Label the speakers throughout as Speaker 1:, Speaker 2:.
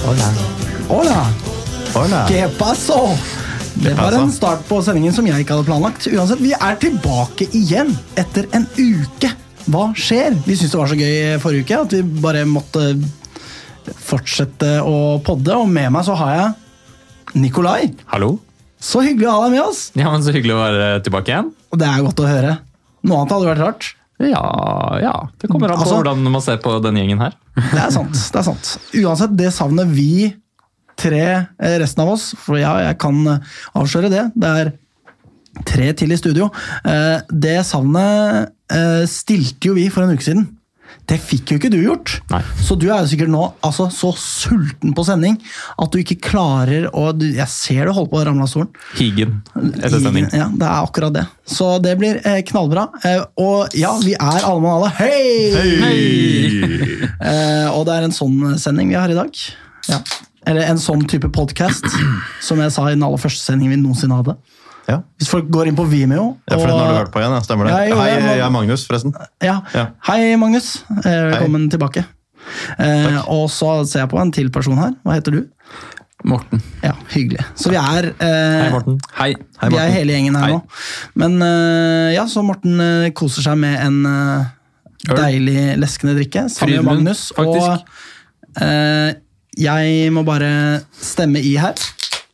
Speaker 1: Hola. Ah.
Speaker 2: Hola!
Speaker 1: Hola.
Speaker 2: Que paso? Det var
Speaker 1: paso?
Speaker 2: en start på sendingen som jeg ikke hadde planlagt. Uansett, Vi er tilbake igjen etter en uke. Hva skjer? Vi syntes det var så gøy forrige uke at vi bare måtte fortsette å podde. Og med meg så har jeg Nikolai.
Speaker 1: Hallo.
Speaker 2: Så hyggelig å ha deg med oss!
Speaker 1: Ja, men Så hyggelig å være tilbake igjen.
Speaker 2: Og det er godt å høre. Noe annet hadde vært rart.
Speaker 1: Ja, ja. Det kommer an på
Speaker 2: Altså-
Speaker 1: hvordan man ser på denne gjengen her.
Speaker 2: Det er sant. det er sant. Uansett, det savner vi tre, eh, resten av oss. For ja, jeg kan eh, avsløre det. Det er tre til i studio. Eh, Det savnet eh, stilte jo vi for en uke siden. Det fikk jo ikke du gjort.
Speaker 1: Nei.
Speaker 2: Så du er jo sikkert nå altså, så sulten på sending at du ikke klarer å du- Jeg ser du holder på å ramle av stolen.
Speaker 1: Higen etter sending.
Speaker 2: Ja, det er akkurat det. Så det blir eh, knallbra. Eh, og ja, vi er alle mann alle. Hei! Eh, og det er en sånn sending vi har i dag. Ja. Eller en sånn type podkast, som jeg sa i den aller første sendingen vi noensinne hadde.
Speaker 3: Ja.
Speaker 2: Hvis folk går inn på Vimeo
Speaker 3: Ja, for den har du hørt på igjen, ja. stemmer det.
Speaker 2: Ja, jeg gjorde
Speaker 3: Hei,
Speaker 2: det, men-
Speaker 3: jeg er Magnus, forresten.
Speaker 2: Ja.
Speaker 3: Ja.
Speaker 2: Hei, Magnus. Eh, velkommen tilbake. Eh, og så ser jeg på en til person her. Hva heter du?
Speaker 1: Morten.
Speaker 2: Ja, hyggelig. Så vi er eh,
Speaker 1: Hei, Morten. Hei.
Speaker 2: Vi er hele gjengen her
Speaker 1: Hei.
Speaker 2: nå. Men eh, ja, så Morten eh, koser seg med en eh,
Speaker 1: Øl.
Speaker 2: deilig leskende drikke. Sammen med
Speaker 1: Frydenlund,
Speaker 2: Magnus.
Speaker 1: faktisk.
Speaker 2: Og eh, jeg må bare stemme i her.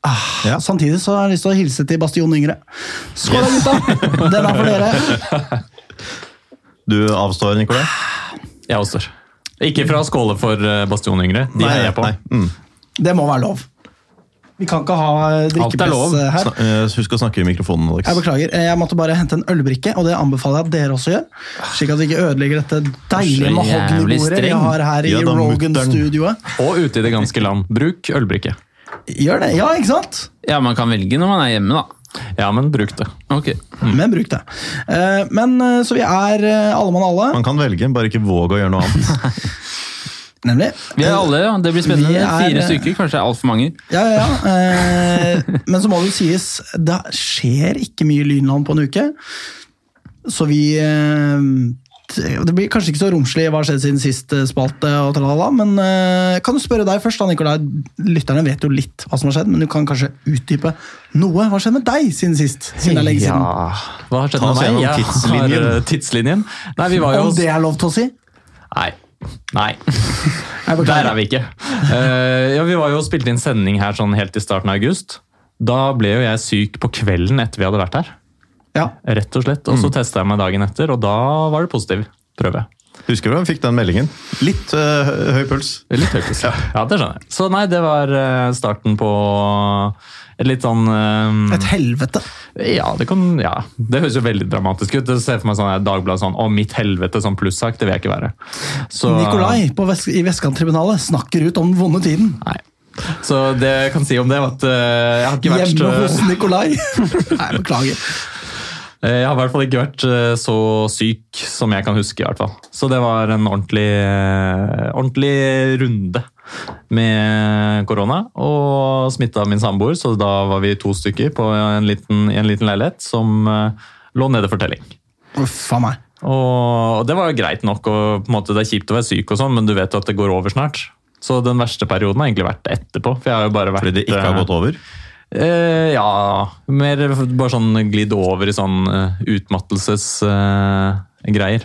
Speaker 2: Ah,
Speaker 3: Ja.
Speaker 2: Samtidig så har jeg lyst til å hilse til Bastion Yngre. Skål da, gutta! Den er for dere.
Speaker 3: Du avstår, Nikolai?
Speaker 1: Jeg også. Ikke fra skåle for eh, Bastion yngre. De heier jeg på.
Speaker 3: Mm.
Speaker 2: Det må være lov. Vi kan ikke ha eh,
Speaker 1: Alt er lov.
Speaker 2: drikkepress eh, her.
Speaker 3: Snak, eh, husk å snakke i mikrofonen, Alex.
Speaker 2: Jeg beklager, eh, jeg måtte bare hente en ølbrikke, og det anbefaler jeg at dere også gjør. Slik at vi ikke ødelegger dette deilige
Speaker 1: Så
Speaker 2: mahognibordet vi
Speaker 1: jævlig streng.
Speaker 2: har her i
Speaker 3: Ja da, mutter'n.
Speaker 2: Rogan-studioet.
Speaker 1: Og ute i det ganske land. Bruk ølbrikke.
Speaker 2: Gjør det, ja, ikke sant?
Speaker 4: Ja, man kan velge når man er hjemme, da.
Speaker 1: Ja, men bruk det.
Speaker 4: Ok.
Speaker 2: Men bruk det. Eh, Men eh, så vi er eh, alle mann alle,
Speaker 3: Man kan velge, bare ikke våg å gjøre noe annet.
Speaker 2: nemlig.
Speaker 4: Vi er alle, ja. Det blir spennende.
Speaker 2: Vi er-
Speaker 4: Fire stykker, kanskje altfor mange.
Speaker 2: Ja, ja, ja. Eh, Men så må det jo sies, det skjer ikke mye Lynland på en uke. Så vi eh, t- Det blir kanskje ikke så romslig hva har skjedd siden sist eh, spalte, og tralala, men eh, kan du spørre deg først, da, Nikolai. Lytterne vet jo litt hva som har skjedd, men du kan kanskje utdype noe. Hva har skjedd med deg siden sist? Siden det er lenge siden.
Speaker 1: Ja. Hva har skjedd
Speaker 3: Ta
Speaker 1: med
Speaker 3: oss
Speaker 1: meg?
Speaker 3: gjennom
Speaker 1: Jeg
Speaker 3: tidslinjen.
Speaker 1: har, eh, tidslinjen. Nei, vi var jo
Speaker 2: Om det er lov til å si?
Speaker 1: Nei. Nei.
Speaker 2: Jeg beklager.
Speaker 1: Der er vi ikke. Eh, ja, vi var jo og spilte inn sending her sånn helt i starten av august. Da ble jo jeg syk på kvelden etter vi hadde vært her.
Speaker 2: Ja.
Speaker 1: Rett og slett.
Speaker 2: Mm.
Speaker 1: Og så testa jeg meg dagen etter, og da var det positiv prøve.
Speaker 3: Husker du hvem fikk den meldingen? Litt eh, høy puls.
Speaker 1: Det er Litt høyt. Ja. ja, det skjønner jeg. Så nei, det var eh, starten på et litt sånn eh,
Speaker 2: Et helvete.
Speaker 1: Ja, det kan Ja. Det høres jo veldig dramatisk ut. Jeg ser for meg sånn her Dagbladet sånn Å, mitt helvete, sånn plussak. Det vil jeg ikke være. Så,
Speaker 2: Nikolai på Vest i Vestkanttribunalet snakker ut om den vonde tiden.
Speaker 1: Nei. Så det jeg kan si om det, var at eh, jeg har ikke vært
Speaker 2: Hjemme hos Nikolai. Nei, beklager.
Speaker 1: Eh, Jeg har i hvert fall ikke vært eh, så syk som jeg kan huske. i hvert fall. Så det var en ordentlig, eh, ordentlig runde med korona. Og smitta min samboer, så da var vi to stykker på en liten, i en liten leilighet som eh, lå nede for telling.
Speaker 2: Uff a meg.
Speaker 1: Og og det var jo greit nok, og på en måte det er kjipt å være syk, og sånn, men du vet jo at det går over snart. Så den verste perioden har egentlig vært etterpå. for jeg har jo bare vært...
Speaker 3: Fordi det ikke har
Speaker 1: eh,
Speaker 3: gått over.
Speaker 1: Eh, ja, mer bare sånn glidd over i sånn uh, utmattelsesgreier.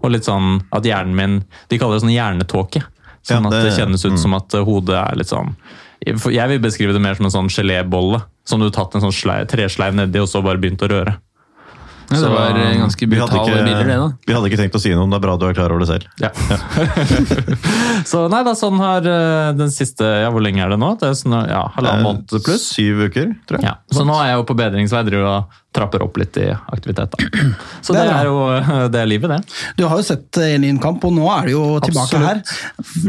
Speaker 1: og litt sånn at hjernen min De kaller det sånn hjernetåke. Sånn
Speaker 3: Ja,
Speaker 1: at det
Speaker 3: det-
Speaker 1: kjennes ut som at eh, hodet er litt sånn for Jeg vil beskrive det mer som en sånn gelébolle. Som du har tatt en sånn slei- tresleiv nedi og så bare begynt å røre.
Speaker 4: Ja,
Speaker 1: Så-
Speaker 4: det var eh,
Speaker 3: Vi
Speaker 4: ganske
Speaker 3: hadde,
Speaker 4: brutale
Speaker 3: ikke,
Speaker 4: bilder, det, da.
Speaker 3: vi hadde ikke tenkt å si noe, men det er bra du er klar over det selv.
Speaker 1: Ja. så nei da, sånn har eh, den siste Ja, hvor lenge er det nå? Det er sånn, ja, Halvannen måned
Speaker 3: Eh,
Speaker 1: pluss?
Speaker 3: Syv uker, tror jeg.
Speaker 1: Ja, så nå er jeg jo på bedringsvei driver og trapper opp litt i aktivitet. Da. Så
Speaker 2: Det
Speaker 1: det
Speaker 2: er
Speaker 1: er jo det er livet, det.
Speaker 2: Du har jo sett eh, en liten kamp, og nå er du jo tilbake
Speaker 1: Absolutt.
Speaker 2: her.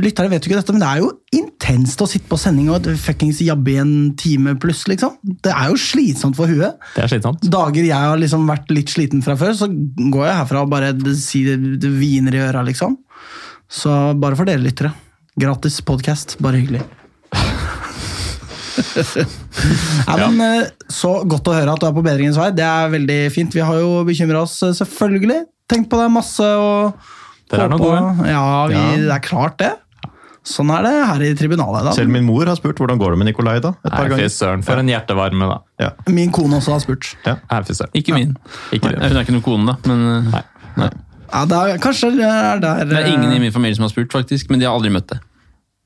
Speaker 2: Lyttere vet jo ikke dette, men det er jo intenst å sitte på sending og fuckings jabbe i en time pluss, liksom. Det er jo slitsomt for huet.
Speaker 1: Det er slitsomt.
Speaker 2: Dager jeg har liksom vært litt sliten fra før, så går jeg herfra og bare si det, det hviner i øra, liksom. Så bare for dere lyttere. Gratis podkast, bare hyggelig. Nei, men eh, Så godt å høre at du er på bedringens vei. Det er veldig fint. Vi har jo bekymra oss, eh, selvfølgelig. Tenkt på deg masse. og
Speaker 1: Dere er nå
Speaker 2: håpa-
Speaker 1: gode.
Speaker 2: Ja, vi,
Speaker 1: Ja.
Speaker 2: det er klart, det. Sånn er det her i tribunalet. da.
Speaker 3: Selv min mor har spurt hvordan går det med Nikolai da, et
Speaker 1: Nei,
Speaker 3: par
Speaker 1: fy
Speaker 3: ganger.
Speaker 1: søren, for en hjertevarme, da.
Speaker 3: Ja.
Speaker 2: Min kone også har spurt.
Speaker 1: Nei, fy søren.
Speaker 4: Ikke min.
Speaker 1: Ikke
Speaker 4: Hun
Speaker 1: det.
Speaker 4: er ikke noen kone, da. Men eh,
Speaker 2: Ja, det er, kanskje det er der eh,
Speaker 4: det er ingen i min familie som har spurt, faktisk. Men de har aldri møtt det.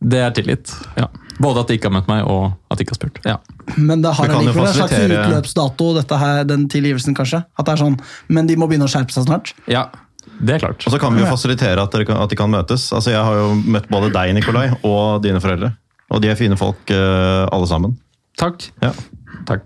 Speaker 1: Det er tillit.
Speaker 4: Ja.
Speaker 1: Både at de ikke har møtt meg, og at de ikke har spurt.
Speaker 4: Ja.
Speaker 2: Men det har
Speaker 3: Vi kan jo
Speaker 2: allikevel en slags
Speaker 3: fasilitere-
Speaker 2: utløpsdato, dette her, den tilgivelsen, kanskje. At det er sånn, Men de må begynne å skjerpe seg snart.
Speaker 4: ja.
Speaker 1: Det er klart.
Speaker 3: Og så kan vi jo fasilitere at, dere kan, at de kan møtes. Altså, jeg har jo møtt både deg, Nikolai, og dine foreldre. Og de er fine folk, eh, alle sammen.
Speaker 4: Takk.
Speaker 3: Ja.
Speaker 1: Takk.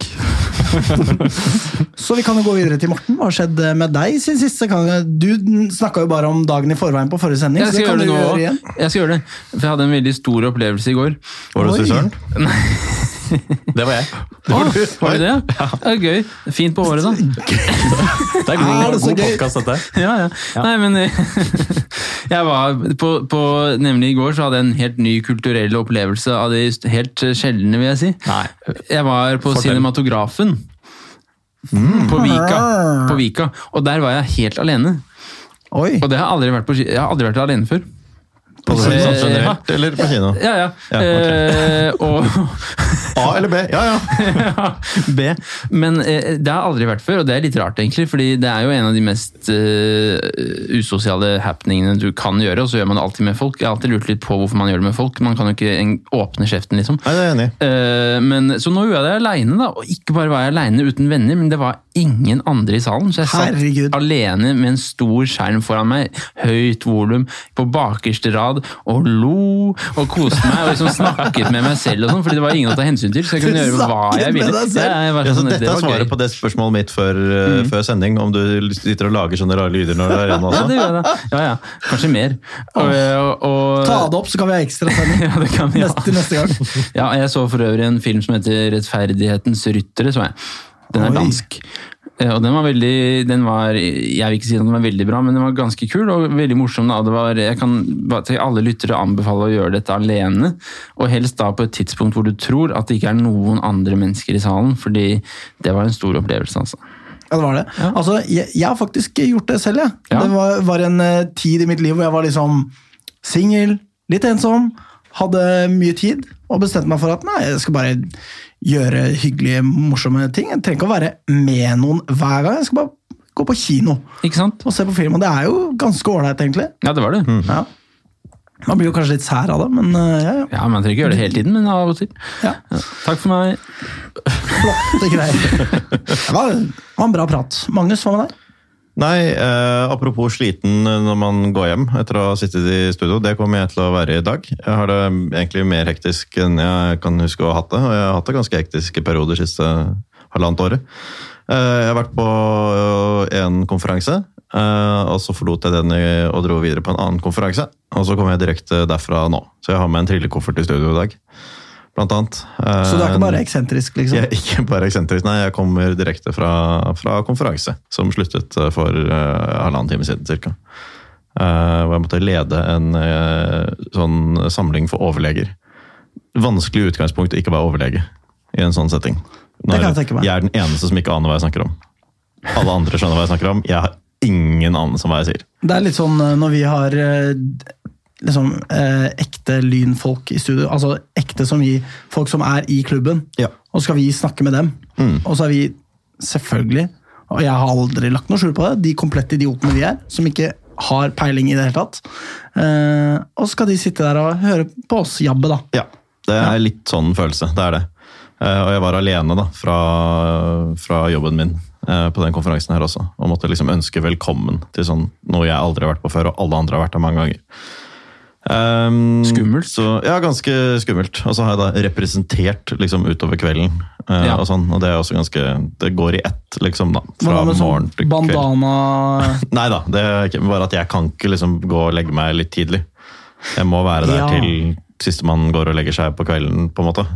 Speaker 2: Så vi kan jo gå videre til Morten. Hva har skjedd med deg siden siste gang? Du snakka jo bare om dagen i forveien på forrige sending.
Speaker 4: Jeg
Speaker 2: så det kan
Speaker 4: skal gjøre det
Speaker 2: du
Speaker 4: nå
Speaker 2: gjøre igjen.
Speaker 4: òg. Jeg skal gjøre det. For jeg hadde en veldig stor opplevelse i går.
Speaker 3: Var du
Speaker 2: Oi.
Speaker 3: hos frisøren?
Speaker 1: Det var jeg.
Speaker 4: Var det det? Ja, gøy. Fint på håret, da.
Speaker 1: Det er god,
Speaker 2: Er det så
Speaker 1: god
Speaker 2: gøy?
Speaker 1: podkast, dette.
Speaker 4: ja, ja. Nei, men eh, jeg var på, på, Nemlig i går så hadde jeg en helt ny kulturell opplevelse av de st- helt eh, sjeldne, vil jeg si.
Speaker 1: Nei.
Speaker 4: Jeg var på
Speaker 1: Fortell.
Speaker 4: Cinematografen.
Speaker 3: Mm.
Speaker 4: På Vika. På Vika. Og der var jeg helt alene.
Speaker 2: Oi.
Speaker 4: Og det har jeg aldri vært på ski- Jeg har aldri vært alene før.
Speaker 3: På
Speaker 4: Eh,
Speaker 3: sånn
Speaker 4: ja.
Speaker 3: generelt, eller på kino?
Speaker 4: Ja, ja.
Speaker 3: Ja, ok.
Speaker 4: eh, og
Speaker 3: A eller B? Ja, ja.
Speaker 4: B. Men eh, det har jeg aldri vært før, og det er litt rart, egentlig. fordi det er jo en av de mest eh, usosiale happeningene du kan gjøre, og så gjør man det alltid med folk. Jeg har alltid lurt litt på hvorfor man gjør det med folk. Man kan jo ikke en, åpne kjeften, liksom.
Speaker 3: Nei, det er jeg enig i.
Speaker 4: Eh, men, så nå gjorde jeg det aleine, da. Og ikke bare var jeg aleine uten venner, men det var ingen andre i salen. Så jeg satt
Speaker 2: Herregud.
Speaker 4: alene med en stor skjerm foran meg, høyt volum, på bakerste rad, og lo og koste meg. Og liksom snakket med meg selv og sånn, fordi det var ingen å ta hensyn til. Så jeg kunne
Speaker 2: Du
Speaker 4: gjøre hva
Speaker 2: snakket
Speaker 4: jeg ville.
Speaker 2: med deg selv?
Speaker 4: Ja, jeg var
Speaker 3: Ja, så
Speaker 4: sånn,
Speaker 3: dette
Speaker 4: det
Speaker 3: er
Speaker 4: var
Speaker 3: svaret
Speaker 4: gøy. Mm.
Speaker 3: på det spørsmålet mitt før, eh, før sending, om du sitter og lager sånne rare lyder når du er sånn. alene
Speaker 4: Ja,
Speaker 3: også.
Speaker 4: det gjør jeg da. Ja, ja. Kanskje mer. Og, og,
Speaker 2: Ta det opp, så kan vi ha ekstra sending
Speaker 4: Ja, det kan vi ha.
Speaker 2: neste, til neste gang.
Speaker 4: Ja, jeg så for øvrig en film som heter Rettferdighetens ryttere, så jeg. Den er
Speaker 2: Oi.
Speaker 4: dansk. Eh, Og den var veldig, den var, jeg vil ikke si at den var veldig bra, men den var ganske kul og veldig morsom. Da. Det var, jeg kan bare til alle lyttere anbefale å gjøre dette alene, og helst da på et tidspunkt hvor du tror at det ikke er noen andre mennesker i salen, fordi det var en stor opplevelse, altså.
Speaker 2: Ja, det var det. Altså, jeg, jeg har faktisk gjort det selv. Jeg.
Speaker 4: Ja.
Speaker 2: Det var, var en eh, tid i mitt liv hvor jeg var liksom singel, litt ensom, hadde mye tid, og bestemte meg for at nei, jeg skal bare gjøre hyggelige, morsomme ting. Jeg trenger ikke å være med noen hver gang, jeg skal bare gå på kino
Speaker 4: Ikke sant?
Speaker 2: og se på film. Og det er jo ganske ålreit, egentlig.
Speaker 4: Ja, det var det.
Speaker 2: Ja. Man blir jo kanskje litt sær av det, men eh, ja, ja.
Speaker 4: Ja, man trenger ikke gjøre det hele tiden, men av og til.
Speaker 2: ja.
Speaker 4: Ja. Takk for meg.
Speaker 2: Flotte greier. Det var, det var en bra prat. Magnus, hva med deg?
Speaker 3: Nei, eh, apropos sliten eh, når man går hjem etter å ha sittet i studio. Det kommer jeg til å være i dag. Jeg har det egentlig mer hektisk enn jeg kan huske å ha hatt det. Og jeg har hatt det ganske hektiske perioder siste halvannet året. Eh, jeg har vært på eh, en konferanse, eh, og så forlot jeg den i- og dro videre på en annen konferanse. Og så kommer jeg direkte derfra nå. Så jeg har med en trillekoffert i studio i dag, blant annet. Eh,
Speaker 2: Så du er ikke bare eksentrisk, liksom?
Speaker 3: jeg er ikke bare eksentrisk, nei. Jeg kommer direkte fra, fra konferanse, som sluttet eh, for eh, halvannen time siden ca. hvor jeg måtte lede en eh, sånn samling for overleger. Vanskelig utgangspunkt å ikke være overlege i en sånn setting.
Speaker 2: Det
Speaker 3: Når
Speaker 2: kan jeg tenke meg.
Speaker 3: jeg er den eneste som ikke aner hva jeg snakker om. Alle andre skjønner hva jeg snakker om. Jeg har ingen anelse om hva jeg sier.
Speaker 2: Det er litt sånn eh, når vi har eh, liksom eh, ekte lynfolk i studio, altså ekte som vi, folk som er i klubben,
Speaker 3: Ja.
Speaker 2: og skal vi snakke med dem,
Speaker 3: Mm.
Speaker 2: og så er vi selvfølgelig, og jeg har aldri lagt noe skjul på det, de komplette idiotene vi er, som ikke har peiling i det hele tatt, eh, og så skal de sitte der og høre på oss jabbe da.
Speaker 3: Ja, det er litt sånn følelse. Det er det. Eh, Og jeg var alene da, fra, fra jobben min eh, på den konferansen her også. Og måtte liksom ønske velkommen til sånn, noe jeg aldri har vært på før, og alle andre har vært der mange ganger. Ehm,
Speaker 4: Skummelt.
Speaker 3: Så, ja, ganske skummelt. Og så har jeg da representert liksom, utover kvelden. eh,
Speaker 4: Ja.
Speaker 3: Og, sånn, og det er også ganske Det går i ett, liksom, da. Fra
Speaker 2: Hva med
Speaker 3: morgen
Speaker 2: sånn
Speaker 3: til kveld.
Speaker 2: bandana...
Speaker 3: Nei da, det er ikke, bare at jeg kan ikke liksom gå og legge meg litt tidlig. Jeg må være der
Speaker 2: Ja.
Speaker 3: til sistemann går og legger seg på kvelden, på en måte.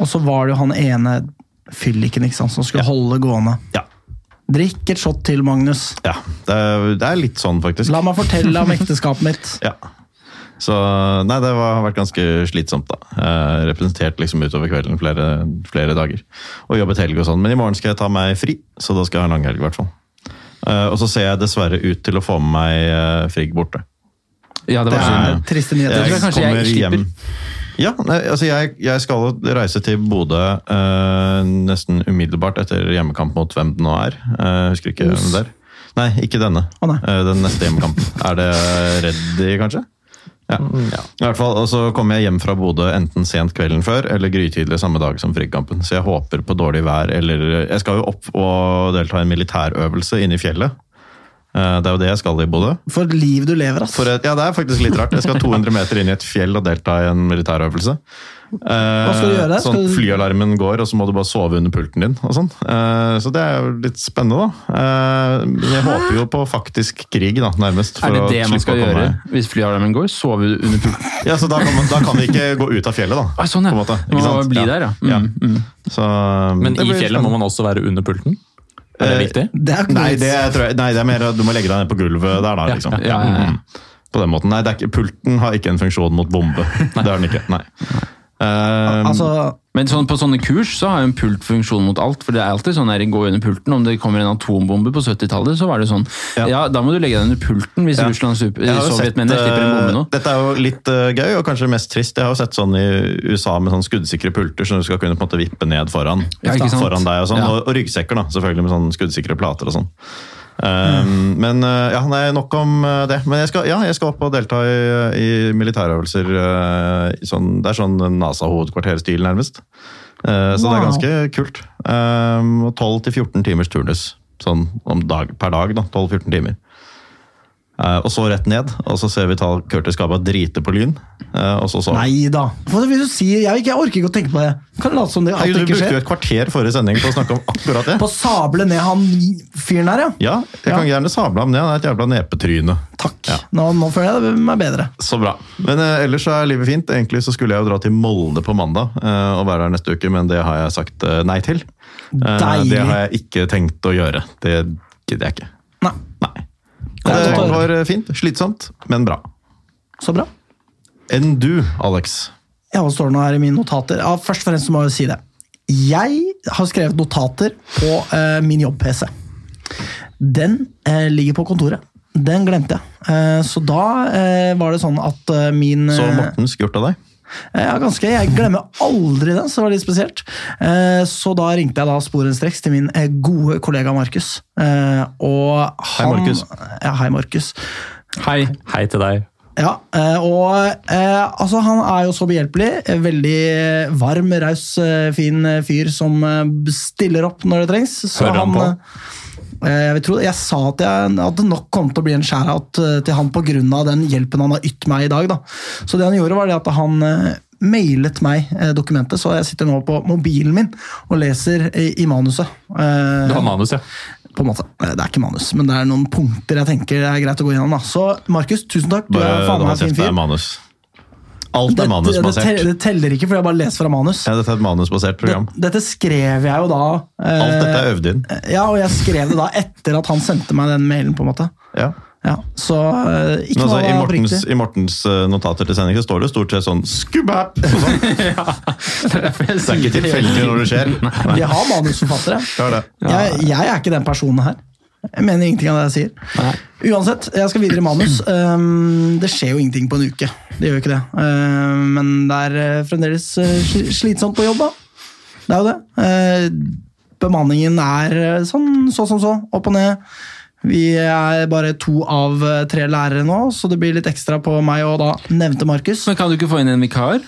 Speaker 2: Og så var det jo han ene fylliken, ikke sant, som skulle holde gående.
Speaker 3: Ja.
Speaker 2: Drikk et shot til, Magnus.
Speaker 3: ja det, er, det er litt sånn, faktisk.
Speaker 2: La meg fortelle om ekteskapet mitt.
Speaker 3: Ja. Så nei, det var, har vært ganske slitsomt, da. Eh, representert liksom utover kvelden flere, flere dager. Og jobbet helg og sånn. Men i morgen skal jeg ta meg fri, så da skal jeg ha en langhelg, i hvert fall. Eh, og så ser jeg dessverre ut til å få med meg eh, Frigg borte.
Speaker 4: Ja, det
Speaker 2: Det
Speaker 4: var
Speaker 2: er
Speaker 4: synd.
Speaker 2: triste nyheter.
Speaker 4: tror jeg kanskje jeg slipper.
Speaker 3: Ja, nei, altså jeg, jeg skal reise til Bodø eh, nesten umiddelbart etter hjemmekamp mot hvem det nå er. Eh, Jeg husker ikke hvem det er. Nei, ikke denne.
Speaker 2: Å, nei.
Speaker 3: Eh, Den neste hjemmekampen. Er det Reddy, kanskje? Ja.
Speaker 4: Mm,
Speaker 3: I hvert fall, og Så kommer jeg hjem fra Bodø enten sent kvelden før eller grytidlig samme dag som frikampen. Så jeg håper på dårlig vær eller Jeg skal jo opp og delta i en militærøvelse inne i fjellet. Eh, Det er jo det jeg skal i Bodø.
Speaker 2: For et liv du lever, ass.
Speaker 3: For et, ja, det er faktisk litt rart. Jeg skal 200 meter inn i et fjell og delta i en militærøvelse. Hva
Speaker 2: skal du gjøre?
Speaker 3: Sånn
Speaker 2: Skal du-
Speaker 3: flyalarmen går, og så må du bare sove under pulten din. og sånn. Eh, Så det er jo litt spennende, da. Eh, Men jeg håper jo på faktisk krig, da, nærmest. for
Speaker 4: Er det
Speaker 3: å
Speaker 4: det man
Speaker 3: slippe
Speaker 4: skal
Speaker 3: å komme
Speaker 4: gjøre
Speaker 3: her.
Speaker 4: hvis flyalarmen går? Sove under pulten?
Speaker 3: Ja, så da kan, man, da kan vi ikke gå ut av fjellet, da.
Speaker 4: Ah, sånn, ja.
Speaker 3: På en måte,
Speaker 4: Man
Speaker 3: ikke
Speaker 4: må
Speaker 3: sant?
Speaker 4: bli
Speaker 3: Ja.
Speaker 4: der, ja. Mm,
Speaker 3: Ja.
Speaker 4: Mm.
Speaker 3: Så, um,
Speaker 1: Men
Speaker 3: det
Speaker 1: i
Speaker 3: blir
Speaker 1: fjellet må man også være under pulten? Er det
Speaker 3: Eh,
Speaker 1: viktig?
Speaker 2: Det er ikke noe
Speaker 3: Nei, det,
Speaker 2: vits.
Speaker 3: tror jeg, nei, det er mer at du må legge deg ned på gulvet der, da. Liksom.
Speaker 4: ja, ja, ja.
Speaker 3: Mm. På den måten. Nei, det er ikke, pulten har ikke en funksjon mot bombe. Det har den ikke, nei. Eh,
Speaker 2: Altså,
Speaker 4: Men sånn, på sånne kurs så har jo en pult funksjon mot alt. For det er alltid sånn her, gå under pulten. Om det kommer en atombombe på 70-tallet, så var det sånn.
Speaker 3: Ja.
Speaker 4: Ja. da må du legge deg under pulten hvis
Speaker 3: Ja.
Speaker 4: Russland super,
Speaker 3: jeg har jo sett,
Speaker 4: Sovjetmennene slipper en bombe nå.
Speaker 3: eh, Dette er jo litt eh, gøy, og kanskje mest trist. Jeg har jo sett sånn i USA med sånn skuddsikre pulter som du skal kunne på en måte vippe ned foran,
Speaker 4: Ja, ikke sant?
Speaker 3: foran deg. Og, sånn,
Speaker 4: Ja.
Speaker 3: og, og ryggsekker, da, selvfølgelig, med sånn skuddsikre plater og sånn. Eh, Men eh, ja, nei, nok om eh, det. Men jeg skal, ja, jeg skal opp og delta i, i militærøvelser. eh, i sånn, det er sånn NASA-hovedkvarterstil, nærmest. Eh, Så det er
Speaker 2: Wow.
Speaker 3: ganske kult. Eh, og 12-14 timers turnus sånn om dag, per dag. da, 12-14 timer. Eh, og så rett ned, og så ser vi ta Curtis Gaba drite på lyn. eh, og så så
Speaker 2: nei da. Hva vil du si? Jeg, jeg orker ikke å tenke på det. Kan late som det
Speaker 3: Herregud,
Speaker 2: at det ikke
Speaker 3: Du brukte jo
Speaker 2: skjer.
Speaker 3: et kvarter forrige sending på å snakke om akkurat det.
Speaker 2: På å sable ned han fyren der, ja.
Speaker 3: Ja, jeg kan gjerne sabla om det. Han er et jævla nepetryne.
Speaker 2: Takk. Nå, nå føler jeg meg bedre.
Speaker 3: Så bra. Men eh, ellers så er livet fint. Egentlig så skulle jeg jo dra til Molde på mandag eh, og være der neste uke, men det har jeg sagt eh, nei til. Eh,
Speaker 2: Deilig.
Speaker 3: det har jeg ikke tenkt å gjøre. Det gidder jeg ikke.
Speaker 2: Nei,
Speaker 3: Nei.
Speaker 2: Det er
Speaker 3: Det
Speaker 2: totalt.
Speaker 3: var eh, fint. Slitsomt, men bra.
Speaker 2: så bra.
Speaker 3: Enn du, Alex.
Speaker 2: Ja, hva står det nå her i mine notater? Ja, først og fremst så må jeg jo si det. Jeg har skrevet notater på eh, min jobb-PC. Den eh, ligger på kontoret. Den glemte jeg. Eh, så da eh, var det sånn at eh, min
Speaker 3: Så
Speaker 2: eh,
Speaker 3: Morten skjorta deg.
Speaker 2: Ja, ganske. Jeg glemmer aldri den, så det var litt spesielt. Eh, Så da ringte jeg da sporenstreks til min eh, gode kollega Markus. Eh, Og han
Speaker 3: Markus.
Speaker 2: Ja, hei, Markus.
Speaker 4: Hei.
Speaker 1: Hei til deg.
Speaker 2: Ja, eh, og eh, altså han er jo så behjelpelig. eh, Veldig varm, raus, eh, fin eh, fyr som eh, stiller opp når det trengs. Så
Speaker 1: Hører han på?
Speaker 2: eh, Jeg, vil tro, jeg sa at, jeg, at det nok kom til å bli en shout-out eh, til han pga. den hjelpen han har ytt meg i dag. Da. Så det han gjorde, var det at han eh, mailet meg eh, dokumentet, så jeg sitter nå på mobilen min og leser i, i manuset. Eh,
Speaker 1: Du har manus, ja.
Speaker 2: på en måte. Eh, Det er ikke manus, men det er noen punkter jeg tenker er greit å gå gjennom. Da. Så Markus, tusen takk. Du er
Speaker 3: Bare
Speaker 2: faen meg
Speaker 3: hold
Speaker 2: en fin
Speaker 3: kjeft, det er
Speaker 2: fyr.
Speaker 3: manus.
Speaker 2: Det,
Speaker 3: Alt er
Speaker 2: det, det,
Speaker 3: manusbasert.
Speaker 2: tel- det teller ikke, for jeg bare leser fra manus.
Speaker 3: Ja, dette er et manusbasert program.
Speaker 2: Dette skrev jeg jo da eh,
Speaker 3: Alt dette er øvd inn.
Speaker 2: Ja, og jeg skrev det da etter at han sendte meg den mailen, på en måte.
Speaker 3: Ja.
Speaker 2: Ja, så eh, ikke
Speaker 3: Men altså,
Speaker 2: noe
Speaker 3: i,
Speaker 2: av
Speaker 3: Mortens,
Speaker 2: oppriktig.
Speaker 3: I Mortens eh, notater til sending så står det jo stort sett sånn skubbap! og sånn. Det er ikke tilfeldig når det skjer. Nei,
Speaker 2: Vi har manusforfattere.
Speaker 3: det er det.
Speaker 2: Jeg, jeg er ikke den personen her. Jeg mener ingenting av det jeg sier. Uansett, jeg skal videre i manus. Um, det skjer jo ingenting på en uke. Det gjør jo ikke det. Um, men det er eh, fremdeles eh, sli- slitsomt på jobb, da. Det er jo det. Eh, bemanningen er eh, sånn så som så. Opp og ned. Vi er bare to av eh, tre lærere nå, så det blir litt ekstra på meg og da nevnte Markus.
Speaker 4: Men kan du ikke få inn en vikar?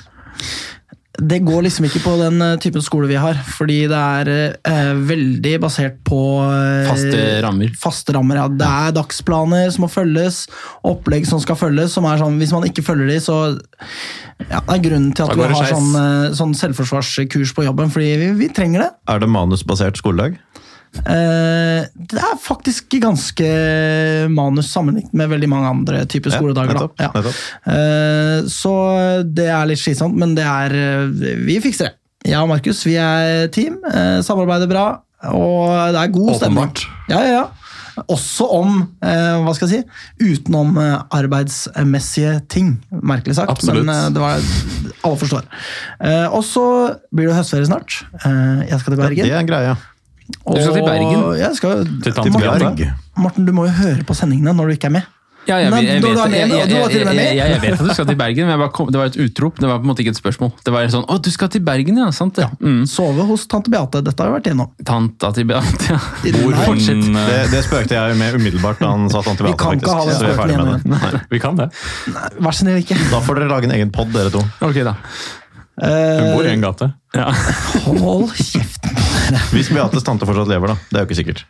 Speaker 2: Det går liksom ikke på den eh, typen skole vi har, fordi det er eh, veldig basert på eh,
Speaker 4: Faste rammer.
Speaker 2: Faste rammer, ja. Det er dagsplaner som må følges, opplegg som skal følges, som er sånn hvis man ikke følger de, så ja, Det er grunnen til
Speaker 1: Da
Speaker 2: at
Speaker 1: går
Speaker 2: vi
Speaker 1: det
Speaker 2: har
Speaker 1: skeis.
Speaker 2: sånn, eh, sånn selvforsvarskurs på jobben, fordi vi, vi trenger det.
Speaker 3: Er det manusbasert skoledag?
Speaker 2: Eh, det er faktisk ganske manus sammenlignet med veldig mange andre typer
Speaker 3: Ja,
Speaker 2: skoledager.
Speaker 3: nettopp,
Speaker 2: da.
Speaker 3: nettopp.
Speaker 2: Eh, så det er litt slitsomt, men det er eh, Vi fikser det. Jeg og Markus vi er team, eh, samarbeider bra, og det er god stemning.
Speaker 1: Åpenbart.
Speaker 2: Ja, ja, ja. Også om eh, hva skal jeg si, utenom eh, arbeidsmessige ting. Merkelig sagt,
Speaker 1: Absolutt.
Speaker 2: men eh, det var, alle forstår. Eh, og så blir det høstferie snart. Eh, jeg skal til Bergen.
Speaker 3: Det er en greie.
Speaker 4: Du skal til Bergen?
Speaker 2: Og Jeg skal Morten,
Speaker 1: Til tante Beate.
Speaker 2: Morten, du må jo høre på sendingene når du ikke er med.
Speaker 4: Ja, jeg,
Speaker 2: Men
Speaker 4: jeg,
Speaker 2: når
Speaker 4: jeg,
Speaker 2: du er
Speaker 4: vet-
Speaker 2: med,
Speaker 4: jeg,
Speaker 2: og
Speaker 4: jeg,
Speaker 2: du var til
Speaker 4: jeg,
Speaker 2: og med med.
Speaker 4: jeg, jeg vet at du skal til Bergen, men jeg bare kom, det var et utrop. Det var på en måte ikke et spørsmål. Det var sånn 'Å, du skal til Bergen, ja?' Sant det? Mm.
Speaker 2: Sove hos tante Beate, dette har vi vært igjennom.
Speaker 4: Tanta til Beate, ja.
Speaker 2: I den her-
Speaker 1: Hvor-
Speaker 4: Fortsett.
Speaker 1: Men,
Speaker 3: Det,
Speaker 1: eh,
Speaker 3: det spøkte jeg med umiddelbart da han satt
Speaker 2: Vi kan ikke ha den
Speaker 3: så vi er
Speaker 2: spøken
Speaker 3: ferdig med
Speaker 2: igjen.
Speaker 3: det.
Speaker 1: Vi kan det.
Speaker 2: Vær så snill, ikke.
Speaker 3: Da får dere lage en egen pod, dere to.
Speaker 4: Ok, da.
Speaker 1: Hun bor i
Speaker 2: Eh,
Speaker 1: en gate.
Speaker 4: Ja.
Speaker 2: hold kjeften på dere.
Speaker 3: Hvis Beates tante fortsatt lever, da. Det er jo ikke sikkert.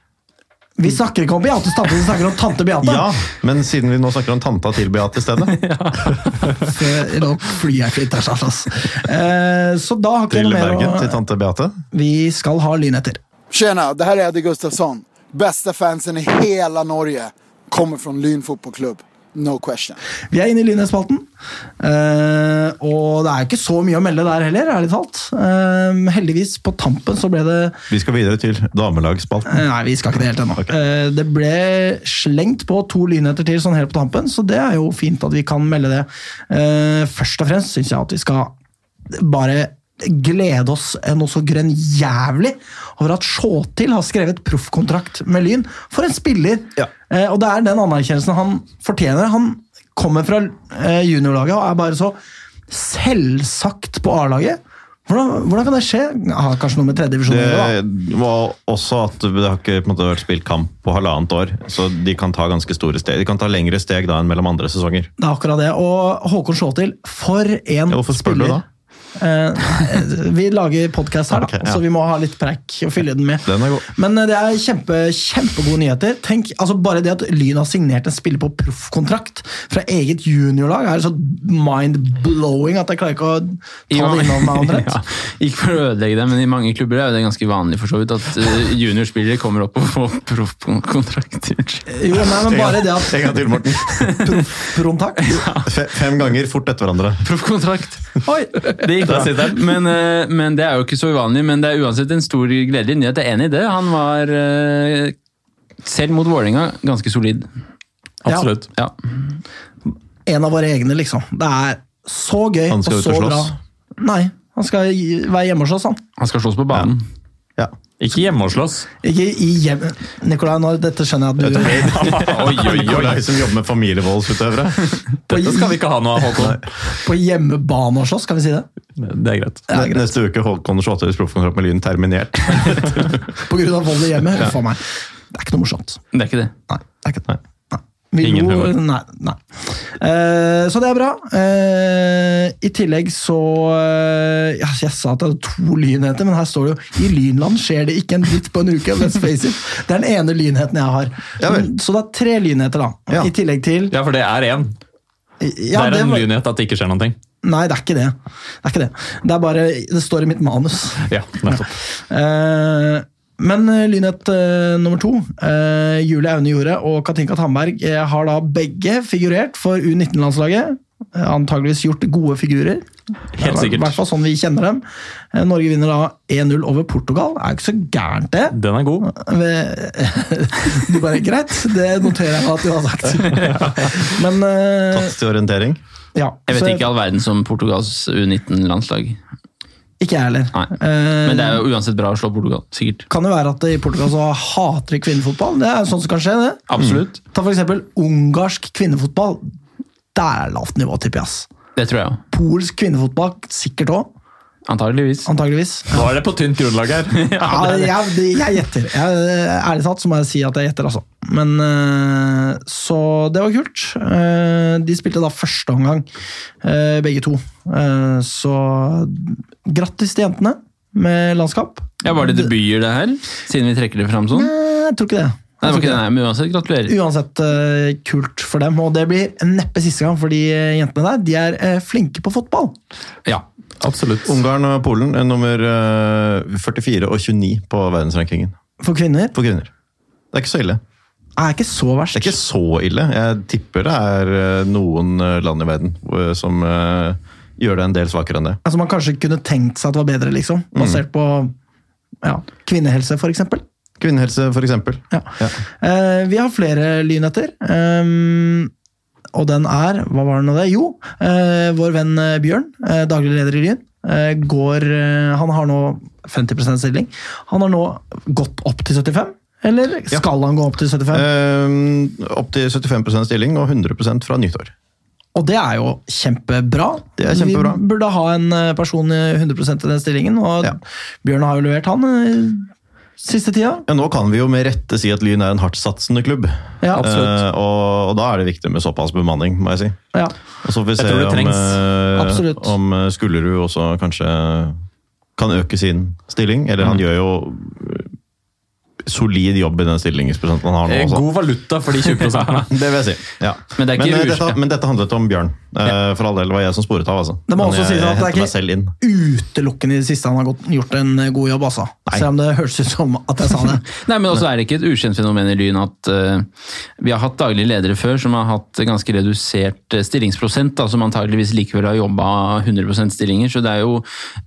Speaker 2: Vi snakker ikke om Beates tante, vi snakker om tante Beate.
Speaker 3: Ja, Men siden vi nå snakker om tanta til Beate i stedet,
Speaker 2: Eh, Nå flyr jeg ikke litt der, Charles. Eh, så da har ikke jeg
Speaker 3: til
Speaker 2: noe mer
Speaker 3: Bergen, til
Speaker 2: å
Speaker 3: tante Beate
Speaker 2: Vi skal ha lyn etter.
Speaker 5: Tjena, det här är Eddie Gustafsson. Bästa fansen i hela Norge. Kommer från Lyn fotbollklubb. No question.
Speaker 2: Vi er inne i Lynhetsspalten. Eh, og det er ikke så mye å melde der heller, ærlig talt. Eh, heldigvis, på tampen så ble det
Speaker 3: Vi skal videre til damelagsspalten.
Speaker 2: eh, Nei, vi skal ikke det helt ennå.
Speaker 3: Ok.
Speaker 2: Eh, det ble slengt på to lynheter til sånn helt på tampen, så det er jo fint at vi kan melde det. Eh, først og fremst syns jeg at vi skal bare glede oss noe så grønn jævlig over at Sjåtil har skrevet proffkontrakt med Lyn. For en spiller!
Speaker 3: Ja.
Speaker 2: Eh, og det er den anerkjennelsen han fortjener. Han kommer fra eh, juniorlaget og er bare så selvsagt på A-laget. Hvordan, hvordan kan det skje? Ja, kanskje noe med tredjedivisjon å gjøre, da.
Speaker 3: Det var også at det har ikke på en måte, vært spilt kamp på halvannet år, så de kan ta ganske store steg. De kan ta lengre steg da enn mellom andre sesonger.
Speaker 2: Det er akkurat det. Og Håkon Sjåtil, for en
Speaker 3: Ja, hvorfor spør du
Speaker 2: spiller.
Speaker 3: da?
Speaker 2: Eh, vi lager podkast her, da,
Speaker 3: Ok, ja.
Speaker 2: så vi må ha litt preik å fylle den med.
Speaker 3: Den er god.
Speaker 2: Men eh, det er kjempe, kjempegode nyheter. Tenk, altså Bare det at Lyn har signert en spiller på proffkontrakt fra eget juniorlag, er så mind-blowing at jeg klarer ikke å ta det innom meg omtrent.
Speaker 4: Ja, ikke for å ødelegge det, men i mange klubber er jo det ganske vanlig for så vidt at eh, juniorspillere kommer opp og får proffkontrakt. Unnskyld.
Speaker 2: Jo, nei, men bare det at
Speaker 3: En gang til, Morten.
Speaker 2: proffkontakt
Speaker 3: Fe- Fem ganger fort etter hverandre.
Speaker 4: Proffkontrakt!
Speaker 2: Oi!
Speaker 4: Det gikk bra. Men, eh, men det er jo ikke så uvanlig. Men det er uansett en stor gledelig nyhet. Jeg er enig i det. Han var, eh, selv mot Vålerenga, ganske solid.
Speaker 1: Absolutt.
Speaker 4: Ja.
Speaker 2: En av våre egne, liksom. Det er så gøy
Speaker 3: Han
Speaker 2: og
Speaker 3: skal ut
Speaker 2: så
Speaker 3: og
Speaker 2: bra.
Speaker 3: slåss.
Speaker 2: Nei, han skal gi- være hjemme hos oss, han.
Speaker 4: Han skal slås på banen.
Speaker 3: Ja.
Speaker 1: Ikke hjemme og slåss.
Speaker 2: Ikke i hjem... Nikolai, nå, dette skjønner jeg at du
Speaker 3: Oi, oi, oi. som jobber med familievoldsutøvere.
Speaker 2: På,
Speaker 1: Dette skal
Speaker 2: hj-
Speaker 1: vi ikke ha noe av, Håkon.
Speaker 2: på hjemmebane og slåss, kan vi si det?
Speaker 1: Det er greit.
Speaker 2: Ja, greit.
Speaker 3: Neste uke Håkon Sjåtøys proffkontrakt med Lyn terminert.
Speaker 2: På grunn av vold i hjemmet? Uff a meg. Det er ikke noe morsomt.
Speaker 4: Det er ikke det.
Speaker 2: Nei, det er ikke det. Nei. Vi
Speaker 1: Ingen
Speaker 2: lo-
Speaker 1: humor.
Speaker 2: Nei, nei. Eh, så det er bra. Eh, I tillegg så eh, ja, Jeg sa at det er to lynheter, men her står det jo I Lynland skjer det ikke en dritt på en uke. Let's face it. Det er den ene lynheten jeg har.
Speaker 3: Ja vel.
Speaker 2: så det er tre lynheter, da.
Speaker 3: Ja.
Speaker 2: I tillegg til
Speaker 1: Ja, for det er én. Det
Speaker 2: ja,
Speaker 1: er en
Speaker 2: var-
Speaker 1: lynhet at det ikke skjer noen ting.
Speaker 2: Nei, det er ikke det. Det er ikke det. Det er bare Det står i mitt manus.
Speaker 1: Ja, nettopp.
Speaker 2: Eh, men eh, lynhet eh, nummer to. Eh, Julie Aune Jorde og Katinka Tandberg eh, har da begge figurert for U19-landslaget. Eh, antageligvis gjort gode figurer. I
Speaker 1: Helt
Speaker 2: hvert
Speaker 1: sikkert.
Speaker 2: fall sånn vi kjenner dem. Eh, Norge vinner da 1-0 over Portugal. Er jo ikke så gærent, det.
Speaker 1: Den er god.
Speaker 2: Ved- Du bare Greit, det noterer jeg meg at du har sagt. Men eh,
Speaker 3: Tatt til orientering.
Speaker 2: ja.
Speaker 4: Jeg
Speaker 2: så-
Speaker 4: vet ikke all verden som Portugals U19-landslag.
Speaker 2: Ikke jeg heller.
Speaker 4: Nei.
Speaker 2: Eh,
Speaker 4: Men det er jo uansett bra å slå Portugal. Sikkert.
Speaker 2: kan jo være at i Portugal så hater de kvinnefotball. Det er jo sånt som kan skje, det.
Speaker 4: Absolutt.
Speaker 2: Ta for eksempel ungarsk kvinnefotball. Der er lavt nivå, tipper jeg. ass.
Speaker 4: Det tror jeg òg.
Speaker 2: Polsk kvinnefotball sikkert òg,
Speaker 4: Antageligvis.
Speaker 2: antageligvis.
Speaker 1: Nå er det på tynt grunnlag her.
Speaker 2: Ja, jeg, det- jeg gjetter. Jeg, eh, ærlig talt så må jeg si at jeg gjetter, altså. Men eh, Så det var kult. Eh, De spilte da første omgang, eh, begge to. Eh, Så grattis til jentene med landskap.
Speaker 4: Ja, Var det debuter, det her? Siden vi trekker det fram sånn? Nei,
Speaker 2: Eh, Jeg tror ikke det.
Speaker 4: det var
Speaker 2: Jeg tror
Speaker 4: ikke det, nei, men uansett, gratulerer.
Speaker 2: Uansett eh, kult for dem, og det blir neppe siste gang for de eh, jentene der. De er eh, flinke på fotball.
Speaker 4: Ja.
Speaker 1: Absolutt.
Speaker 3: Ungarn og Polen er nummer eh, 44 og 29 på verdensrankingen
Speaker 2: For kvinner
Speaker 3: for kvinner. Det er ikke så ille.
Speaker 2: er ikke så verst.
Speaker 3: Det er ikke så ille. Jeg tipper det er eh, noen eh, land i verden eh, som eh, gjør det en del svakere enn det.
Speaker 2: Altså Man kanskje kunne tenkt seg at det var bedre, liksom.
Speaker 3: Mm.
Speaker 2: Basert på ja, kvinnehelse, for eksempel.
Speaker 3: Kvinnehelse, for eksempel.
Speaker 2: Ja.
Speaker 3: Ja.
Speaker 2: Eh, vi har flere lynheter. ehm, og den er Hva var det nå det? Jo, eh, vår venn eh, Bjørn, eh, daglig leder i Lyn, eh, går eh, Han har nå 50 stilling. Han har nå gått opp til 75. Eller skal han gå opp til 75?
Speaker 3: Eh, opp til 75 stilling og 100 fra nyttår.
Speaker 2: Og det er jo kjempebra.
Speaker 3: Det er kjempebra.
Speaker 2: Vi burde ha en eh, person i 100 i den stillingen, og
Speaker 3: Ja.
Speaker 2: Bjørn har jo levert han eh, siste tida.
Speaker 3: Ja, nå kan vi jo med rette si at Lyn er en hardtsatsende klubb.
Speaker 2: Ja,
Speaker 3: Eh, og, og da er det viktig med såpass bemanning, må jeg si.
Speaker 2: ja.
Speaker 3: Og så får vi se
Speaker 1: tror det
Speaker 3: om,
Speaker 1: trengs.
Speaker 3: eh,
Speaker 2: Absolutt.
Speaker 3: om eh, Skullerud også kanskje kan øke sin stilling. Eller
Speaker 1: Mm.
Speaker 3: han gjør jo eh, solid jobb i den stillingsprosenten han har nå.
Speaker 1: Eh,
Speaker 3: Også.
Speaker 1: God valuta for de 20 prosentene.
Speaker 3: Det vil jeg si. Ja.
Speaker 4: Men det er ikke
Speaker 3: eh,
Speaker 4: ur-
Speaker 3: dette, men dette handlet om Bjørn. Eh, For all del det var jeg som sporet av. Altså.
Speaker 2: Det må
Speaker 3: Men
Speaker 2: også
Speaker 3: jeg,
Speaker 2: sies at det er
Speaker 3: henter
Speaker 2: ikke-
Speaker 3: meg selv inn.
Speaker 2: Utelukkende i det siste han har gått, gjort en eh, god jobb, altså. Selv om det høres ut som at jeg sa
Speaker 3: Mm.
Speaker 2: det.
Speaker 4: Nei, men også er det ikke et ukjent fenomen i Lyn at eh, vi har hatt daglige ledere før som har hatt ganske redusert eh, stillingsprosent, da, som antageligvis likevel har jobba 100 stillinger. Så det er jo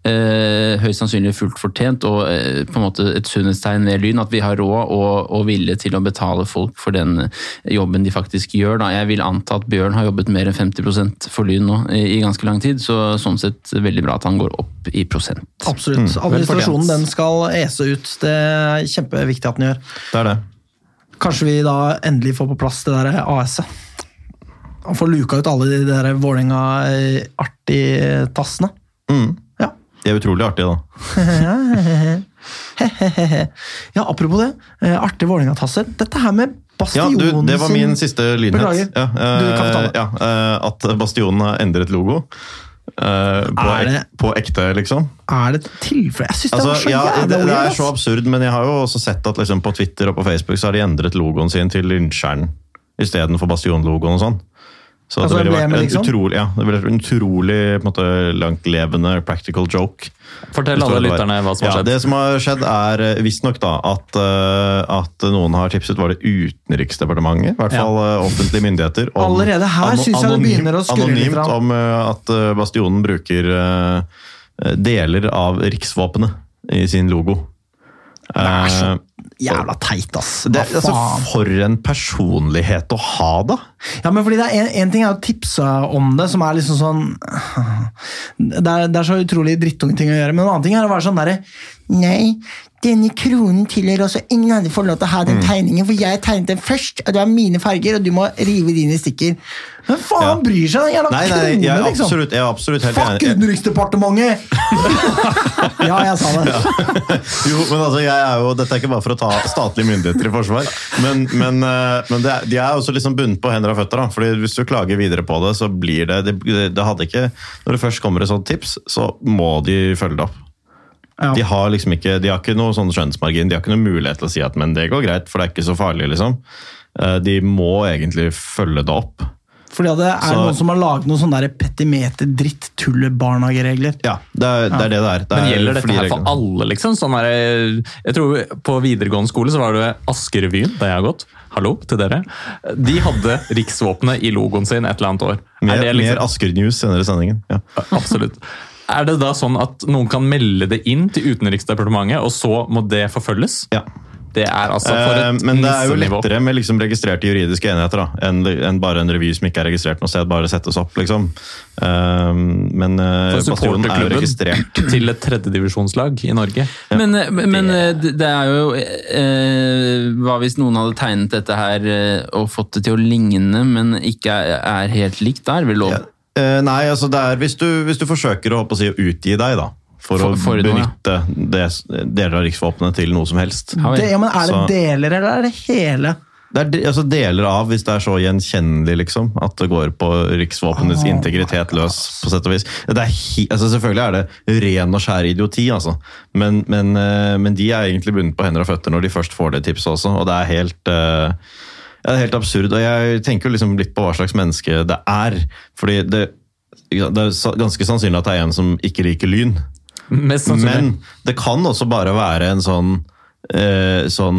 Speaker 4: eh, høyst sannsynlig fullt fortjent og eh, på en måte et sunnhetstegn ved Lyn at vi har råd og, og vilje til å betale folk for den eh, jobben de faktisk gjør. Da. Jeg vil anta at Bjørn har jobbet mer enn 50 for Lyn nå i, i ganske lang tid, så sånn sett veldig bra at han går opp i prosent.
Speaker 2: Absolutt. Administrasjonen den skal ese ut. Det er kjempeviktig at den gjør.
Speaker 3: Det er det.
Speaker 2: Kanskje vi da endelig får på plass det der AS-et. Og får luka ut alle de der Vålerenga-artige tassene.
Speaker 3: Mm.
Speaker 2: Ja.
Speaker 3: De er utrolig artige, da.
Speaker 2: ja, apropos det. eh, Artige Vålerenga-tasser. Dette her med
Speaker 3: Ja,
Speaker 2: bastionen
Speaker 3: du, det var min siste
Speaker 2: Beklager.
Speaker 3: lynhet. Ja,
Speaker 2: Du kan få ta
Speaker 3: eh,
Speaker 2: det.
Speaker 3: ja, eh, at Bastionen har endret logo. eh, på,
Speaker 2: Er det-
Speaker 3: ek, på ekte, liksom.
Speaker 2: Er det et tilfelle? Jeg syns det
Speaker 3: Altså,
Speaker 2: var så
Speaker 3: ja, det,
Speaker 2: jævla
Speaker 3: det er
Speaker 2: weird!
Speaker 3: så
Speaker 2: ass.
Speaker 3: absurd, men jeg har jo også sett at liksom, på Twitter og på Facebook så har de endret logoen sin til Lynsjeren istedenfor Bastion-logoen og sånn. Så
Speaker 2: Altså,
Speaker 3: det ville vært
Speaker 2: emblemet,
Speaker 3: en
Speaker 2: liksom?
Speaker 3: utrolig, ja, det ville vært en utrolig på en måte, langtlevende practical joke.
Speaker 1: Fortell
Speaker 3: Hvis det
Speaker 1: alle
Speaker 3: var-
Speaker 1: lytterne hva som har
Speaker 3: ja,
Speaker 1: skjedd.
Speaker 3: Det som har skjedd er eh, visstnok da at, eh, at noen har tipset var det Utenriksdepartementet, i hvert
Speaker 1: Ja.
Speaker 3: fall eh, offentlige myndigheter.
Speaker 2: Allerede her
Speaker 3: ano-
Speaker 2: synes jeg det begynner å skurre litt
Speaker 3: Anonymt
Speaker 2: grann.
Speaker 3: om eh, at eh, Bastionen bruker eh, deler av riksvåpenet i sin logo.
Speaker 2: er så-
Speaker 3: Eh,
Speaker 2: Jævla teit, ass.
Speaker 3: det,
Speaker 2: Hva
Speaker 3: er- altså,
Speaker 2: faen?
Speaker 3: for en personlighet å ha, da!
Speaker 2: Ja, men fordi det er en, en ting er å tipse om det, som er liksom sånn Det er, det er så utrolig drittunge ting å gjøre, men en annen ting er å være sånn derre Nei, denne kronen tilhører også ingen andre får lov til å ha
Speaker 3: Mm.
Speaker 2: den tegningen, for jeg tegnet den først, og det er mine farger, og du må rive dine stikker. Hvem faen
Speaker 3: Ja.
Speaker 2: bryr seg? Jævla
Speaker 3: Nei, nei, jeg
Speaker 2: krone,
Speaker 3: er
Speaker 2: liksom!
Speaker 3: absolutt, jeg er absolutt helt
Speaker 2: Fuck
Speaker 3: enig.
Speaker 2: Utenriksdepartementet! ja, jeg sa det.
Speaker 3: Jo, men altså, jeg er jo, Dette er ikke bare for å ta statlige myndigheter i forsvar, men, men, eh, men det, er- de er også liksom bundet på hender og føtter. da, fordi Hvis du klager videre på det, så blir det det, det hadde ikke, Når det først kommer et sånt tips, så må de følge det opp.
Speaker 2: Ja.
Speaker 3: De har liksom ikke, de har ikke noe sånn skjønnsmargin, de har ikke noe mulighet til å si at men det går greit, for det er ikke så farlig. liksom. Eh, De må egentlig følge det opp.
Speaker 2: Fordi at det er
Speaker 3: Så-
Speaker 2: noen som har laget noen sånne petimeter-dritt-tulle-barnehageregler.
Speaker 3: Ja, det er det er det det er. Det
Speaker 1: Men
Speaker 3: er
Speaker 1: gjelder dette
Speaker 3: fordi
Speaker 1: her for
Speaker 3: reglene-
Speaker 1: alle, liksom? Sånn er, det- jeg tror På videregående skole så var det Askerevyen, der jeg har gått. Hallo til dere. De hadde riksvåpenet i logoen sin et eller annet år.
Speaker 3: Mer,
Speaker 1: Er det liksom,
Speaker 3: mer Asker News senere i sendingen. Ja.
Speaker 1: absolutt. Er det da sånn at noen kan melde det inn til Utenriksdepartementet, og så må det forfølges?
Speaker 3: ja.
Speaker 1: Det er altså for
Speaker 3: Eh,
Speaker 1: et
Speaker 3: Men det er jo
Speaker 1: nissenivå.
Speaker 3: lettere med liksom registrerte juridiske enheter da, enn enn bare en revy som ikke er registrert noe sted, bare settes opp, liksom. Eh, Men eh,
Speaker 1: For
Speaker 3: Bastionen er jo registrert.
Speaker 1: supporterklubben til et tredjedivisjonslag i Norge.
Speaker 4: Men, eh, men eh, det det er jo eh, Hva hvis noen hadde tegnet dette her eh, og fått det til å ligne, men ikke er, er helt likt? Da er det vel lov?
Speaker 3: Eh, Nei, altså det er hvis du, hvis du forsøker å, holdt på å si, å utgi deg, da. For, å
Speaker 4: For- for noe, ja.
Speaker 3: benytte det, deler av riksvåpenet til noe som helst.
Speaker 4: Ja, vel.
Speaker 2: Det, ja, men er det
Speaker 3: Så-
Speaker 2: deler, eller er det hele?
Speaker 3: Det er de, altså deler av, hvis det er så gjenkjennelig, liksom, at det går på riksvåpenets integritet løs, på sett og vis. Det er hi, altså selvfølgelig er det ren og skjær idioti, altså. Men, men, eh, men de er egentlig bundet på hender og føtter når de først får det tipset også, og det er helt eh, ja, det er helt absurd, og jeg tenker jo liksom litt på hva slags menneske det er. Fordi det, det er sa- ganske sannsynlig at det er en som ikke liker lyn.
Speaker 1: Mest sannsynlig.
Speaker 3: Men det kan også bare være en sånn eh, sånn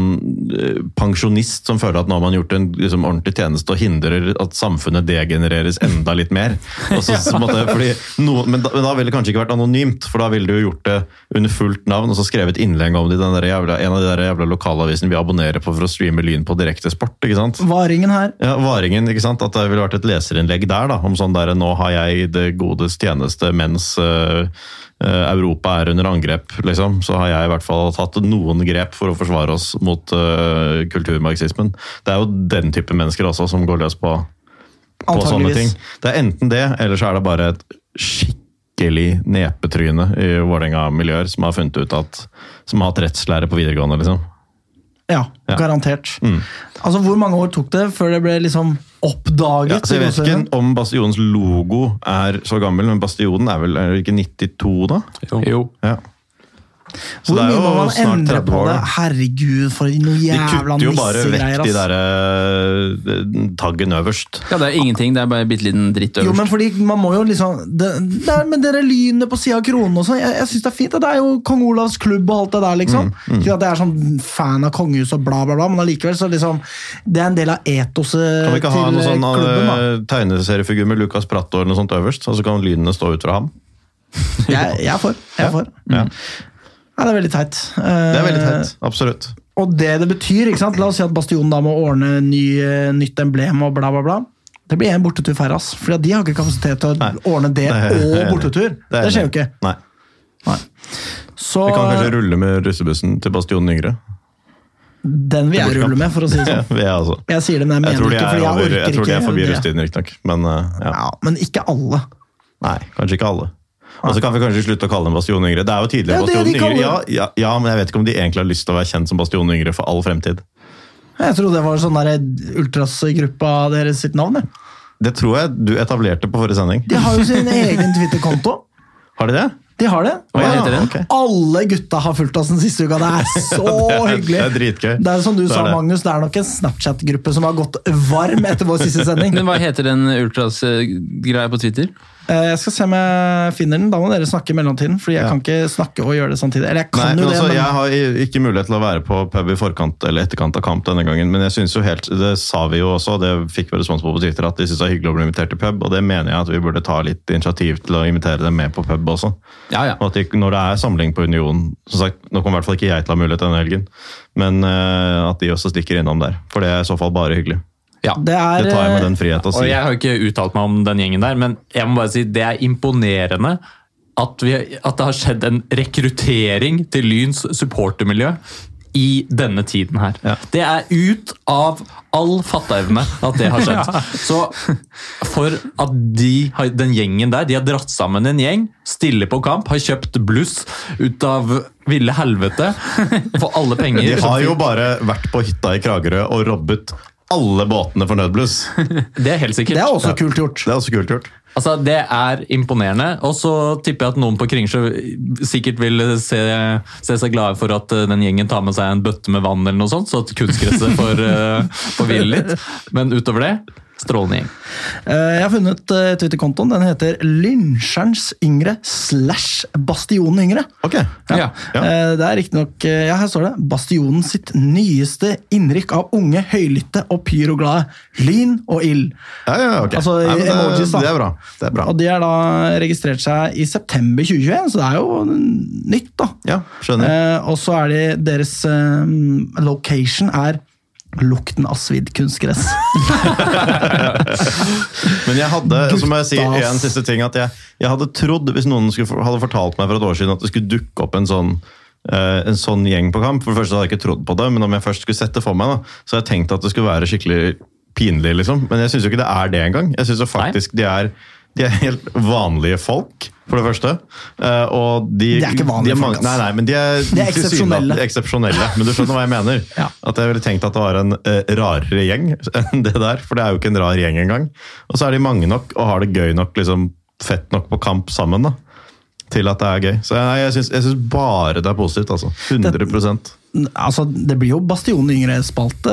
Speaker 3: eh, pensjonist som føler at nå har man gjort en liksom, ordentlig tjeneste og hindrer at samfunnet degenereres enda litt mer. Og så, så måtte, fordi noen- men, da, men da ville det kanskje ikke vært anonymt, for da ville du jo gjort det under fullt navn og så skrevet innlegg om det i den der jævla, en av de der jævla lokalavisene vi abonnerer på for å streame Lyn på direktesport. ikke sant?
Speaker 2: Varingen her.
Speaker 3: Ja, Varingen, ikke sant? At det ville vært et leserinnlegg der, da, om sånn der 'nå har jeg det godes tjeneste', mens eh, eh, Europa er under angrep, liksom, så har jeg i hvert fall tatt noen grep for å forsvare oss mot eh, kulturmarxismen. Det er jo den type mennesker også som går løs på, på sånne ting.
Speaker 2: Antageligvis.
Speaker 3: Det er enten det, eller så er det bare et skikkelig nepetryne i Vålerenga-miljøer som har funnet ut at Som har hatt rettslære på videregående, liksom.
Speaker 2: Ja,
Speaker 3: Ja. Mm.
Speaker 2: garantert. Altså, Hvor mange år tok det før det ble liksom oppdaget?
Speaker 3: Ja, så jeg vet ikke om Bastionens logo er så gammel, men Bastionen er vel er det ikke 92, da?
Speaker 4: Jo.
Speaker 3: Ja. Så
Speaker 2: Hvor
Speaker 3: det er
Speaker 2: mye må
Speaker 3: jo
Speaker 2: man
Speaker 3: snart
Speaker 2: endre
Speaker 3: 30
Speaker 2: på
Speaker 3: år.
Speaker 2: det?
Speaker 3: da.
Speaker 2: Herregud, for noe
Speaker 3: De
Speaker 2: jævla
Speaker 3: kutter jo bare vekk
Speaker 2: nissegreier.
Speaker 3: de
Speaker 2: ass.
Speaker 3: der eh, taggen øverst.
Speaker 4: Ja, det er ingenting. Det er bare bitte liten dritt øverst.
Speaker 2: Jo, men fordi man må jo liksom det, det er med dere lynet på sida av kronen og sånn. Jeg, jeg syns det er fint. at Det er jo kong Olavs klubb og alt det der, liksom.
Speaker 3: Mm,
Speaker 2: Ikke at jeg er sånn fan av kongehuset og bla, bla, bla, men allikevel, så liksom Det er en del av etoset
Speaker 3: Kan vi ikke ha
Speaker 2: til
Speaker 3: noen sånn
Speaker 2: klubben, da.
Speaker 3: eh, tegneseriefigur med Lukas Prattå eller noe sånt øverst, og så kan lynene stå ut fra ham?
Speaker 2: Jeg, jeg er for. Jeg er for.
Speaker 3: eh, Ja.
Speaker 2: Ja, det er veldig teit. Eh,
Speaker 3: Det er veldig teit. Absolutt.
Speaker 2: Og det det betyr, ikke sant? La oss si at Bastionen da må ordne ny, eh, nytt emblem og bla, bla, bla. Det blir en bortetur færre, ass. For de har ikke kapasitet til å
Speaker 3: Nei.
Speaker 2: ordne det
Speaker 3: Nei, jeg er
Speaker 2: og
Speaker 3: enig.
Speaker 2: bortetur.
Speaker 3: er
Speaker 2: Det,
Speaker 3: jeg
Speaker 2: skjer jo
Speaker 3: enig i.
Speaker 2: ikke.
Speaker 3: Nei.
Speaker 2: Så
Speaker 3: Vi kan kanskje rulle med russebussen til Bastionen yngre.
Speaker 2: den vil jeg
Speaker 3: Bortkamp.
Speaker 2: rulle med, for å si det
Speaker 3: Ja,
Speaker 2: sånn.
Speaker 3: vi er altså.
Speaker 2: Jeg sier det, men jeg
Speaker 3: Jeg tror
Speaker 2: mener
Speaker 3: de
Speaker 2: ikke,
Speaker 3: er,
Speaker 2: fordi jeg
Speaker 3: over,
Speaker 2: orker
Speaker 3: jeg tror de
Speaker 2: ikke.
Speaker 3: er forbi
Speaker 2: det.
Speaker 3: russetiden, riktignok, men eh, ja.
Speaker 2: Ja, men ikke alle.
Speaker 3: Nei, kanskje ikke alle. Og så kan vi kanskje slutte å kalle dem Bastion Yngre. Det er jo tidligere
Speaker 2: Det er jo det de
Speaker 3: Bastion Yngre.
Speaker 2: kaller
Speaker 3: Ja, ja, ja, men jeg vet ikke om de egentlig har lyst til å være kjent som Bastion Yngre for all fremtid.
Speaker 2: Jeg trodde det var sånn der ultrasgruppa deres sitt navn. jeg.
Speaker 3: Det tror jeg du etablerte på forrige sending.
Speaker 2: De har jo sin egen Twitter-konto.
Speaker 3: Har de det?
Speaker 2: De har det.
Speaker 4: Hva
Speaker 3: Ja,
Speaker 4: heter den?
Speaker 3: ok.
Speaker 2: Alle gutta har fulgt oss den siste uka. Det er så
Speaker 3: er-
Speaker 2: hyggelig!
Speaker 3: det er dritgøy.
Speaker 2: Det er som du
Speaker 3: Det er
Speaker 2: sa,
Speaker 3: det.
Speaker 2: Magnus, det er nok en Snapchat-gruppe som har gått varm etter vår siste sending.
Speaker 4: Men hva heter den ultras-greia på Twitter?
Speaker 2: Eh, Jeg skal se om jeg finner den. Da må dere snakke i mellomtiden. Fordi jeg kan ikke snakke og gjøre det samtidig. Eller jeg
Speaker 3: Nei,
Speaker 2: kan
Speaker 3: men
Speaker 2: jo
Speaker 3: altså,
Speaker 2: det, men
Speaker 3: Jeg har i- ikke mulighet til å være på pub i forkant eller etterkant av kamp denne gangen, men jeg synes jo helt, det sa vi jo også, og det fikk vi respons på på Twitter, at de synes det er hyggelig å bli invitert til pub, og det mener jeg at vi burde ta litt initiativ til å invitere dem med på pub også.
Speaker 4: Ja, ja.
Speaker 3: Og at de, når det er samling på Union, som sagt, nå kommer i hvert fall ikke jeg til å ha mulighet denne helgen, men eh, at de også stikker innom der, for det er i så fall bare hyggelig.
Speaker 4: ja.
Speaker 2: det er
Speaker 3: Det tar jeg med
Speaker 2: eh,
Speaker 3: den frihet å
Speaker 1: Og
Speaker 3: si.
Speaker 1: jeg har ikke uttalt meg om den gjengen der, men jeg må bare si det er imponerende at, vi, at det har skjedd en rekruttering til Lyns supportermiljø i denne tiden her.
Speaker 3: Ja.
Speaker 1: Det er ut av all fatteevne at det har skjedd. Så for at de, har- den gjengen der, de har dratt sammen en gjeng, stiller på kamp, har kjøpt bluss ut av ville helvete for alle penger.
Speaker 3: De
Speaker 1: som
Speaker 3: har jo bare vært på hytta i Kragerø og robbet alle båtene for nødbluss.
Speaker 1: fin- Det er helt sikkert.
Speaker 2: det er også kult gjort.
Speaker 3: Det er også kult gjort.
Speaker 1: Altså, Det er imponerende. Og så tipper jeg at noen på Kringsjø sikkert vil se, se seg glade for at eh, den gjengen tar med seg en bøtte med vann, eller noe sånt, så at kunstgresset får, eh, får hvile litt. Men utover det, strålende gjeng.
Speaker 2: Eh, Jeg har funnet eh, Twitter-kontoen. Den heter Lynsjerns yngre slash Bastionen yngre.
Speaker 3: Ok.
Speaker 4: Ja.
Speaker 3: Ja.
Speaker 2: Eh, Det er riktignok Ja, her står det. Bastionen sitt nyeste innrykk av unge, høylytte og pyroglade. Lyn og ild.
Speaker 3: Ja, ja, ok.
Speaker 2: Altså,
Speaker 3: men det,
Speaker 2: emojis, da.
Speaker 3: det er bra. Det er bra.
Speaker 2: Og de har da registrert seg i september 2021, så det er jo nytt, da.
Speaker 3: Ja, skjønner.
Speaker 2: Eh, og så er de Deres eh, location er lukten av svidd kunstgress.
Speaker 3: Men jeg hadde så må jeg si
Speaker 2: guttas.
Speaker 3: en siste ting, at jeg, jeg hadde trodd, hvis noen skulle, for- hadde fortalt meg for et år siden at det skulle dukke opp en sånn, eh, en sånn gjeng på kamp For det første hadde jeg ikke trodd på det, men om jeg først skulle sette for meg, da, så hadde jeg tenkt at det skulle være skikkelig pinlig. liksom. Men jeg syns jo ikke det er det engang. Jeg synes jo faktisk de er, de er helt vanlige folk, for det første. Eh, og de,
Speaker 2: De er ikke vanlige
Speaker 3: de
Speaker 2: folk,
Speaker 3: mange-
Speaker 2: ass.
Speaker 3: Nei, nei, men de er,
Speaker 2: De er
Speaker 3: tilsynelatende
Speaker 2: eksepsjonelle.
Speaker 3: eksepsjonelle, men du skjønner hva jeg mener.
Speaker 2: Ja.
Speaker 3: At jeg ville tenkt at det var en eh, rarere gjeng enn det der, for det er jo ikke en rar gjeng engang. Og så er de mange nok og har det gøy nok, liksom fett nok på kamp sammen, da. Til at det er gøy. Så jeg, jeg, syns, jeg syns bare det er positivt, altså. 100
Speaker 2: altså, det blir jo Bastionen yngre-spalte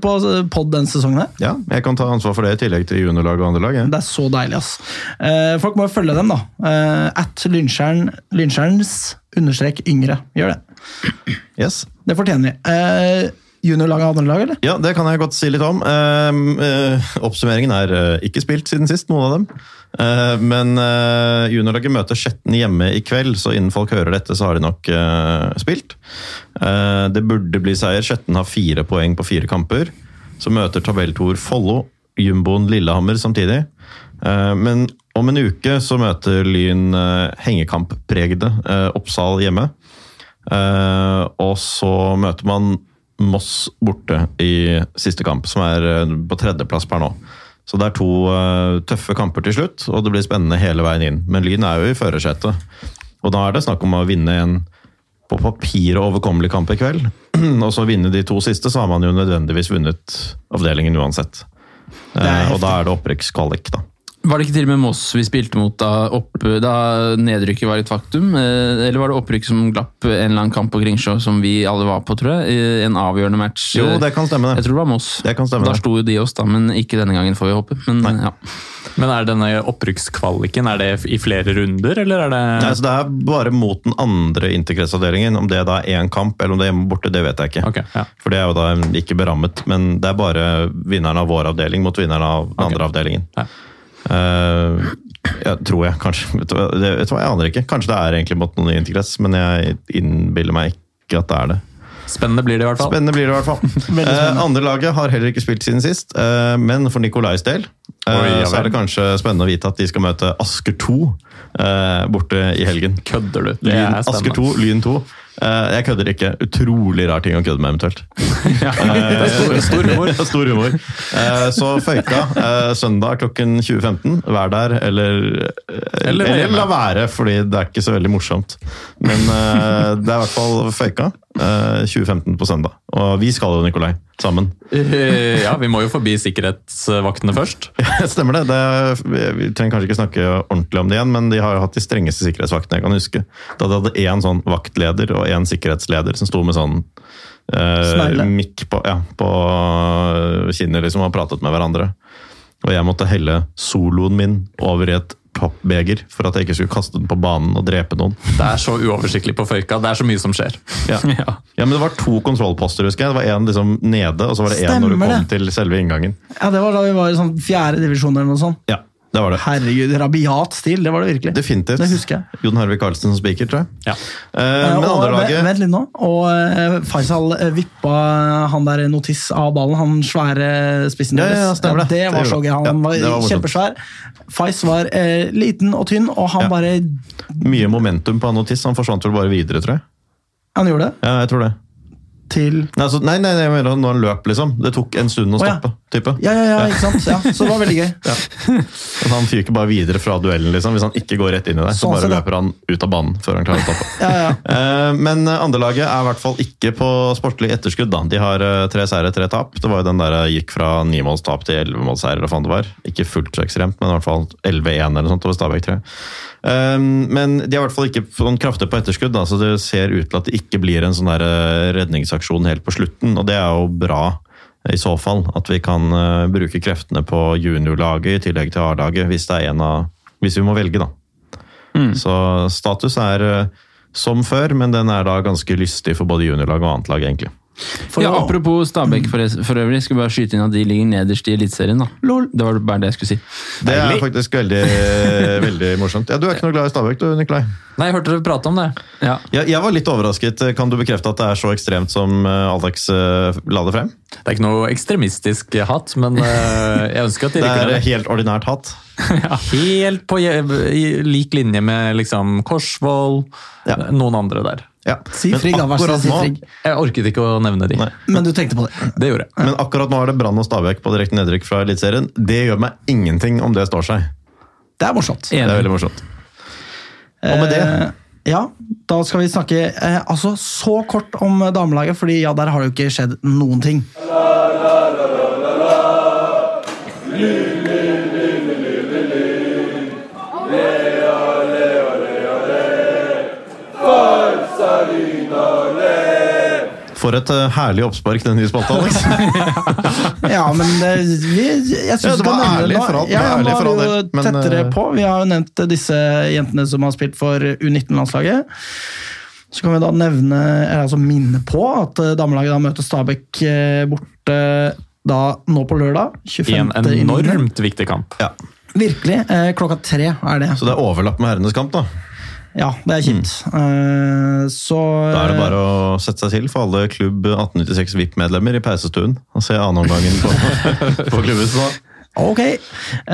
Speaker 2: på pod denne sesongen. her.
Speaker 3: Ja, jeg kan ta ansvar for det i tillegg til juniorlag og andre lag. Jeg.
Speaker 2: Det er så deilig, ass. Eh, folk må jo følge dem, da. Eh, at Lynsjern, Lynsjerns understrek yngre. Gjør det.
Speaker 3: Yes.
Speaker 2: Det fortjener de. Eh, Juniorlag og andrelag, eller?
Speaker 3: Ja, det kan jeg godt si litt om. Ehm, eh, oppsummeringen er eh, ikke spilt siden sist, noen av dem. Eh, men uh, juniorlaget møter Skjetten hjemme i kveld, så innen folk hører dette, så har de nok eh, spilt. Eh, det burde bli seier. Skjetten har fire poeng på fire kamper. Så møter tabelltoer Follo, jumboen Lillehammer samtidig. Eh, Men om en uke så møter Lyn eh, hengekamppregede eh, Oppsal hjemme. Eh, Og så møter man Moss borte i siste kamp, som er eh, på tredjeplass per nå. Så det er to eh, tøffe kamper til slutt, og det blir spennende hele veien inn. Men Lyn er jo i førersetet, og da er det snakk om å vinne en på papiret overkommelig kamp i kveld. Og så vinne de to siste, så har man jo nødvendigvis vunnet avdelingen uansett.
Speaker 2: er
Speaker 3: Eh,
Speaker 2: heftig.
Speaker 3: Og da er det opprykkskvalik, da.
Speaker 4: Var det ikke til og med Moss vi spilte mot da, opp, da nedrykket var et faktum? Eh, Eller var det opprykk som glapp en eller annen kamp på Kringsjå som vi alle var på, tror jeg? Eh, En avgjørende match.
Speaker 3: Jo,
Speaker 4: Eh,
Speaker 3: det kan stemme,
Speaker 4: Jeg
Speaker 3: det.
Speaker 4: tror det var Moss.
Speaker 3: Det kan stemme,
Speaker 4: Da
Speaker 3: det.
Speaker 4: slo jo de oss, da, men ikke denne gangen, får vi håpe. Men
Speaker 3: Nei.
Speaker 4: ja.
Speaker 1: Men er denne opprykkskvaliken er det i flere runder, eller er det
Speaker 3: Nei, Eh, så det er bare mot den andre interkretsavdelingen. Om det da er én kamp eller om det er hjemme og borte, det vet jeg ikke.
Speaker 1: Ok, ja.
Speaker 3: For det er jo da ikke berammet, men det er bare vinneren av vår avdeling mot vinneren av den
Speaker 1: Ok.
Speaker 3: andre avdelingen.
Speaker 1: Ja.
Speaker 3: Eh, ja, tror jeg, kanskje. Vet du hva, det, vet du hva, jeg aner ikke. Kanskje det er egentlig mot noen i interkrets, men jeg innbiller meg ikke at det er det.
Speaker 1: Spennende blir det i hvert fall.
Speaker 3: Spennende blir det i hvert fall. Eh, andre laget har heller ikke spilt siden sist, eh, men for Nikolais del eh,
Speaker 1: Oi, ja
Speaker 3: så er det
Speaker 1: vel.
Speaker 3: kanskje spennende å vite at de skal møte Asker 2 eh, borte i helgen.
Speaker 1: Kødder du? Det
Speaker 3: Lyn,
Speaker 1: er
Speaker 3: Asker 2,
Speaker 1: spennende.
Speaker 3: Lyn 2. Eh, jeg kødder ikke. Utrolig rar ting å kødde med, eventuelt. Eh,
Speaker 1: Det er stor, stor humor.
Speaker 3: Ja, Stor humor. Eh, så Føyka, eh, søndag klokken 20.15. Vær der, eller eh,
Speaker 1: Eller
Speaker 3: Eller,
Speaker 1: vær hjemme.
Speaker 3: la være, fordi det er ikke så veldig morsomt. Men eh, det er i hvert fall Føyka. eh, 20.15 på søndag. Og vi skal jo, Nikolai, sammen.
Speaker 1: Eh, Ja, vi må jo forbi sikkerhetsvaktene først.
Speaker 3: Stemmer det. det er, vi trenger kanskje ikke snakke ordentlig om det igjen, men de har jo hatt de strengeste sikkerhetsvaktene jeg kan huske. Da de hadde én sånn vaktleder og én sikkerhetsleder som sto med sånn eh,
Speaker 2: Smelle.
Speaker 3: mikk på, ja, på kinnet liksom, og pratet med hverandre. Og jeg måtte helle soloen min over i et pappbeger for at jeg ikke skulle kaste den på banen og drepe noen.
Speaker 1: Det er så uoversiktlig på Føyka. Det er så mye som skjer.
Speaker 3: Ja.
Speaker 4: ja.
Speaker 3: ja, men Det var to kontrollposter, husker jeg. Det var én liksom nede, og så var det én når du
Speaker 2: Stemmer
Speaker 3: kom
Speaker 2: det.
Speaker 3: til selve inngangen.
Speaker 2: Ja, Det var da vi var i sånn fjerde divisjon eller noe sånt.
Speaker 3: Ja, det var det.
Speaker 2: Herregud, rabiat stil. Det var det virkelig.
Speaker 3: Definitivt.
Speaker 2: Det husker jeg.
Speaker 3: Jon Hervik Karlsen som spiker, tror jeg.
Speaker 1: Ja.
Speaker 3: Eh,
Speaker 2: Eh,
Speaker 3: men
Speaker 2: og,
Speaker 3: andre
Speaker 2: vent-
Speaker 3: laget
Speaker 2: Vent litt nå. Og eh, Faisal eh, vippa han der notis av ballen, han svære eh, spissen
Speaker 3: Ja, ja,
Speaker 2: deres.
Speaker 3: ja, stemmer det.
Speaker 2: det
Speaker 3: Det
Speaker 2: var
Speaker 3: gjorde
Speaker 2: så gøy.
Speaker 3: han.
Speaker 2: Han
Speaker 3: Ja, det var
Speaker 2: var
Speaker 3: morsomt.
Speaker 2: kjempesvær. Fais var eh, liten og tynn, og han
Speaker 3: Ja.
Speaker 2: bare
Speaker 3: Mye momentum på Anotis. Han forsvant vel bare videre, tror jeg.
Speaker 2: Han gjorde det
Speaker 3: Ja, jeg tror det.
Speaker 2: til
Speaker 3: Nei, altså, nei, nei, nei, jeg mener når han løp, liksom. Det tok en stund å
Speaker 2: Å, ja.
Speaker 3: stoppe. type.
Speaker 2: Ja, ja, ja, ikke sant? Ja, så det var veldig gøy.
Speaker 3: Men Han fyker bare videre fra duellen, liksom. Hvis han ikke går rett inn i deg, så
Speaker 2: Sånn
Speaker 3: bare
Speaker 2: sett, ja.
Speaker 3: løper han ut av banen før han klarer å stoppe.
Speaker 2: Ja, ja.
Speaker 3: Eh, Men eh, andrelaget er i hvert fall ikke på sportlig etterskudd. Da. De har eh, tre seire, tre tap. Det var jo den der eh, gikk fra nimålstap til ellevemålsseier. eller hva faen det var. Ikke fullt så ekstremt, men i hvert fall 11-1 eller noe sånt over Stabæk 3. Eh, Men de er i hvert fall ikke sånn kraftig på etterskudd, da, så det ser ut til at det ikke blir en sånn der eh, redningsaksjon helt på slutten, og det er jo bra. eh, I så fall at vi kan eh, bruke kreftene på juniorlaget i tillegg til A-laget, hvis det er en av Hvis vi må velge, da. Så status er eh, som før, men den er da ganske lystig for både juniorlag og annet lag, egentlig.
Speaker 2: For
Speaker 4: ja,
Speaker 2: å-
Speaker 4: apropos Stabæk for, for øvrig, skal bare skyte inn at de ligger nederst i Eliteserien. da.
Speaker 2: Lol.
Speaker 4: Det var bare det jeg skulle si.
Speaker 3: Det er
Speaker 1: Deilig.
Speaker 3: faktisk veldig, veldig morsomt. Ja, du er ikke noe glad i Stabæk, du, Nikolai.
Speaker 1: Nei, jeg hørte dere prate om det.
Speaker 4: Ja.
Speaker 3: Jeg, jeg var litt overrasket. Kan du bekrefte at det er så ekstremt som eh, Alex eh, la det frem?
Speaker 1: Det er ikke noe ekstremistisk hat, men eh, jeg ønsker at de
Speaker 3: Det
Speaker 1: rykker
Speaker 3: er
Speaker 1: ned.
Speaker 3: helt ordinært hatt.
Speaker 1: Helt på je- i lik linje med liksom Korsvoll,
Speaker 3: Ja.
Speaker 1: noen andre der.
Speaker 3: Ja.
Speaker 2: Si
Speaker 3: Men
Speaker 2: Frigg, da. Vær så
Speaker 3: akkurat
Speaker 2: snill, si
Speaker 3: nå-
Speaker 2: Frigg.
Speaker 1: Jeg orket ikke å nevne de.
Speaker 3: Nei.
Speaker 2: Men du tenkte på det.
Speaker 1: Det gjorde jeg.
Speaker 3: Men akkurat nå er det Brann og Stabæk på direkte nedrykk fra Eliteserien. Det gjør meg ingenting om det står seg.
Speaker 2: Det er morsomt.
Speaker 3: Det
Speaker 4: Enig.
Speaker 3: er veldig morsomt. Og med det
Speaker 2: Eh, ja, da skal vi snakke eh, altså, så kort om eh, damelaget, fordi ja, der har det jo ikke skjedd noen ting.
Speaker 3: For et eh, herlig oppspark, den nye spalta, Alex.
Speaker 2: Ja, men det, vi, jeg synes
Speaker 3: Ja, det
Speaker 2: vi kan
Speaker 3: var
Speaker 2: nevne
Speaker 3: ærlig
Speaker 2: nå.
Speaker 3: for all-
Speaker 2: Ja, ja,
Speaker 3: ærlig
Speaker 2: nå
Speaker 3: for
Speaker 2: er
Speaker 3: all
Speaker 2: vi jo
Speaker 3: del, men,
Speaker 2: tettere
Speaker 3: eh,
Speaker 2: på. Vi har jo nevnt eh, disse jentene som har spilt for U19-landslaget. Så kan vi da nevne, eller altså minne på at eh, damelaget da møter Stabæk eh, borte da nå på lørdag. 25.
Speaker 1: I en
Speaker 2: i niende.
Speaker 1: enormt viktig kamp.
Speaker 3: Ja.
Speaker 2: Virkelig. Eh, klokka tre er det.
Speaker 3: Så det er overlapp med herrenes kamp, da.
Speaker 2: Ja, det er kjipt. Eh, så
Speaker 3: Mm. Da er det bare å sette seg til for alle klubb 1896 VIP-medlemmer i peisestuen og se annenomgangen på, på klubbhuset. da.
Speaker 2: Ok.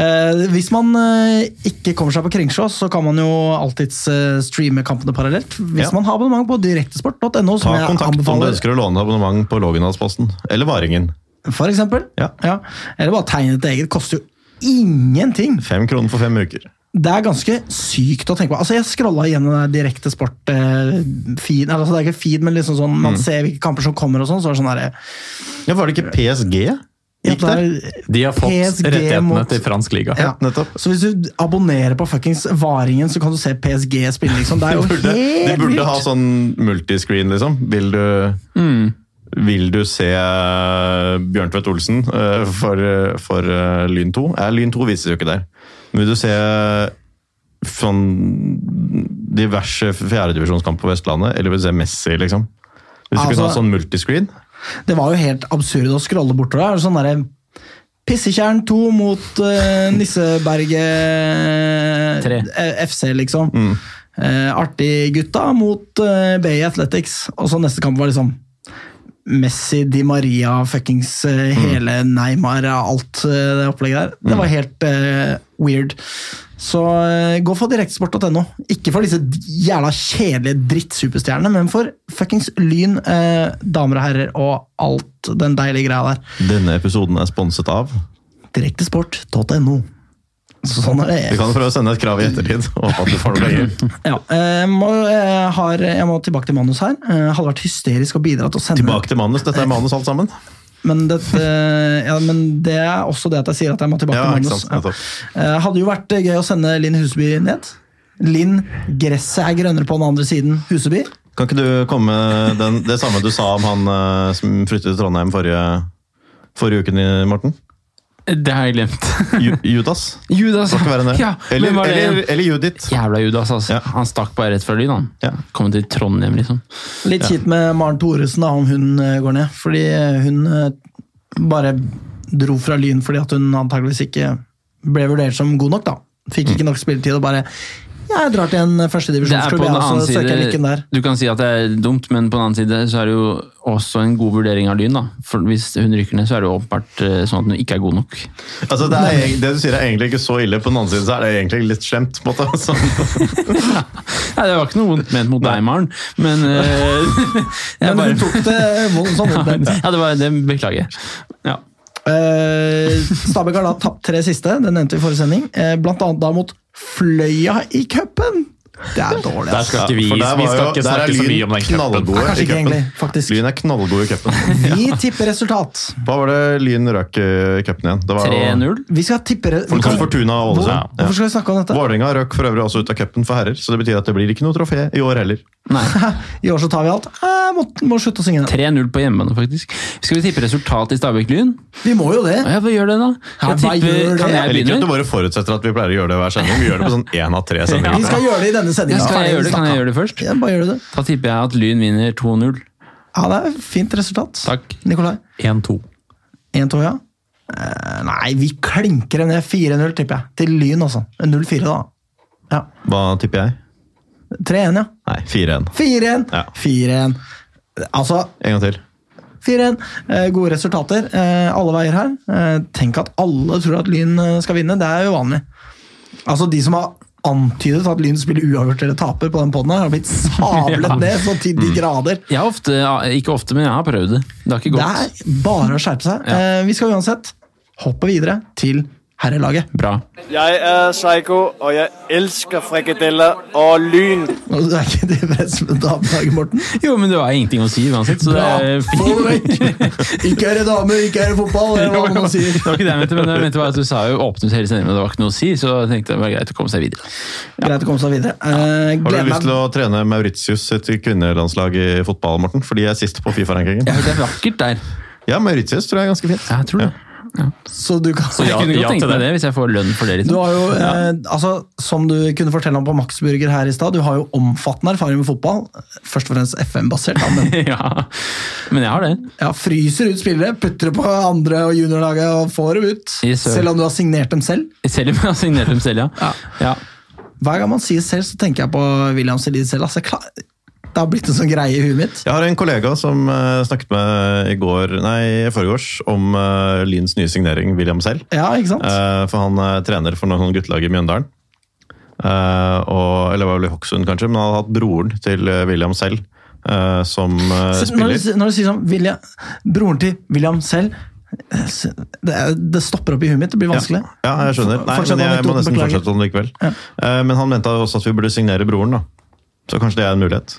Speaker 2: Eh, hvis man eh, ikke kommer seg på Kringsjå, så kan man jo alltids eh, streame kampene parallelt. Hvis
Speaker 3: Ja.
Speaker 2: man har abonnement på direktesport.no, som
Speaker 3: Ta
Speaker 2: jeg
Speaker 3: kontakt om du
Speaker 2: anbefaler,
Speaker 3: ønsker å låne abonnement på Lågendalsposten. Eller Varingen.
Speaker 2: for eksempel.
Speaker 3: Ja.
Speaker 2: Eller bare tegne et eget. Koster jo ingenting.
Speaker 3: Fem kroner for fem uker.
Speaker 2: Det er ganske sykt å tenke på. Altså, Jeg scrolla igjennom den der direkte sport eh, feed, altså, Det er ikke feed, men liksom sånn,
Speaker 3: Mm.
Speaker 2: man ser hvilke kamper som kommer og sånn. så er det sånn der, eh,
Speaker 3: Ja, Var det ikke PSG?
Speaker 2: ja,
Speaker 3: Gikk der?
Speaker 2: det er-
Speaker 1: De har fått
Speaker 2: PSG
Speaker 1: rettighetene
Speaker 2: mot-
Speaker 1: til fransk liga.
Speaker 2: Ja.
Speaker 3: Nettopp.
Speaker 2: Så hvis du abonnerer på fuckings Varingen, så kan du se PSG spille, liksom. Det er jo
Speaker 3: De burde, de
Speaker 2: helt
Speaker 3: burde
Speaker 2: vilt!
Speaker 3: ha
Speaker 2: Mm.
Speaker 3: sånn multiscreen, liksom. Vil du, vil du se eh, Bjørntvedt Olsen eh, for, eh, for eh, Lyn 2? Eh, Lyn 2 vises jo ikke der. Men vil du se eh, sånn diverse fjerdedivisjonskamper på Vestlandet, eller vil du se Messi, liksom? Hvis du kunne
Speaker 2: Altså-
Speaker 3: ha sånn multiscreen?
Speaker 2: Det var jo helt absurd å scrolle bortover. her, Sånn derre Pissetjern 2 mot eh, Nisseberget
Speaker 4: Tre.
Speaker 2: eh, FC, liksom. Eh, artig gutta mot eh, Bay Athletics. Og så neste kamp var liksom Messi, Di Maria, fuckings eh,
Speaker 3: Mm.
Speaker 2: hele Neymar, alt eh, det opplegget der. Det var helt eh, weird. Så eh, gå for direktesport.no. Ikke for disse jævla kjedelige drittsuperstjernene, men for fuckings Lyn, eh, damer og herrer og alt den deilige greia der.
Speaker 3: Denne episoden er sponset av
Speaker 2: Direktesport.no. Sånn er
Speaker 3: Vi
Speaker 2: det.
Speaker 3: kan prøve å sende et krav i ettertid. og Håpe at du får noe penger.
Speaker 2: Ja, jeg, må, jeg, har, jeg må tilbake til manus her. Eh, Hadde vært hysterisk å bidra til å sende
Speaker 3: Tilbake til manus. Dette er manus, alt sammen.
Speaker 2: Men, dette, ja, men det er også det at jeg sier at jeg må tilbake
Speaker 3: Ja,
Speaker 2: til
Speaker 3: ikke
Speaker 2: manus.
Speaker 3: sant,
Speaker 2: Ja.
Speaker 3: nettopp.
Speaker 2: Eh, Hadde jo vært gøy å sende Linn Huseby ned. Linn, gresset er grønnere på den andre siden. Huseby.
Speaker 3: Kan ikke du komme med den, det samme du sa om han eh, som flyttet til Trondheim forrige, forrige uken, Morten?
Speaker 4: Det har jeg glemt.
Speaker 3: Ju, Judas?
Speaker 4: Judas!
Speaker 3: Skal ikke være det.
Speaker 4: Ja,
Speaker 3: eller,
Speaker 4: hvem var det?
Speaker 3: eller, eller Judith.
Speaker 4: Jævla Judas,
Speaker 3: Ja.
Speaker 4: altså. Han stakk bare rett fra lyn, han.
Speaker 3: Ja.
Speaker 4: Kom til Trondheim, liksom.
Speaker 2: Litt kjipt med Maren Thoresen da, om hun eh, går ned. Fordi eh, hun eh, bare dro fra Lyn fordi at hun antageligvis ikke ble vurdert som god nok. da. Fikk ikke nok spilletid og bare ja, jeg drar til en
Speaker 4: Mm. Det er på
Speaker 2: førstedivisjonsklubb
Speaker 4: den
Speaker 2: jeg, og
Speaker 3: altså
Speaker 4: annen
Speaker 2: så søker jeg lykken
Speaker 4: side
Speaker 2: der.
Speaker 4: Du kan si at det er dumt, men på den annen side så er det jo også en god vurdering av Lyn. da. For Hvis hun ryker ned, så er det jo åpenbart eh, sånn at hun ikke er god nok.
Speaker 3: Altså, det, er, eg- det du sier er egentlig ikke så ille, på den andre siden så er det egentlig litt slemt. på en måte. Altså, Så,
Speaker 4: Nei, Det var ikke noe vondt ment mot deg, Maren, men eh,
Speaker 2: Men
Speaker 4: jeg
Speaker 2: hun
Speaker 4: bare,
Speaker 2: tok det eh, voldsomt vondt. men-
Speaker 4: ja, det, var, det beklager jeg. Ja.
Speaker 2: Eh, Stabæk har da tapt tre siste, det nevnte vi i forrige sending. Eh, Blant annet da mot Fløya i cupen! Det er dårlig,
Speaker 1: Der
Speaker 2: ass.
Speaker 1: skal ikke vi,
Speaker 3: for der var
Speaker 1: vi skal
Speaker 3: jo-
Speaker 1: ikke
Speaker 3: der er
Speaker 1: snakke så
Speaker 3: Lyn
Speaker 1: mye om den cupen.
Speaker 3: knallgode
Speaker 2: Nei, kanskje
Speaker 3: i
Speaker 2: ikke
Speaker 3: cupen.
Speaker 2: egentlig, faktisk.
Speaker 3: Lyn er knallgode i cupen.
Speaker 2: Vi tipper resultat.
Speaker 3: Hva var det Lyn røk i cupen igjen? Det var jo-
Speaker 4: 3-0.
Speaker 2: Vi skal tippe re-
Speaker 3: For- for Fortuna og
Speaker 2: Hvor-
Speaker 3: Ålesund.
Speaker 2: Hvorfor skal vi snakke om dette?
Speaker 3: Vålerenga røk for øvrig også ut av cupen for herrer, så det betyr at det blir ikke noe trofé i år heller.
Speaker 4: Nei.
Speaker 2: I år så tar vi alt. Eh, må, må slutte å synge den.
Speaker 4: 3-0 på hjemmebane, faktisk. Skal vi tippe resultat i Stabæk Lyn?
Speaker 2: Vi må jo det.
Speaker 4: Ja, hva gjør det, da?
Speaker 2: Ja, hva gjør
Speaker 4: Jeg tipper,
Speaker 2: det?
Speaker 4: kan
Speaker 3: Jeg liker at
Speaker 4: jeg
Speaker 3: du
Speaker 4: begynne?
Speaker 3: bare forutsetter at vi pleier å gjøre det hver sending. Vi gjør det på sånn én av tre sendinger.
Speaker 2: Vi skal gjøre det i denne
Speaker 4: Ja,
Speaker 2: sendinga.
Speaker 4: skal jeg gjøre det? Kan jeg gjøre det først?
Speaker 2: Ja, bare gjør du det.
Speaker 4: Da tipper jeg at Lyn vinner 2-0.
Speaker 2: Ja, det er et fint resultat.
Speaker 4: Takk.
Speaker 2: Nikolai.
Speaker 1: 1-2.
Speaker 2: 1-2, ja. Eh, nei, vi klinker dem ned. 4-0, tipper jeg. Til Lyn, altså. 0-4, da. Ja.
Speaker 3: Hva tipper jeg?
Speaker 2: 3-1, ja.
Speaker 3: Nei, 4-1.
Speaker 2: 4-1.
Speaker 3: Ja.
Speaker 2: 4-1. Altså,
Speaker 3: En gang til.
Speaker 2: 4-1. Eh, gode resultater eh, alle veier her. Eh, tenk at alle tror at Lyn eh, skal vinne. Det er uvanlig. Altså, de som har antydet at Lyn spiller uavgjort eller taper på den poden, har blitt sablet ned så til
Speaker 3: Mm.
Speaker 2: de grader.
Speaker 4: Jeg har ofte, ikke ofte, men jeg har prøvd det. Det har ikke
Speaker 2: Det
Speaker 4: gått.
Speaker 2: er bare å skjerpe seg. Eh, vi skal uansett hoppe videre til herrelaget.
Speaker 4: Bra.
Speaker 6: Jeg er Psycho, og jeg elsker frikadeller og lyn.
Speaker 2: Og Du er ikke tilfreds med damelaget, Morten?
Speaker 4: Jo, men du har ingenting å si uansett, så det
Speaker 2: Bra!
Speaker 4: er
Speaker 2: Få det vekk! Ikke er det damer, ikke er det fotball, eller hva man sier.
Speaker 4: Det var ikke det jeg mente, men jeg mente bare at du sa jo åpnet hele sendingen, men det var ikke noe å si, så jeg tenkte det var greit å komme seg videre.
Speaker 2: Greit å komme seg videre. Eh,
Speaker 3: Har du
Speaker 2: gleder
Speaker 3: lyst
Speaker 2: meg
Speaker 3: til å trene Mauritius sitt kvinnelandslag i fotball, Morten? For de er sist på Fifa-rankingen.
Speaker 4: Jeg hørte det er vakkert der.
Speaker 3: Ja, Mauritius tror jeg er ganske fint.
Speaker 4: Jeg tror det.
Speaker 2: Så du kan
Speaker 1: Ja,
Speaker 4: Jeg kunne
Speaker 1: ja
Speaker 4: godt tenkt
Speaker 1: til
Speaker 4: meg
Speaker 1: det.
Speaker 4: det hvis jeg får lønn for det.
Speaker 2: Du
Speaker 4: Liksom.
Speaker 2: har jo, eh, altså, Som du kunne fortelle om på Max Burger her i stad, du har jo omfattende erfaring med fotball. Først og fremst FM-basert. da, men
Speaker 4: Ja, men jeg har det.
Speaker 2: Ja, Fryser ut spillere, putter det på andre og juniorlaget og får dem ut.
Speaker 4: Yes, sir.
Speaker 2: selv om du har signert dem selv.
Speaker 4: Selv om jeg har signert dem selv, ja. ja.
Speaker 2: Hver gang man sier selv, så tenker jeg på William Selid selv. Altså, jeg klar- Det har blitt en sånn greie i huet mitt.
Speaker 3: Jeg har en kollega som eh, snakket med i går, nei, i forgårs om eh, Lyns nye signering, William Sell.
Speaker 2: Ja, ikke sant?
Speaker 3: Eh, for han er trener for noen sånn guttelag i Mjøndalen. Eh, og, eller var vel i Hokksund, kanskje, men han hadde hatt broren til eh, William Sell eh, som eh,
Speaker 2: Så når,
Speaker 3: spiller.
Speaker 2: du, når du sier sånn William, Broren til William selv eh, s- det, er- det stopper opp i huet mitt. Det blir vanskelig.
Speaker 3: Ja, ja jeg skjønner. Nei,
Speaker 2: Fortsett
Speaker 3: men jeg
Speaker 2: anekdoten,
Speaker 3: må nesten
Speaker 2: beklager.
Speaker 3: fortsette om det likevel. Eh, Men han mente også at vi burde signere broren, da. Så kanskje det er en mulighet.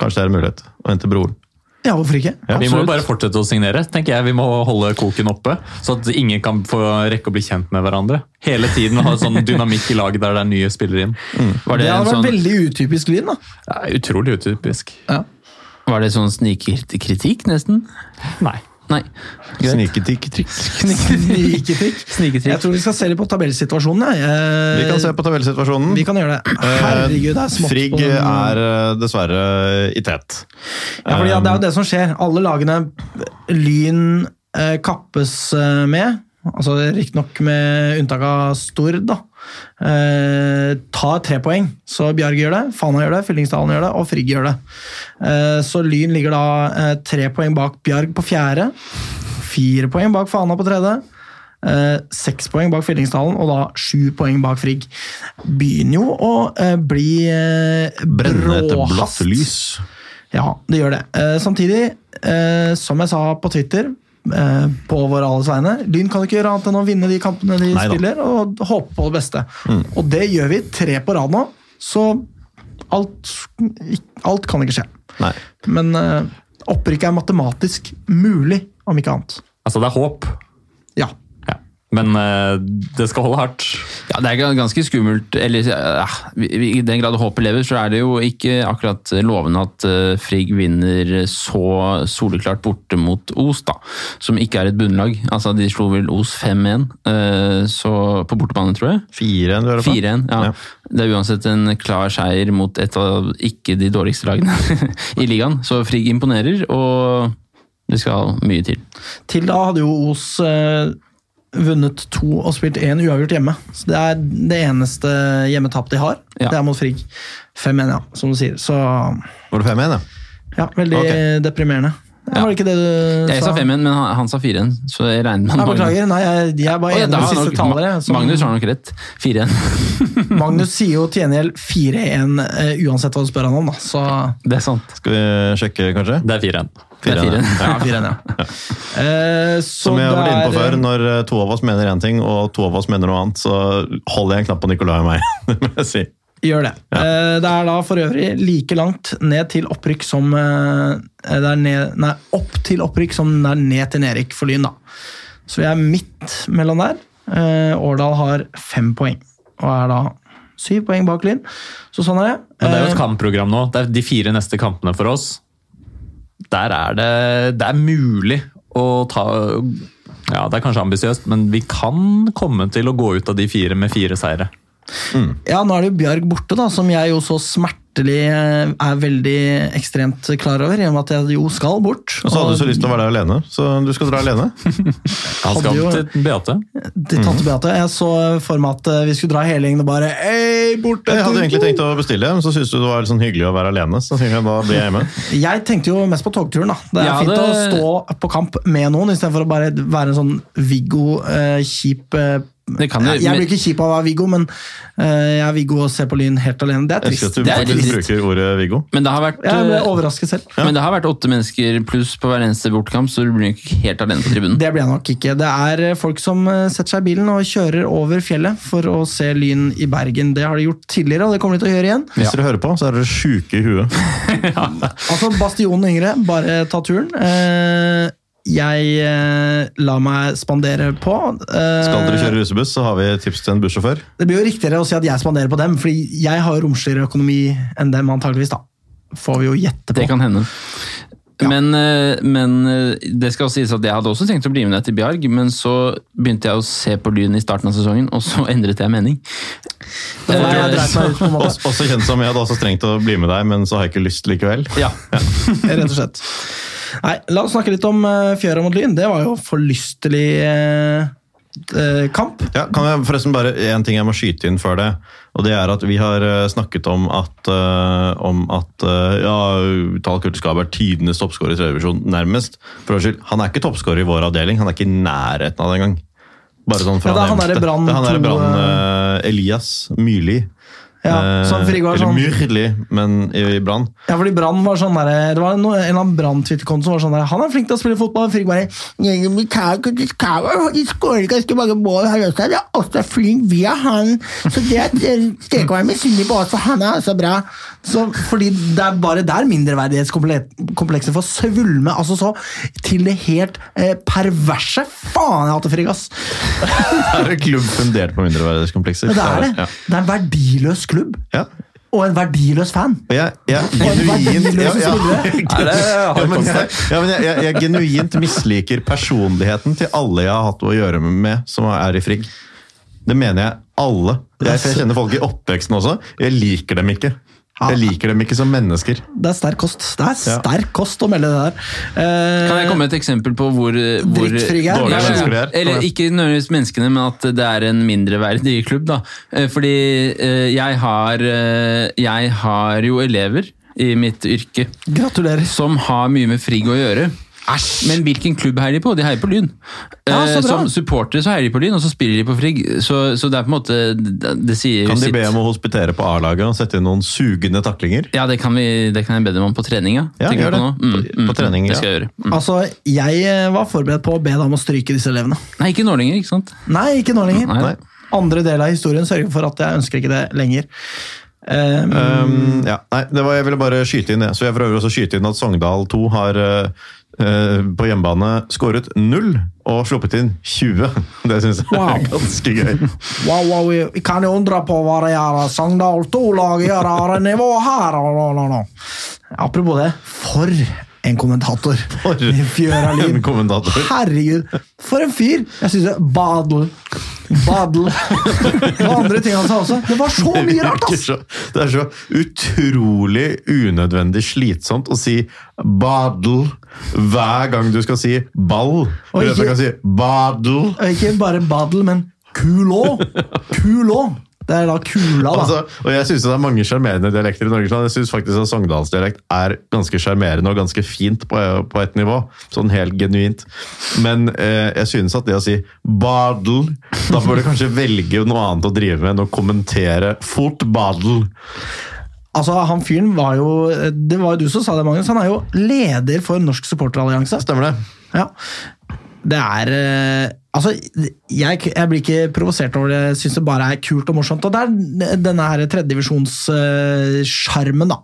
Speaker 3: Kanskje det er en mulighet å hente broren.
Speaker 2: Ja, hvorfor ikke?
Speaker 3: Ja.
Speaker 1: Vi må jo bare fortsette å signere. tenker jeg. Vi må holde koken oppe, så at ingen kan få rekke å bli kjent med hverandre. Hele tiden ha sånn dynamikk i laget der det er nye spillere inn.
Speaker 4: Var
Speaker 3: Mm.
Speaker 2: Det
Speaker 4: det, en
Speaker 2: hadde vært
Speaker 4: sånn,
Speaker 2: veldig utypisk Lyn, da.
Speaker 1: Det er utrolig utypisk.
Speaker 4: var det sånn snikkritikk, nesten?
Speaker 1: Nei.
Speaker 4: Nei.
Speaker 3: Sniketikk-trikk.
Speaker 2: Sniketrikk. Jeg
Speaker 4: Sniketrikk.
Speaker 2: tror vi skal se litt på tabellsituasjonen. jeg. Eh,
Speaker 3: Vi kan se på tabellsituasjonen. Eh,
Speaker 2: Vi kan gjøre det. Herregud, det er smått
Speaker 3: Frigg
Speaker 2: på den.
Speaker 3: er eh, dessverre i tet.
Speaker 2: Ja, fordi, ja, det er
Speaker 3: Um,
Speaker 2: jo det som skjer. Alle lagene Lyn eh, kappes eh, med. Altså Riktignok med unntak av Stord, da. Eh, tar tre poeng. Så Bjarg gjør det, Fana gjør det, Fyllingsdalen gjør det, og Frigg gjør det. Eh, så Lyn ligger da eh, tre poeng bak Bjarg på fjerde. Fire poeng bak Fana på tredje. Eh, seks poeng bak Fyllingsdalen, og da sju poeng bak Frigg. Begynner jo å eh, bli eh,
Speaker 3: Brennende etter blått
Speaker 2: bråhast.
Speaker 3: lys.
Speaker 2: Ja, det gjør det. Eh, samtidig, eh, som jeg sa på Twitter, eh, på våre alles vegne, Lyn kan ikke gjøre annet enn å vinne de kampene de
Speaker 3: Neida.
Speaker 2: spiller, og håpe på det beste. Og det gjør vi tre på rad nå, så alt, alt kan ikke skje.
Speaker 3: Nei.
Speaker 2: Men eh, opprykket er matematisk mulig, om ikke annet.
Speaker 1: Altså, det er håp.
Speaker 2: Ja.
Speaker 1: Ja. Men eh, det skal holde hardt.
Speaker 4: Ja, det er ganske skummelt. Eller, ja, I den grad håpet lever, så er det jo ikke akkurat lovende at eh, Frigg vinner så soleklart borte mot Os, da. Som ikke er et bunnlag. Altså, de slo vel Os 5-1 eh, så- på bortebane, tror jeg.
Speaker 3: 4-1, du hører på?
Speaker 4: 4-1, ja.
Speaker 3: Ja.
Speaker 4: Det er uansett en klar seier mot et av ikke de dårligste lagene i ligaen. Så Frigg imponerer, og det skal mye til.
Speaker 2: Til da hadde jo Os eh, vunnet to og spilt én uavgjort hjemme. Så Det er det eneste hjemmetap de har.
Speaker 4: Ja.
Speaker 2: Det er mot Frigg. 5-1, ja, som du sier. Så
Speaker 3: Var det 5-1, ja?
Speaker 2: ja, veldig
Speaker 3: Ok.
Speaker 2: deprimerende. Ja, Var det ikke det du
Speaker 4: Jeg sa 5-1, men han, han sa 4-1, så jeg regner med
Speaker 2: Nei, beklager. Nei, jeg, jeg er
Speaker 4: Å,
Speaker 2: bare
Speaker 4: ja,
Speaker 2: enig
Speaker 4: da
Speaker 2: med
Speaker 4: har
Speaker 2: siste
Speaker 4: nok-
Speaker 2: taler. jeg, som-
Speaker 4: Magnus har nok rett. 4-1.
Speaker 2: Magnus sier jo til gjengjeld 4-1 eh, uansett hva du spør han om, da. Så
Speaker 4: Det er sant.
Speaker 3: Skal vi sjekke, kanskje?
Speaker 1: Det er 4-1.
Speaker 4: Det er 4-1.
Speaker 2: ja, 4-1, ja. Eh, så
Speaker 3: Som jeg har vært inne
Speaker 2: det
Speaker 3: på
Speaker 2: er-
Speaker 3: før, når eh, to av oss mener én ting, og to av oss mener noe annet, så holder jeg en knapp på Nicolai og meg. det må jeg si.
Speaker 2: Gjør det. Eh, Det er da for øvrig like langt ned til opprykk som eh, Det er ned, nei, opp til opprykk som det er ned til nedrykk for Lyn, da. Så vi er midt mellom der. Eh, Årdal har fem poeng og er da syv poeng bak Lyn. Så sånn er det.
Speaker 1: Men det er jo
Speaker 2: Eh,
Speaker 1: et kampprogram nå. Det er de fire neste kampene for oss. Der er det Det er mulig å ta Ja, det er kanskje ambisiøst, men vi kan komme til å gå ut av de fire med fire seire.
Speaker 2: Ja, nå er det jo Bjarg borte, da, som jeg jo så smertelig eh, er veldig ekstremt klar over, i og med at jeg jo skal bort.
Speaker 3: Og så hadde du så lyst til å være der alene, så du skal dra alene.
Speaker 1: Han skal
Speaker 2: Hadde jo-
Speaker 1: til Beate.
Speaker 2: til
Speaker 3: Mm.
Speaker 2: tante Beate. Jeg så for meg at eh, vi skulle dra hele gjengen og bare Ei, bort!
Speaker 3: Jeg hadde egentlig tenkt å bestille, men så syntes du det var litt sånn hyggelig å være alene. Så tenkte jeg, da blir jeg hjemme.
Speaker 2: Jeg tenkte jo mest på togturen. da. Det er
Speaker 4: Ja,
Speaker 2: fint
Speaker 4: det-
Speaker 2: å stå på kamp med noen, istedenfor å bare være en sånn Viggo eh, kjip eh,
Speaker 4: Det kan jo-
Speaker 2: jeg, jeg blir ikke kjip av å være Viggo, men eh, jeg er Viggo og ser på Lyn helt alene. Det er
Speaker 3: Jeg elsker
Speaker 2: trist.
Speaker 3: at du
Speaker 4: Det er
Speaker 3: faktisk
Speaker 4: trist.
Speaker 3: bruker ordet Viggo.
Speaker 4: Men det har vært
Speaker 2: Jeg ble
Speaker 4: eh,
Speaker 2: overrasket selv.
Speaker 4: Men det har vært åtte mennesker pluss på hver eneste bortekamp, så du blir ikke helt alene på tribunen.
Speaker 2: Det blir jeg nok ikke. Det er eh, folk som eh, setter seg i bilen og kjører over fjellet for å se Lyn i Bergen. Det har de gjort tidligere, og det kommer de til å gjøre igjen.
Speaker 3: Hvis dere hører på, så er dere sjuke i huet.
Speaker 2: Altså, Bastionen yngre, bare ta turen. Eh, jeg eh, lar meg spandere på. Eh,
Speaker 3: Skal dere kjøre russebuss, så har vi tips til en bussjåfør.
Speaker 2: Det blir jo riktigere å si at jeg spanderer på dem, fordi jeg har jo romsligere økonomi enn dem, antageligvis da. Får vi jo gjette på.
Speaker 4: Det kan hende. Men, eh, men eh, det skal sies at jeg hadde også tenkt å bli med deg til Bjarg, men så begynte jeg å se på Lyn i starten av sesongen, og så endret jeg mening.
Speaker 2: Det var jeg
Speaker 4: Eh,
Speaker 2: dreit meg ut på en måte,
Speaker 3: Også, også kjent som jeg hadde også strengt å bli med deg, men så har jeg ikke lyst likevel.
Speaker 4: Ja,
Speaker 2: rett og slett. Nei, la oss snakke litt om eh, Fjøra mot Lyn. Det var jo forlystelig eh, eh, kamp.
Speaker 3: Ja, kan jeg forresten bare En ting jeg må skyte inn før det. Og det er at vi har eh, snakket om at, eh, om at eh, ja, Tal Kulskab er tidenes toppskårer i tredje divisjon, nærmest. For å skyld, Han er ikke toppskårer i vår avdeling. Han er ikke i nærheten av det engang. Bare sånn fra
Speaker 2: Ja, det er han
Speaker 3: nærmeste.
Speaker 2: der i Brann
Speaker 3: Det er han der i
Speaker 2: to,
Speaker 3: Brann eh, Elias Myrli.
Speaker 2: Ja,
Speaker 3: Eh,
Speaker 2: så han frigår
Speaker 3: Eller
Speaker 2: sånn-
Speaker 3: Myrli, men i, i Brann.
Speaker 2: Ja, fordi Brann var sånn der, Det var no, en eller annen Brann-twitterkonto som var sånn der Han er flink til å spille fotball. Frigg bare «Jørgen Mikael Kudiskava, De skårer ganske mange mål her også. Han er også flink via han. Så det at eh, dere kan være misunnelige på oss, for han er altså bra. Så, fordi det er bare der mindreverdighetskomplekset får svulme. Altså så til det helt eh, perverse. Faen, jeg hater Frigg, ass!
Speaker 3: Det er en klubb fundert på mindreverdighetskomplekser.
Speaker 2: Men det er
Speaker 3: Ja.
Speaker 2: det. Det er en verdiløs klubb.
Speaker 3: Ja.
Speaker 2: Og en verdiløs fan.
Speaker 3: Og Jeg, jeg,
Speaker 2: er
Speaker 3: genuint, ja,
Speaker 2: verdiløse
Speaker 3: ja.
Speaker 2: spillere.
Speaker 1: Nei, det har
Speaker 3: Ja,
Speaker 1: jeg
Speaker 3: men
Speaker 1: fått
Speaker 3: jeg,
Speaker 1: sagt.
Speaker 3: ja, men jeg, jeg, jeg genuint misliker personligheten til alle jeg har hatt å gjøre med som er i Frigg. Det mener jeg alle. Jeg, jeg kjenner folk i oppveksten også. Jeg liker dem ikke.
Speaker 1: Ah.
Speaker 3: Jeg liker dem ikke som mennesker.
Speaker 2: Det er sterk kost. Det er
Speaker 3: Ja.
Speaker 2: sterk kost å melde det der. Eh,
Speaker 4: Kan jeg komme med et eksempel på hvor, eh, hvor
Speaker 2: Drittfrie er.
Speaker 4: dårlig-
Speaker 3: Dårlige mennesker de er.
Speaker 4: Eller ikke nødvendigvis menneskene, men at det er en mindreverdig klubb. Da. Eh, Fordi eh, jeg har, eh, jeg har jo elever i mitt yrke
Speaker 2: Gratulerer.
Speaker 4: som har mye med Frigg å gjøre. Men hvilken klubb heier de på? De heier på Lyn.
Speaker 2: Ja, så
Speaker 4: Eh,
Speaker 2: bra.
Speaker 4: Som supportere så heier de på Lyn, og så spiller de på Frigg. Så, så det er på en måte Det, det sier
Speaker 3: Kan de
Speaker 4: sitt.
Speaker 3: be om å hospitere på A-laget og sette inn noen sugende taklinger?
Speaker 4: Ja, det kan, vi, det kan jeg be dem om på trening. Ja,
Speaker 3: Ja,
Speaker 4: Tenker
Speaker 3: gjør
Speaker 4: du på
Speaker 3: det.
Speaker 4: nå? Mm,
Speaker 3: På- på trening,
Speaker 4: Det skal
Speaker 3: ja.
Speaker 4: jeg gjøre. Mm.
Speaker 2: Altså, Jeg eh, var forberedt på å be deg om å stryke disse elevene.
Speaker 4: Nei, ikke nå lenger, ikke sant?
Speaker 2: Nei, ikke nå lenger.
Speaker 4: Nei.
Speaker 2: Andre del av historien sørger for at jeg ønsker ikke det lenger. Eh,
Speaker 1: Mm.
Speaker 3: Um, ja. Nei, det var, jeg ville bare skyte inn det. Så jeg prøver også å skyte inn at Sogndal 2 har eh, eh, på hjemmebane skåret null og sluppet inn 20. Det syns jeg
Speaker 2: Wow.
Speaker 3: er ganske gøy.
Speaker 2: wow, wow, vi kan jo undre på hva det gjør Sogndal 2-laget gjør av nivå her. og la, la, la. Apropos det, for en kommentator!
Speaker 3: For
Speaker 2: I Fjøra Lyn.
Speaker 3: en kommentator.
Speaker 2: Herregud, for en fyr! Jeg synes det Badel. Badel. Det var andre ting han sa også. Det var så mye rart,
Speaker 3: virker
Speaker 2: ass!
Speaker 3: så, det er så utrolig unødvendig slitsomt å si badl hver gang du skal si ball.
Speaker 2: Og
Speaker 3: Du vet,
Speaker 2: ikke-
Speaker 3: jeg kan si badl.
Speaker 2: Og Eh, Ikke bare badel, men kulå. Kulå. Det er da kula, da.
Speaker 3: Altså, og jeg synes det er mange sjarmerende dialekter i Norge. så Jeg synes faktisk at Sogndalsdialekt er ganske sjarmerende og ganske fint på, på et nivå. Sånn helt genuint. Men eh, jeg synes at det å si badl Da bør du kanskje velge noe annet å drive med enn å kommentere fort badl.
Speaker 2: Altså, Han fyren var jo Det var jo du som sa det, Magnus. Han er jo leder for Norsk supporterallianse.
Speaker 3: Stemmer det?
Speaker 2: Ja. Det er eh, Altså, jeg, jeg blir ikke provosert over det. Jeg syns det bare er kult og morsomt. Og det er denne her tredjedivisjonssjarmen, da,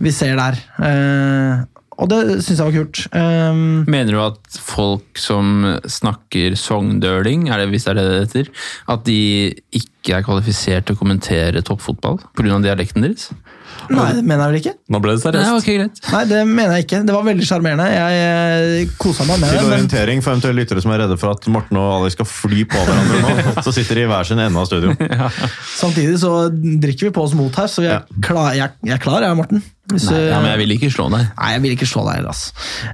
Speaker 2: vi ser der. Eh, og det syns jeg var kult. Eh,
Speaker 4: Mener du at folk som snakker sogndøling, er det, hvis det er det det heter, at de ikke er kvalifisert til å kommentere toppfotball pga. dialekten deres?
Speaker 2: nei, det mener jeg vel ikke?
Speaker 1: Nå ble det
Speaker 4: Nei,
Speaker 1: seriøst.
Speaker 4: ok, greit.
Speaker 2: Nei, det mener jeg ikke. Det var veldig sjarmerende. Jeg kosa meg med
Speaker 3: Til
Speaker 2: det. Men
Speaker 3: orientering for eventuelle lyttere som er redde for at Morten og Alex skal fly på hverandre nå, så sitter de i hver sin ende av studio.
Speaker 2: samtidig så drikker vi på oss mot her, så jeg er klar, jeg, jeg, er klar, jeg Morten. Hvis
Speaker 4: Nei,
Speaker 2: du-
Speaker 4: ja, men jeg vil ikke slå deg.
Speaker 2: Nei, jeg vil ikke slå deg, ass.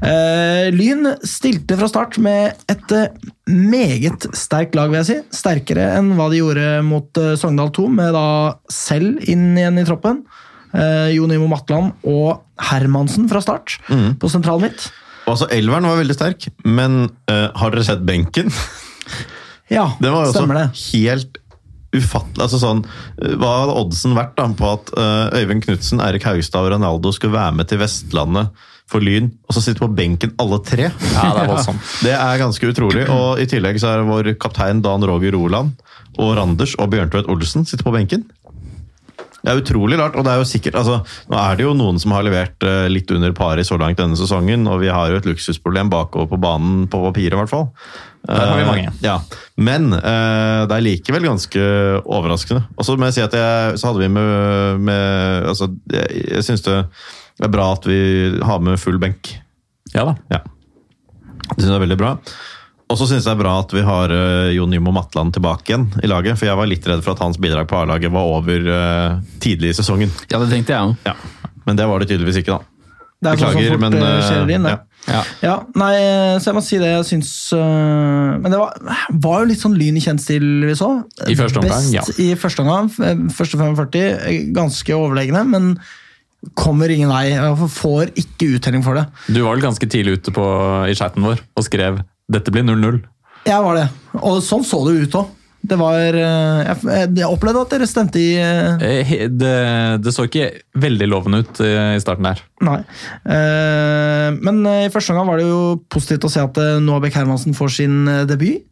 Speaker 2: Eh, Lyn stilte fra start med et eh, meget sterkt lag, vil jeg si. Sterkere enn hva de gjorde mot eh, Sogndal 2, med da selv inn igjen i troppen. Eh, Jon Imo Matland og Hermansen fra start på sentral midt.
Speaker 3: Altså, Elveren var veldig sterk, men eh, har dere sett benken?
Speaker 2: Ja,
Speaker 3: Den var jo også
Speaker 2: stemmer det.
Speaker 3: helt ufattelig. Altså sånn, eh, hva hadde oddsen vært da på at eh, Øyvind Knutsen, Erik Haugstad og Ronaldo skulle være med til Vestlandet for Lyn, og så sitte på benken alle tre?
Speaker 1: Ja, det er voldsomt.
Speaker 3: Det er ganske utrolig. Og i tillegg så er vår kaptein Dan Roger Roland og Randers og Bjørntvedt Olsen sitter på benken. Det er utrolig rart, og det er jo sikkert altså, Nå er det jo noen som har levert eh, litt under paret så langt denne sesongen, og vi har jo et luksusproblem bakover på banen, på papiret i hvert fall.
Speaker 1: Der har vi
Speaker 3: Eh,
Speaker 1: mange.
Speaker 3: ja. Men eh, det er likevel ganske overraskende. Og så må jeg si at jeg, så hadde vi med, med altså, jeg, jeg syns det er bra at vi har med full benk.
Speaker 1: Ja da.
Speaker 3: Ja. Det synes jeg er veldig bra. Og så synes jeg det er bra at vi har eh, Jon Nymo Matland tilbake igjen i laget. For jeg var litt redd for at hans bidrag på A-laget var over eh, tidlig i sesongen.
Speaker 4: Ja, det tenkte jeg òg.
Speaker 3: Men det var det tydeligvis ikke, da.
Speaker 2: Det er sånn
Speaker 3: Beklager,
Speaker 2: så fort
Speaker 3: men,
Speaker 2: det
Speaker 3: eh,
Speaker 2: skjer inn, det.
Speaker 3: ja.
Speaker 4: Ja.
Speaker 2: Ja, nei, så jeg må si det. Jeg syns øh, Men det var, var jo litt sånn lyn i kjent stil vi så.
Speaker 1: I første omgang, ja.
Speaker 2: Best i første omgang. f- eh, Første 45, ganske overlegne, men kommer ingen vei. og Får ikke uttelling for det.
Speaker 1: Du var vel ganske tidlig ute på, i chatten vår og skrev 'dette blir 0-0'.
Speaker 2: Jeg var det. Og sånn så det ut òg. Det var øh, jeg, jeg opplevde at dere stemte i øh,
Speaker 1: Eh, he- Det, det så ikke veldig lovende ut eh, i starten der.
Speaker 2: Nei. Eh, Men øh, i første omgang var det jo positivt å se at øh, Noah Beck Hermansen får sin øh, debut.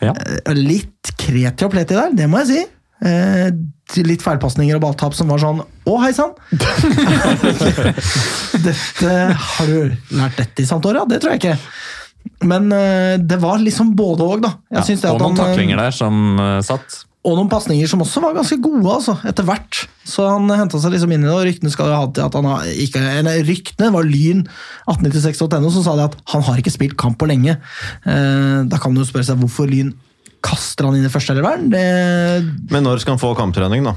Speaker 1: Ja.
Speaker 2: Eh, Litt kreti og pleti der, det må jeg si. Eh, litt feilpasninger og balltap som var sånn Å, hei sann! dette Har du lært dette i Santoria? Det tror jeg ikke. Men eh, det var liksom både òg, da. Jeg
Speaker 1: Ja,
Speaker 2: synes det
Speaker 1: og
Speaker 2: at
Speaker 1: noen
Speaker 2: han, eh,
Speaker 1: taklinger der som eh, satt.
Speaker 2: og noen pasninger som også var ganske gode, altså, etter hvert. Så han henta seg liksom inn i det, og ryktene skal jo ha til at han har ikke, nei, ryktene var Lyn 1896.no som sa det at han har ikke spilt kamp på lenge. Eh, da kan man jo spørre seg hvorfor Lyn kaster han inn i førsteeleveren. Det-
Speaker 3: Men når skal han få kamptrening, da?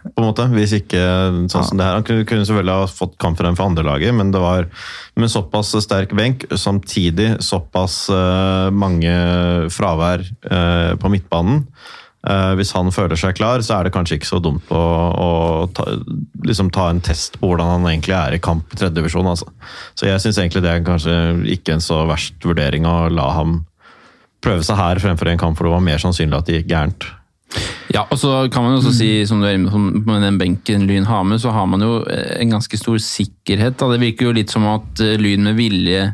Speaker 3: På en måte, Hvis ikke sånn som det her. Han kunne, kunne selvfølgelig ha fått kamptrening for andrelaget, men det var med såpass sterk benk, samtidig såpass eh, mange fravær eh, på midtbanen. Eh, hvis han føler seg klar, så er det kanskje ikke så dumt å, å ta, liksom ta en test på hvordan han egentlig er i kamp i tredjedivisjon. Altså. Så jeg syns egentlig det er kanskje ikke en så verst vurdering å la ham prøve seg her fremfor i en kamp hvor det var mer sannsynlig at det gikk gærent.
Speaker 4: Ja, og så kan man jo også si, som du er inne på med den benken Lyn har med, så har man jo eh, en ganske stor sikkerhet. Da. Det virker jo litt som at eh, Lyn med vilje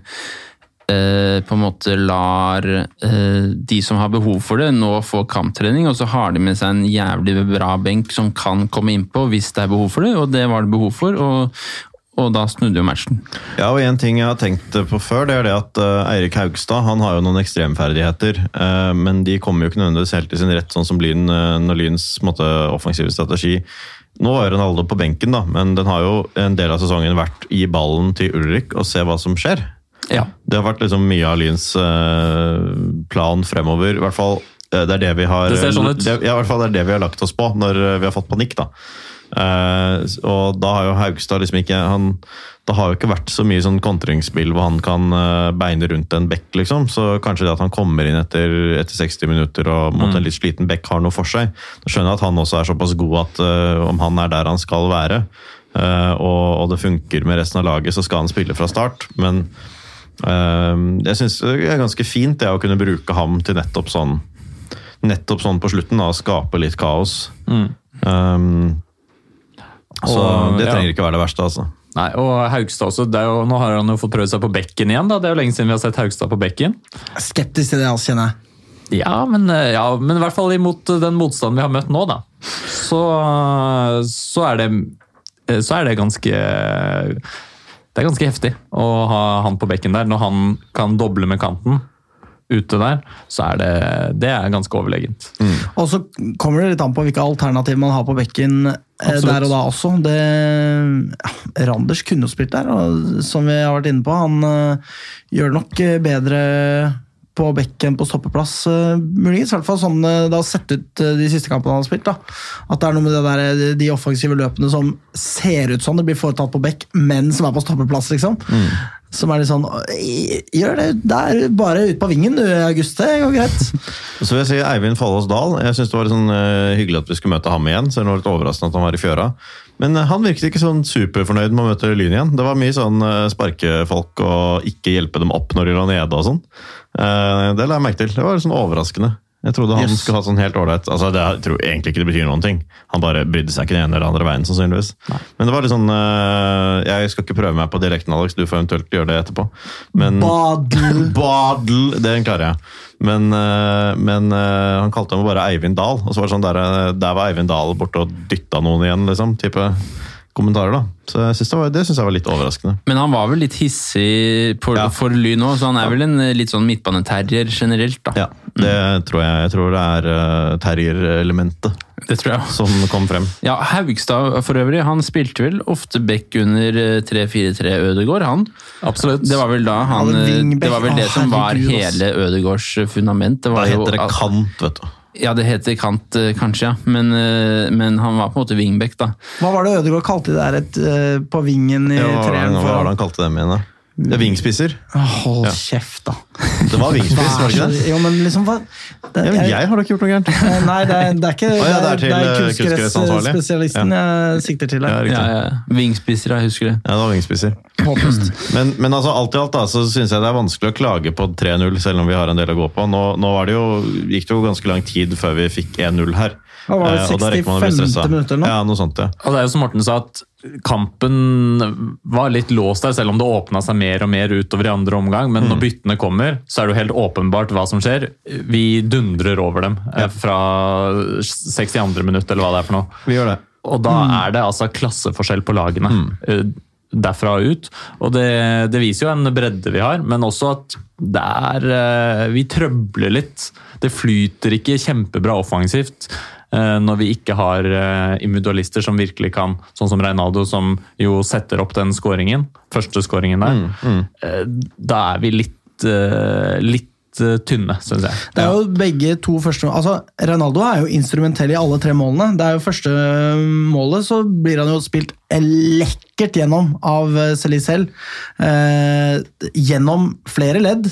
Speaker 4: eh, på en måte lar eh, de som har behov for det, nå få kamptrening, og så har de med seg en jævlig bra benk som kan komme innpå hvis det er behov for det, og det var det behov for. og og da snudde jo matchen.
Speaker 3: Ja, og en ting jeg har tenkt på før, det er det at eh, Eirik Haugstad han har jo noen ekstremferdigheter, eh, men de kommer jo ikke nødvendigvis helt i sin rett, sånn som Lyn, eh, når Lyns på en måte, offensive strategi Nå var jo Ronaldo på benken, da, men den har jo en del av sesongen vært i ballen til Ulrik og se hva som skjer.
Speaker 4: Ja.
Speaker 3: Det har vært liksom mye av Lyns eh, plan fremover. I hvert fall eh, det er det vi har
Speaker 1: Det ser sånn ut.
Speaker 3: Det, ja, i hvert fall det er det vi har lagt oss på når eh, vi har fått panikk. da. Eh, og da har jo Haugstad liksom ikke han, Det har jo ikke vært så mye sånn kontringsspill hvor han kan eh, beine rundt en bekk, liksom. Så kanskje det at han kommer inn etter, etter 60 minutter og mot en
Speaker 1: Mm.
Speaker 3: litt sliten bekk har noe for seg. Da skjønner jeg at han også er såpass god at eh, om han er der han skal være, eh, og, og det funker med resten av laget, så skal han spille fra start. Men Ehm, Jeg syns det er ganske fint det å kunne bruke ham til nettopp sånn Nettopp sånn på slutten, da, å skape litt kaos. Ehm, så
Speaker 1: Mm. Og,
Speaker 3: det
Speaker 1: ja.
Speaker 3: trenger ikke være det verste, altså.
Speaker 1: Nei, og Haugstad også. Det er jo, nå har han jo fått prøvd seg på bekken igjen. da. Det er jo lenge siden vi har sett Haugstad på bekken.
Speaker 2: Jeg er skeptisk til det, altså, kjenner jeg.
Speaker 1: Ja, men, eh, ja, men i hvert fall imot eh, den motstanden vi har møtt nå, da. Så, eh, så, er, det, eh, så er det ganske Det er ganske heftig å ha han på bekken der. Når han kan doble med kanten ute der, så er det, det er ganske overlegent.
Speaker 2: Og så kommer det litt an på hvilke alternativ man har på bekken eh,
Speaker 1: Absolutt.
Speaker 2: der og da også. Det, ja, Randers kunne jo spilt der, og som vi har vært inne på. Han eh, gjør det nok eh, bedre på bekken på stoppeplass, eh, muligens. I hvert fall sånn eh, det har sett ut eh, de siste kampene han har spilt. da. At det er noe med det der, eh, de offensive løpene som ser ut som det blir foretatt på bekk, men som er på stoppeplass, liksom. Som er litt sånn «Åh, Gjør det der, bare ut på vingen du, August. Det går greit.
Speaker 3: Så vil jeg si Eivind Fallås Dahl. Jeg syns det var litt sånn eh, hyggelig at vi skulle møte ham igjen. Selv om det var litt overraskende at han var i fjøra. Men eh, han virket ikke sånn superfornøyd med å møte Lyn igjen. Det var mye sånn eh, sparke folk og ikke hjelpe dem opp når de lå nede og sånn. Eh, Det la jeg merke til. Det var litt sånn overraskende. Jeg trodde han
Speaker 2: Yes.
Speaker 3: skulle ha sånn helt ålreit altså, det- Jeg tror egentlig ikke det betyr noen ting. Han bare brydde seg ikke den ene eller andre veien, sannsynligvis. Men det var litt sånn eh, Jeg skal ikke prøve meg på dialekten, Alex. Du får eventuelt gjøre det etterpå. Men
Speaker 2: Badl.
Speaker 3: Badl, den klarer jeg. Men, eh, men eh, han kalte meg bare Eivind Dahl. Og så var det sånn der, eh, der var Eivind Dahl borte og dytta noen igjen, liksom. Type kommentarer, da. Så jeg synes det, var, det syns jeg var litt overraskende.
Speaker 4: Men han var vel litt hissig på,
Speaker 3: Ja.
Speaker 4: for Lyn òg, så han er vel en eh, litt sånn midtbaneterrier generelt, da.
Speaker 3: Ja, det tror jeg. Jeg tror det er eh, terrierelementet
Speaker 4: Det tror jeg også.
Speaker 3: som kom frem.
Speaker 4: Ja, Haugstad for øvrig, han spilte vel ofte back under eh, 3-4-3 Ødegård, han.
Speaker 1: Absolutt.
Speaker 4: Det var vel da han
Speaker 2: Ja,
Speaker 4: eh,
Speaker 2: wingback.
Speaker 4: Det var vel det
Speaker 2: Å,
Speaker 4: som var
Speaker 2: herregud, ass.
Speaker 4: hele Ødegårds fundament. Det
Speaker 3: Da
Speaker 4: var jo
Speaker 3: heter det
Speaker 4: at-
Speaker 3: kant, vet du.
Speaker 4: Ja, det heter kant, eh, kanskje, ja. Men, eh, men han var på en måte wingback, da.
Speaker 2: Hva var det Ødegaard kalte det der et, eh, på vingen i
Speaker 3: Ja, hva var det
Speaker 2: treeren?
Speaker 3: han- hva var det han kalte dem igjen, da? Det er vingspisser.
Speaker 2: Åh, Hold kjeft, da.
Speaker 3: Det var vingspiss, var det ikke det?
Speaker 2: Jo, men liksom, hva, det,
Speaker 3: Ja, men jeg har da ikke gjort noe gærent.
Speaker 2: Eh, Nei, det er, det er ikke
Speaker 3: ja, det er til, eh, kunstgressansvarlig.
Speaker 2: kunstgressspesialisten jeg sikter til.
Speaker 3: Ja,
Speaker 2: her.
Speaker 3: riktig.
Speaker 4: Ja, ja. Vingspisser, jeg husker det.
Speaker 3: Ja, det var vingspisser.
Speaker 2: Håpløst.
Speaker 3: Men, men altså, alt i alt da, så syns jeg det er vanskelig å klage på 3-0, selv om vi har en del å gå på. Nå, nå var det jo, gikk det jo ganske lang tid før vi fikk 1-0 her.
Speaker 2: Hva var det,
Speaker 3: Eh, og da rekker man å bli
Speaker 2: 65.
Speaker 3: stresset.
Speaker 2: minutt eller noe?
Speaker 3: Ja, noe sånt, ja.
Speaker 1: Og Altså, det er jo som Morten sa, at kampen var litt låst der, selv om det åpna seg mer og mer utover i andre omgang. Men når byttene kommer, så er det jo helt åpenbart hva som skjer. Vi dundrer over dem eh, fra 62. minutt, eller hva det er for noe.
Speaker 3: Vi gjør det.
Speaker 1: Og da
Speaker 3: Mm.
Speaker 1: er det altså klasseforskjell på lagene eh, derfra og ut. Og det, det viser jo en bredde vi har, men også at det er eh, Vi trøbler litt. Det flyter ikke kjempebra offensivt. eh, Når vi ikke har eh, individualister som virkelig kan, sånn som Reinaldo, som jo setter opp den skåringen, første skåringen der,
Speaker 3: Mm,
Speaker 1: Eh, da er vi litt, eh, litt eh, tynne, syns jeg.
Speaker 2: Det er jo begge to første altså, Ronaldo er jo instrumentell i alle tre målene. Det er jo første eh, målet, så blir han jo spilt lekkert gjennom av Celicel. Eh, gjennom flere ledd.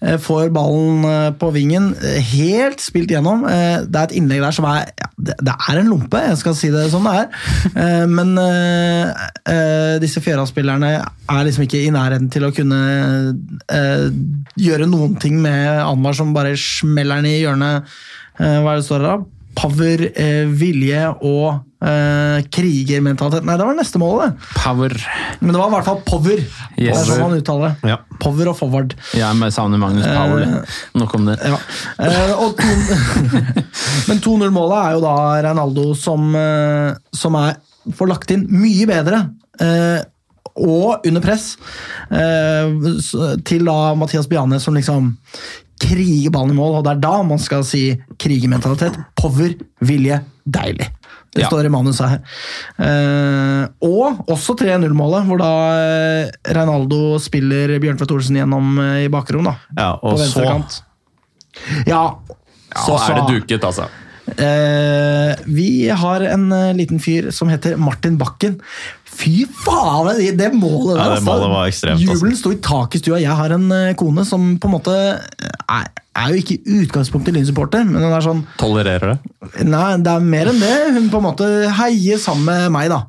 Speaker 2: Eh, får ballen eh, på vingen, eh, helt spilt gjennom. Eh, det er et innlegg der som er ja, det, det er en lompe, jeg skal si det som det er. Eh, men eh, eh, disse Fjøra-spillerne er liksom ikke i nærheten til å kunne eh, gjøre noen ting med Anwar som bare smeller den i hjørnet. Eh, hva er det står der? da? Power, eh, vilje og eh, krigermentalitet. Nei, det var neste mål, det.
Speaker 4: Power.
Speaker 2: Men det var i hvert fall power. Det er
Speaker 4: Yes.
Speaker 2: sånn man uttaler det.
Speaker 3: Ja.
Speaker 2: Power og forward.
Speaker 4: Jeg med- savner Magnus Power. det. Nok om det.
Speaker 2: Ja. Eh, og to, men 2-0-målet er jo da Reinaldo som, eh, som er, får lagt inn mye bedre. eh, og under press eh, s- til da Mathias Biane som liksom kriger ballen i mål, og det er da man skal si krigermentalitet. Power, vilje, deilig. Det
Speaker 4: Ja.
Speaker 2: står i manuset her. Eh, og også 3-0-målet, hvor da eh, Reinaldo spiller Bjørnfjord Olsen gjennom eh, i bakrom. da
Speaker 3: Ja,
Speaker 2: på
Speaker 3: og så
Speaker 2: venstre kant. Ja.
Speaker 1: Så
Speaker 2: altså,
Speaker 1: er det duket, altså.
Speaker 2: Eh, vi har en eh, liten fyr som heter Martin Bakken. Fy faen, det, det målet der!
Speaker 3: Ja, det målet var ekstremt, altså.
Speaker 2: Jubelen sto i taket i stua. Jeg har en eh, kone som på en måte eh, er, er jo ikke i utgangspunktet Lyn-supporter, men hun er sånn
Speaker 1: Tolererer det.
Speaker 2: Nei, det er mer enn det. Hun på en måte heier sammen med meg, da.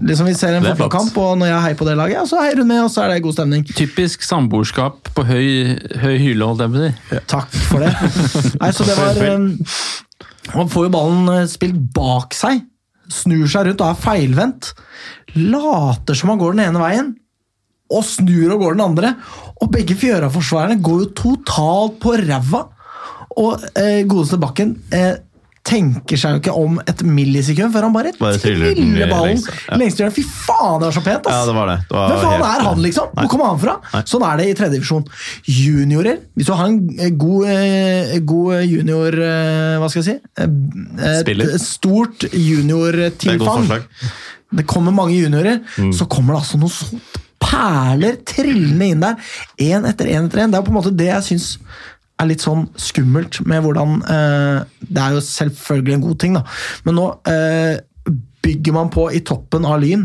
Speaker 2: Liksom Vi ser en
Speaker 1: Det er flott.
Speaker 2: fotballkamp, og når jeg heier på det laget, ja, så heier hun med, og så er det god stemning.
Speaker 4: Typisk samboerskap på høy, høy hylle, holdt jeg på å si.
Speaker 2: Takk for det. Nei, så det var eh, Han får jo ballen eh, spilt bak seg. Snur seg rundt og er feilvendt. Later som han går den ene veien, og snur og går den andre. Og begge Fjøra-forsvarerne går jo totalt på ræva. Og eh, godeste Bakken eh, tenker seg jo ikke om et millisekund før han bare,
Speaker 3: Bare triller
Speaker 2: triller
Speaker 3: den i
Speaker 2: ballen
Speaker 3: lengste, ja.
Speaker 2: lengste hjørnet. Fy faen, det var så pent! ass!
Speaker 3: Ja, det var det. Det var
Speaker 2: Hvem faen
Speaker 3: helt-
Speaker 2: er han, liksom? Hvor kommer han fra? Sånn er det i tredje divisjon. Juniorer Hvis du har en eh, god, eh, god junior eh, Hva skal jeg si? Eh, eh,
Speaker 1: Spiller.
Speaker 2: et Stort
Speaker 3: Det er et godt
Speaker 2: juniortilfang.
Speaker 3: forslag. Mm.
Speaker 2: Det kommer mange juniorer. Så kommer det altså noen sånt perler trillende inn der. Én etter én etter én. Det er på en måte det jeg syns er litt sånn skummelt med hvordan eh, Det er jo selvfølgelig en god ting, da, men nå eh, bygger man på i toppen av Lyn.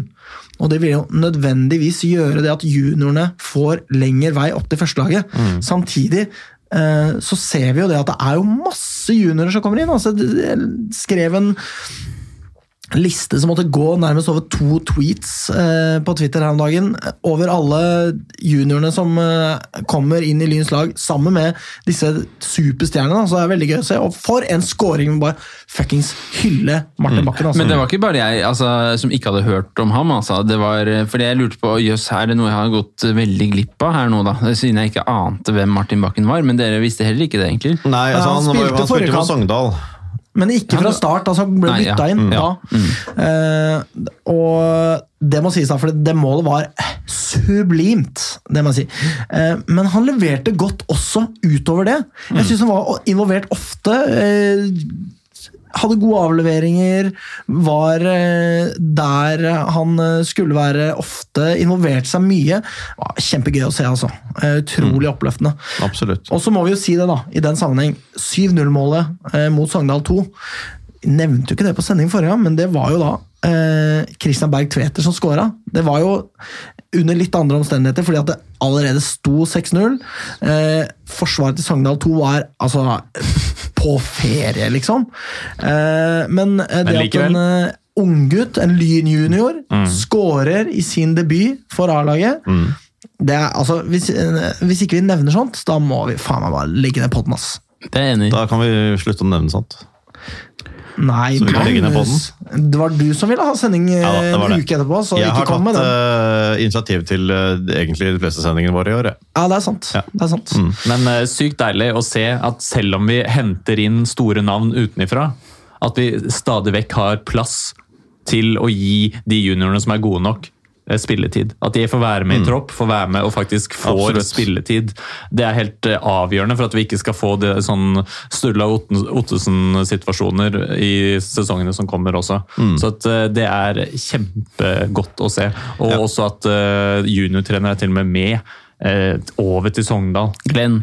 Speaker 2: Og det vil jo nødvendigvis gjøre det at juniorene får lengre vei opp til førstelaget.
Speaker 3: Mm.
Speaker 2: Samtidig eh, så ser vi jo det at det er jo masse juniorer som kommer inn. altså Jeg skrev en liste som måtte gå nærmest over to tweets eh, på Twitter her om dagen, eh, over alle juniorene som eh, kommer inn i Lyns lag sammen med disse superstjernene. da. Så det er veldig gøy å se. Og for en scoring! Bare fuckings hylle Martin Bakken. Altså.
Speaker 4: Men det var ikke bare jeg altså, som ikke hadde hørt om ham. Altså. Det var, fordi jeg lurte på, jøss, er det noe jeg har gått eh, veldig glipp av her nå da? Siden jeg ikke ante hvem Martin Bakken var, men dere visste heller ikke det egentlig.
Speaker 3: Nei,
Speaker 2: Ja,
Speaker 3: altså,
Speaker 2: han
Speaker 3: han, var jo-
Speaker 2: spilte
Speaker 3: han spilte
Speaker 2: forrige
Speaker 3: for Sogndal.
Speaker 2: Men ikke fra start, altså han ble
Speaker 4: Nei, ja.
Speaker 2: bytta inn
Speaker 4: Mm.
Speaker 2: da.
Speaker 4: Ja.
Speaker 2: Eh, og det må sies, da, for det målet var sublimt. Det må jeg si. Eh, men han
Speaker 4: Mm.
Speaker 2: leverte godt også utover det. Jeg syns han var involvert ofte. eh, hadde gode avleveringer, var eh, der han eh, skulle være ofte, involverte seg mye. Ja, Kjempegøy å se, altså. Eh,
Speaker 4: Mm.
Speaker 2: Utrolig oppløftende.
Speaker 3: Absolutt.
Speaker 2: Og så må vi jo si det, da, i den sammenheng. 7-0-målet eh, mot Sogndal 2. Nevnte jo ikke det på sending forrige gang, men det var jo da eh, Christian Berg Tveter som scora. Det var jo under litt andre omstendigheter, fordi at det allerede sto 6-0. Eh, forsvaret til Sogndal 2 var altså på ferie, liksom. Eh, men eh, det
Speaker 1: Men
Speaker 2: at en eh, unggutt, en Lyn junior,
Speaker 3: Mm.
Speaker 2: scorer i sin debut for A-laget det er, altså, hvis, eh, hvis ikke vi nevner sånt, da må vi faen meg bare legge ned podden, ass.
Speaker 4: Det er jeg enig i.
Speaker 3: Da kan vi slutte å nevne sånt.
Speaker 2: Nei,
Speaker 3: Så vi kan legge ned
Speaker 2: Magnus. Det var du som ville ha sending eh,
Speaker 3: Ja, det var
Speaker 2: en
Speaker 3: det.
Speaker 2: uke etterpå, så
Speaker 3: Jeg
Speaker 2: ikke
Speaker 3: har
Speaker 2: kom med
Speaker 3: tatt
Speaker 2: den.
Speaker 3: eh, initiativ til eh, egentlig de fleste sendingene våre i år. jeg.
Speaker 2: Ja, det er sant. Det er sant.
Speaker 3: Mm.
Speaker 1: Men eh, sykt deilig å se at selv om vi henter inn store navn utenifra, at vi stadig vekk har plass til å gi de juniorene som er gode nok, eh, spilletid. At de får være med i tropp, får være med og faktisk får
Speaker 3: Absolutt.
Speaker 1: spilletid. Det er helt eh, avgjørende for at vi ikke skal få det sånn Sturla Otten- Ottesen-situasjoner i sesongene som kommer også. Så at eh, det er kjempegodt å se. Og også at eh, juniortrenere er til og med med. eh, Over til Sogndal
Speaker 4: Glenn.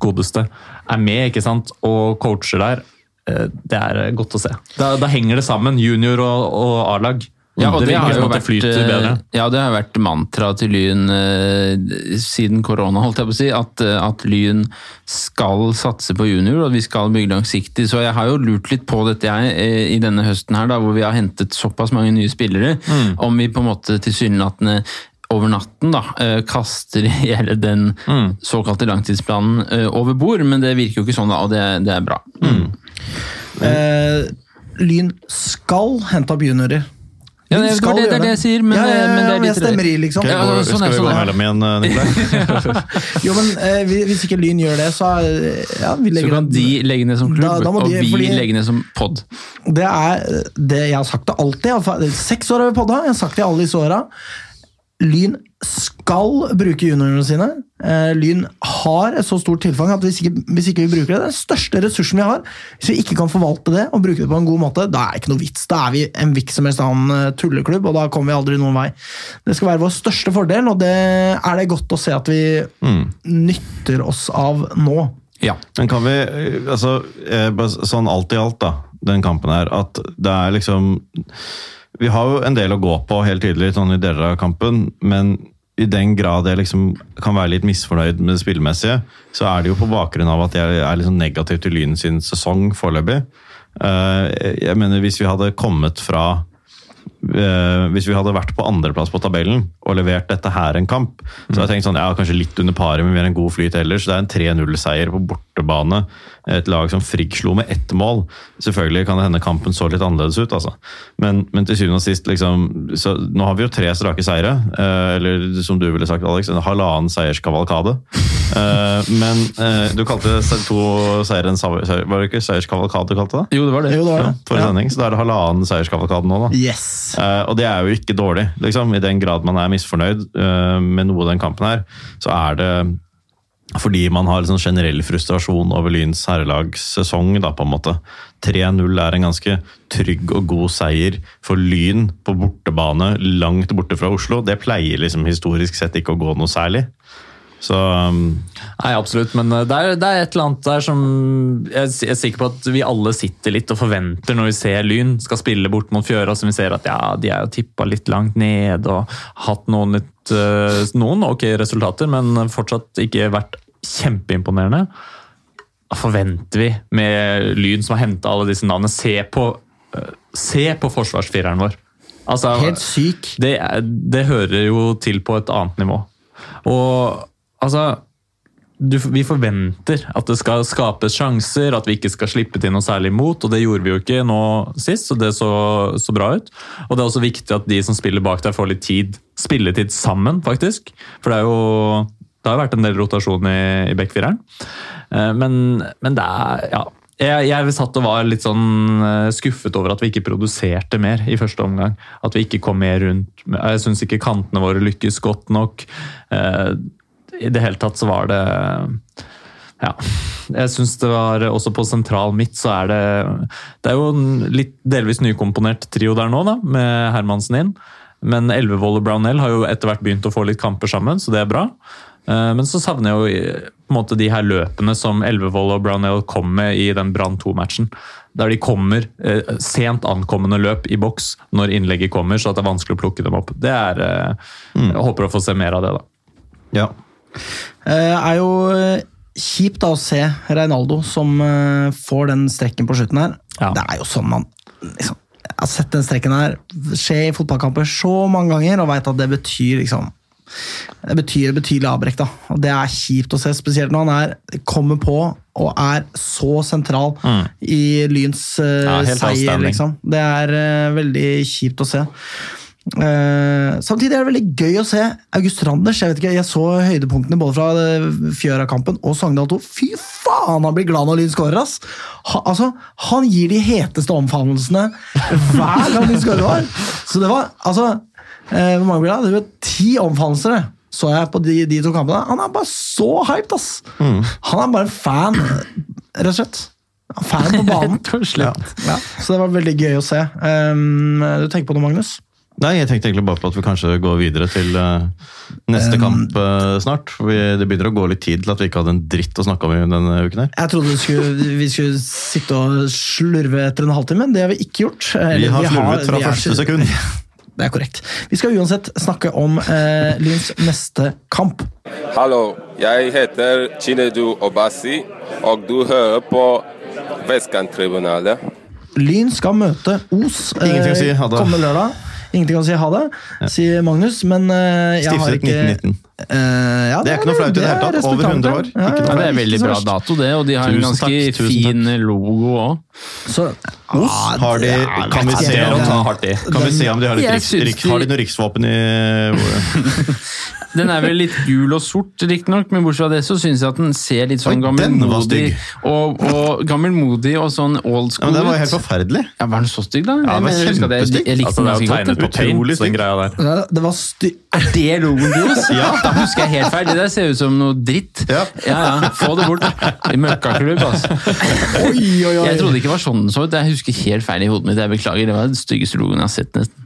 Speaker 1: godeste, er med ikke sant, og coacher der. eh, Det er godt å se. Da, da henger det sammen, junior og, og A-lag.
Speaker 4: Ja, og det,
Speaker 1: virker
Speaker 4: har
Speaker 1: som
Speaker 4: jo
Speaker 1: at det
Speaker 4: vært,
Speaker 1: flyter bedre.
Speaker 4: eh, ja, det har vært mantra til Lyn eh, siden korona, holdt jeg på å si, at, eh, at Lyn skal satse på junior, og at vi skal bygge langsiktig. Så jeg har jo lurt litt på dette jeg, eh, i denne høsten her, da, hvor vi har hentet såpass mange nye spillere,
Speaker 1: Mm.
Speaker 4: om vi på en måte tilsynelatende over natten da, eh, kaster hele den
Speaker 1: Mm.
Speaker 4: såkalte langtidsplanen eh, over bord, men det virker jo ikke sånn da, og det, det er bra.
Speaker 1: Mm.
Speaker 2: Eh, Lyn skal hente opp juniorer.
Speaker 4: Ja,
Speaker 2: Lyn
Speaker 4: det er-
Speaker 2: skal
Speaker 4: det er det
Speaker 2: gjøre
Speaker 4: jeg sier, men- eh,
Speaker 2: ja, ja, ja,
Speaker 4: men det er
Speaker 2: ja,
Speaker 4: litt
Speaker 2: jeg stemmer i, liksom.
Speaker 4: Ja,
Speaker 3: Går-
Speaker 4: sånn
Speaker 3: Skal
Speaker 4: er-
Speaker 3: vi gå
Speaker 4: sånn er.
Speaker 3: mellom igjen, eh, Nikolai?
Speaker 2: Jo, men eh, vi- Hvis ikke Lyn gjør det, så eh, ja, vi
Speaker 4: Så
Speaker 2: legger
Speaker 4: kan
Speaker 2: den-
Speaker 4: de legge ned som klubb,
Speaker 2: Da- da må de-
Speaker 4: og vi
Speaker 2: fordi-
Speaker 4: legge ned som pod.
Speaker 2: Det er eh, det jeg har sagt det alltid. i alle fall- Seks år har vi podda, jeg har sagt det i alle disse åra. Lyn skal bruke juniorene sine. Eh, Lyn har et så stort tilfang at hvis ikke, hvis ikke vi bruker det, det er den største ressursen vi har. Hvis vi ikke kan forvalte det og bruke det på en god måte, da er det ikke noe vits. Da er vi en hvilken som helst annen eh, tulleklubb, og da kommer vi aldri noen vei. Det skal være vår største fordel, og det er det godt å se at vi nytter oss av nå.
Speaker 4: Ja.
Speaker 3: Men kan vi, eh, altså, eh, bare sånn alt i alt da, den kampen her, at det er liksom, vi har jo en del å gå på helt tydelig sånn i deler av kampen, men i den grad jeg liksom kan være litt misfornøyd med det spillmessige, så er det jo på bakgrunn av at jeg er liksom negativ til Lyn sin sesong foreløpig. Eh, Jeg mener, hvis vi hadde kommet fra eh, hvis vi hadde vært på andreplass på tabellen og levert dette her en kamp, så hadde jeg tenkt sånn, ja, kanskje litt under paret, men vi har en god flyt ellers. Det er en 3-0-seier på bortebane. Et lag som Frigg slo med ett mål. Selvfølgelig kan det hende kampen så litt annerledes ut, altså. Men, men til syvende og sist, liksom så, Nå har vi jo tre strake seire, eh, eller som du ville sagt, Alex, en halvannen seierskavalkade. Eh, men eh, du kalte det to seire en sa- seier, var det ikke seierskavalkade du kalte det?
Speaker 4: Jo, det var det.
Speaker 2: Jo, det var
Speaker 3: Ja,
Speaker 2: det.
Speaker 3: forrige sending, så da er det halvannen seierskavalkade nå, da.
Speaker 2: Yes.
Speaker 3: Eh, og det er jo ikke dårlig, liksom. I den grad man er misfornøyd eh, med noe av den kampen her, så er det fordi man har liksom generell frustrasjon over Lyns herrelagssesong, da, på en måte. 3-0 er en ganske trygg og god seier for Lyn på bortebane, langt borte fra Oslo. Det pleier liksom historisk sett ikke å gå noe særlig. Så um,
Speaker 1: Nei, absolutt, men eh, det er, det er et eller annet der som jeg er s- jeg er sikker på at vi alle sitter litt og forventer når vi ser Lyn skal spille bort mot Fjøra, som vi ser at ja, de er jo tippa litt langt ned og hatt noen litt eh, noen ok resultater, men fortsatt ikke vært kjempeimponerende. Da forventer vi med Lyn som har henta alle disse navnene, se på, eh, se på forsvarsfireren vår. Altså,
Speaker 2: Helt syk.
Speaker 1: det, er- det hører jo til på et annet nivå. Og altså du, Vi forventer at det skal skapes sjanser, at vi ikke skal slippe til noe særlig imot. og Det gjorde vi jo ikke nå sist, så det så, så bra ut. Og Det er også viktig at de som spiller bak der, får litt tid, spilletid sammen, faktisk. For det er jo det har jo vært en del rotasjon i, i backfireren. Eh, Men, men det er Ja. Jeg, jeg satt og var litt sånn eh, skuffet over at vi ikke produserte mer i første omgang. At vi ikke kom mer rundt. Jeg syns ikke kantene våre lykkes godt nok. Eh, I det hele tatt så var det Ja. Jeg syns det var Også på sentral midt så er det Det er jo en litt delvis nykomponert trio der nå, da, med Hermansen inn. Men Elvevold og Brownell har jo etter hvert begynt å få litt kamper sammen, så det er bra. Eh, Men så savner jeg jo i- på en måte de her løpene som Elvevold og Brownell kom med i den Brann 2-matchen. Der de kommer eh, sent ankommende løp i boks når innlegget kommer, så at det er vanskelig å plukke dem opp. Det er, eh, Jeg håper å få se mer av det, da.
Speaker 3: Ja.
Speaker 2: Eh, er jo eh, kjipt da å se Reinaldo som eh, får den strekken på slutten her.
Speaker 1: Ja.
Speaker 2: Det er jo sånn man liksom, Jeg har sett den strekken her skje i fotballkamper så mange ganger og veit at det betyr liksom det betyr betydelig avbrekk, da. Og det er kjipt å se, spesielt når han er, kommer på og er så sentral i Lyns eh,
Speaker 1: Mm. Ja, helt
Speaker 2: seier,
Speaker 1: outstanding.
Speaker 2: liksom. Det er eh, veldig kjipt å se. Eh, samtidig er det veldig gøy å se August Randers. Jeg vet ikke, jeg så høydepunktene både fra eh, Fjøra-kampen og Sogndal 2. Fy faen, han blir glad når Lyn skårer! ass! Ha, altså, han gir de heteste omfavnelsene hver gang Lyn skårer! var. Så det var altså eh, Hvor mange blir det? Det var ti omfavnelser, det. så jeg på de, de to kampene. Han er bare så hyped, ass! Han er bare en fan, rett og slett. Fan på banen.
Speaker 4: Rett og slett.
Speaker 2: Ja, så det var veldig gøy å se. Um, du tenker på noe, Magnus?
Speaker 3: Nei, jeg tenkte egentlig bare på at vi kanskje går videre til eh, neste kamp eh, snart. for Vi, det begynner å gå litt tid til at vi ikke hadde en dritt å snakke om i denne uken her.
Speaker 2: Jeg trodde vi skulle, vi skulle sitte og slurve etter en halvtime. Det har vi ikke gjort.
Speaker 3: Vi
Speaker 2: Eller,
Speaker 3: har slurvet fra
Speaker 2: vi er
Speaker 3: første
Speaker 2: ikke-
Speaker 3: sekund.
Speaker 2: Det er korrekt. Vi skal uansett snakke om eh, Lyns neste kamp.
Speaker 7: Hallo, jeg heter Chinedu Obasi, og du hører på Vestkanttribunalet.
Speaker 2: Lyn skal møte Os. eh,
Speaker 3: Ingenting å si, ha det.
Speaker 2: Kommende lørdag. Ingenting å si ha det, sier Magnus, men eh, jeg har
Speaker 3: Stiftet
Speaker 2: ikke
Speaker 3: 1919.
Speaker 2: Eh, ja,
Speaker 3: Det er ikke noe flaut i det hele tatt. Over 100 år.
Speaker 2: Ja,
Speaker 3: Ikke noe
Speaker 4: Ja, det er
Speaker 3: flaut.
Speaker 4: veldig
Speaker 2: så
Speaker 4: bra
Speaker 2: verst.
Speaker 4: dato, det. Og de har en
Speaker 3: Tusen
Speaker 4: ganske
Speaker 3: takk, tusen
Speaker 4: fin logo òg.
Speaker 2: Så,
Speaker 3: Os,
Speaker 2: Ah,
Speaker 3: har de,
Speaker 2: ja,
Speaker 3: kan vi
Speaker 2: vet
Speaker 3: se
Speaker 2: ikke.
Speaker 3: om,
Speaker 1: å ta hardt i.
Speaker 3: kan vi se om de har, litt
Speaker 4: Jeg
Speaker 3: riks,
Speaker 4: syns
Speaker 3: riks,
Speaker 4: de-
Speaker 3: har de noe riksvåpen i
Speaker 4: Den er vel litt gul og sort, riktignok, men bortsett fra det så syns jeg at den ser litt sånn
Speaker 3: Oi, den var
Speaker 4: gammelmodig
Speaker 3: stygg.
Speaker 4: og, og, gammelmodig og sånn old
Speaker 3: ja,
Speaker 4: school
Speaker 3: men Det var jo helt
Speaker 4: ut.
Speaker 3: forferdelig.
Speaker 4: Ja, var den så stygg, da?
Speaker 3: Ja, den var
Speaker 4: Jeg mener, jeg husker at jeg-
Speaker 3: kjempestygg.
Speaker 4: Jeg likte
Speaker 1: Altså,
Speaker 4: den
Speaker 1: det er
Speaker 4: ganske
Speaker 1: jo
Speaker 4: godt.
Speaker 1: tegnet på paint,
Speaker 3: Utrolig
Speaker 1: den
Speaker 3: stygt.
Speaker 1: greia der.
Speaker 2: Ja, Det var sty...
Speaker 4: Er det logoen deres?
Speaker 3: Ja.
Speaker 4: Da husker jeg helt feil. Det der ser ut som noe dritt.
Speaker 3: Ja.
Speaker 4: ja, ja, Få det bort. I Møkkaklubb, altså.
Speaker 2: Oi, oi, oi.
Speaker 4: Jeg trodde ikke det var sånn den så ut. Jeg husker helt feil i hodet mitt. Jeg beklager. Det var den styggeste logoen jeg har sett, nesten.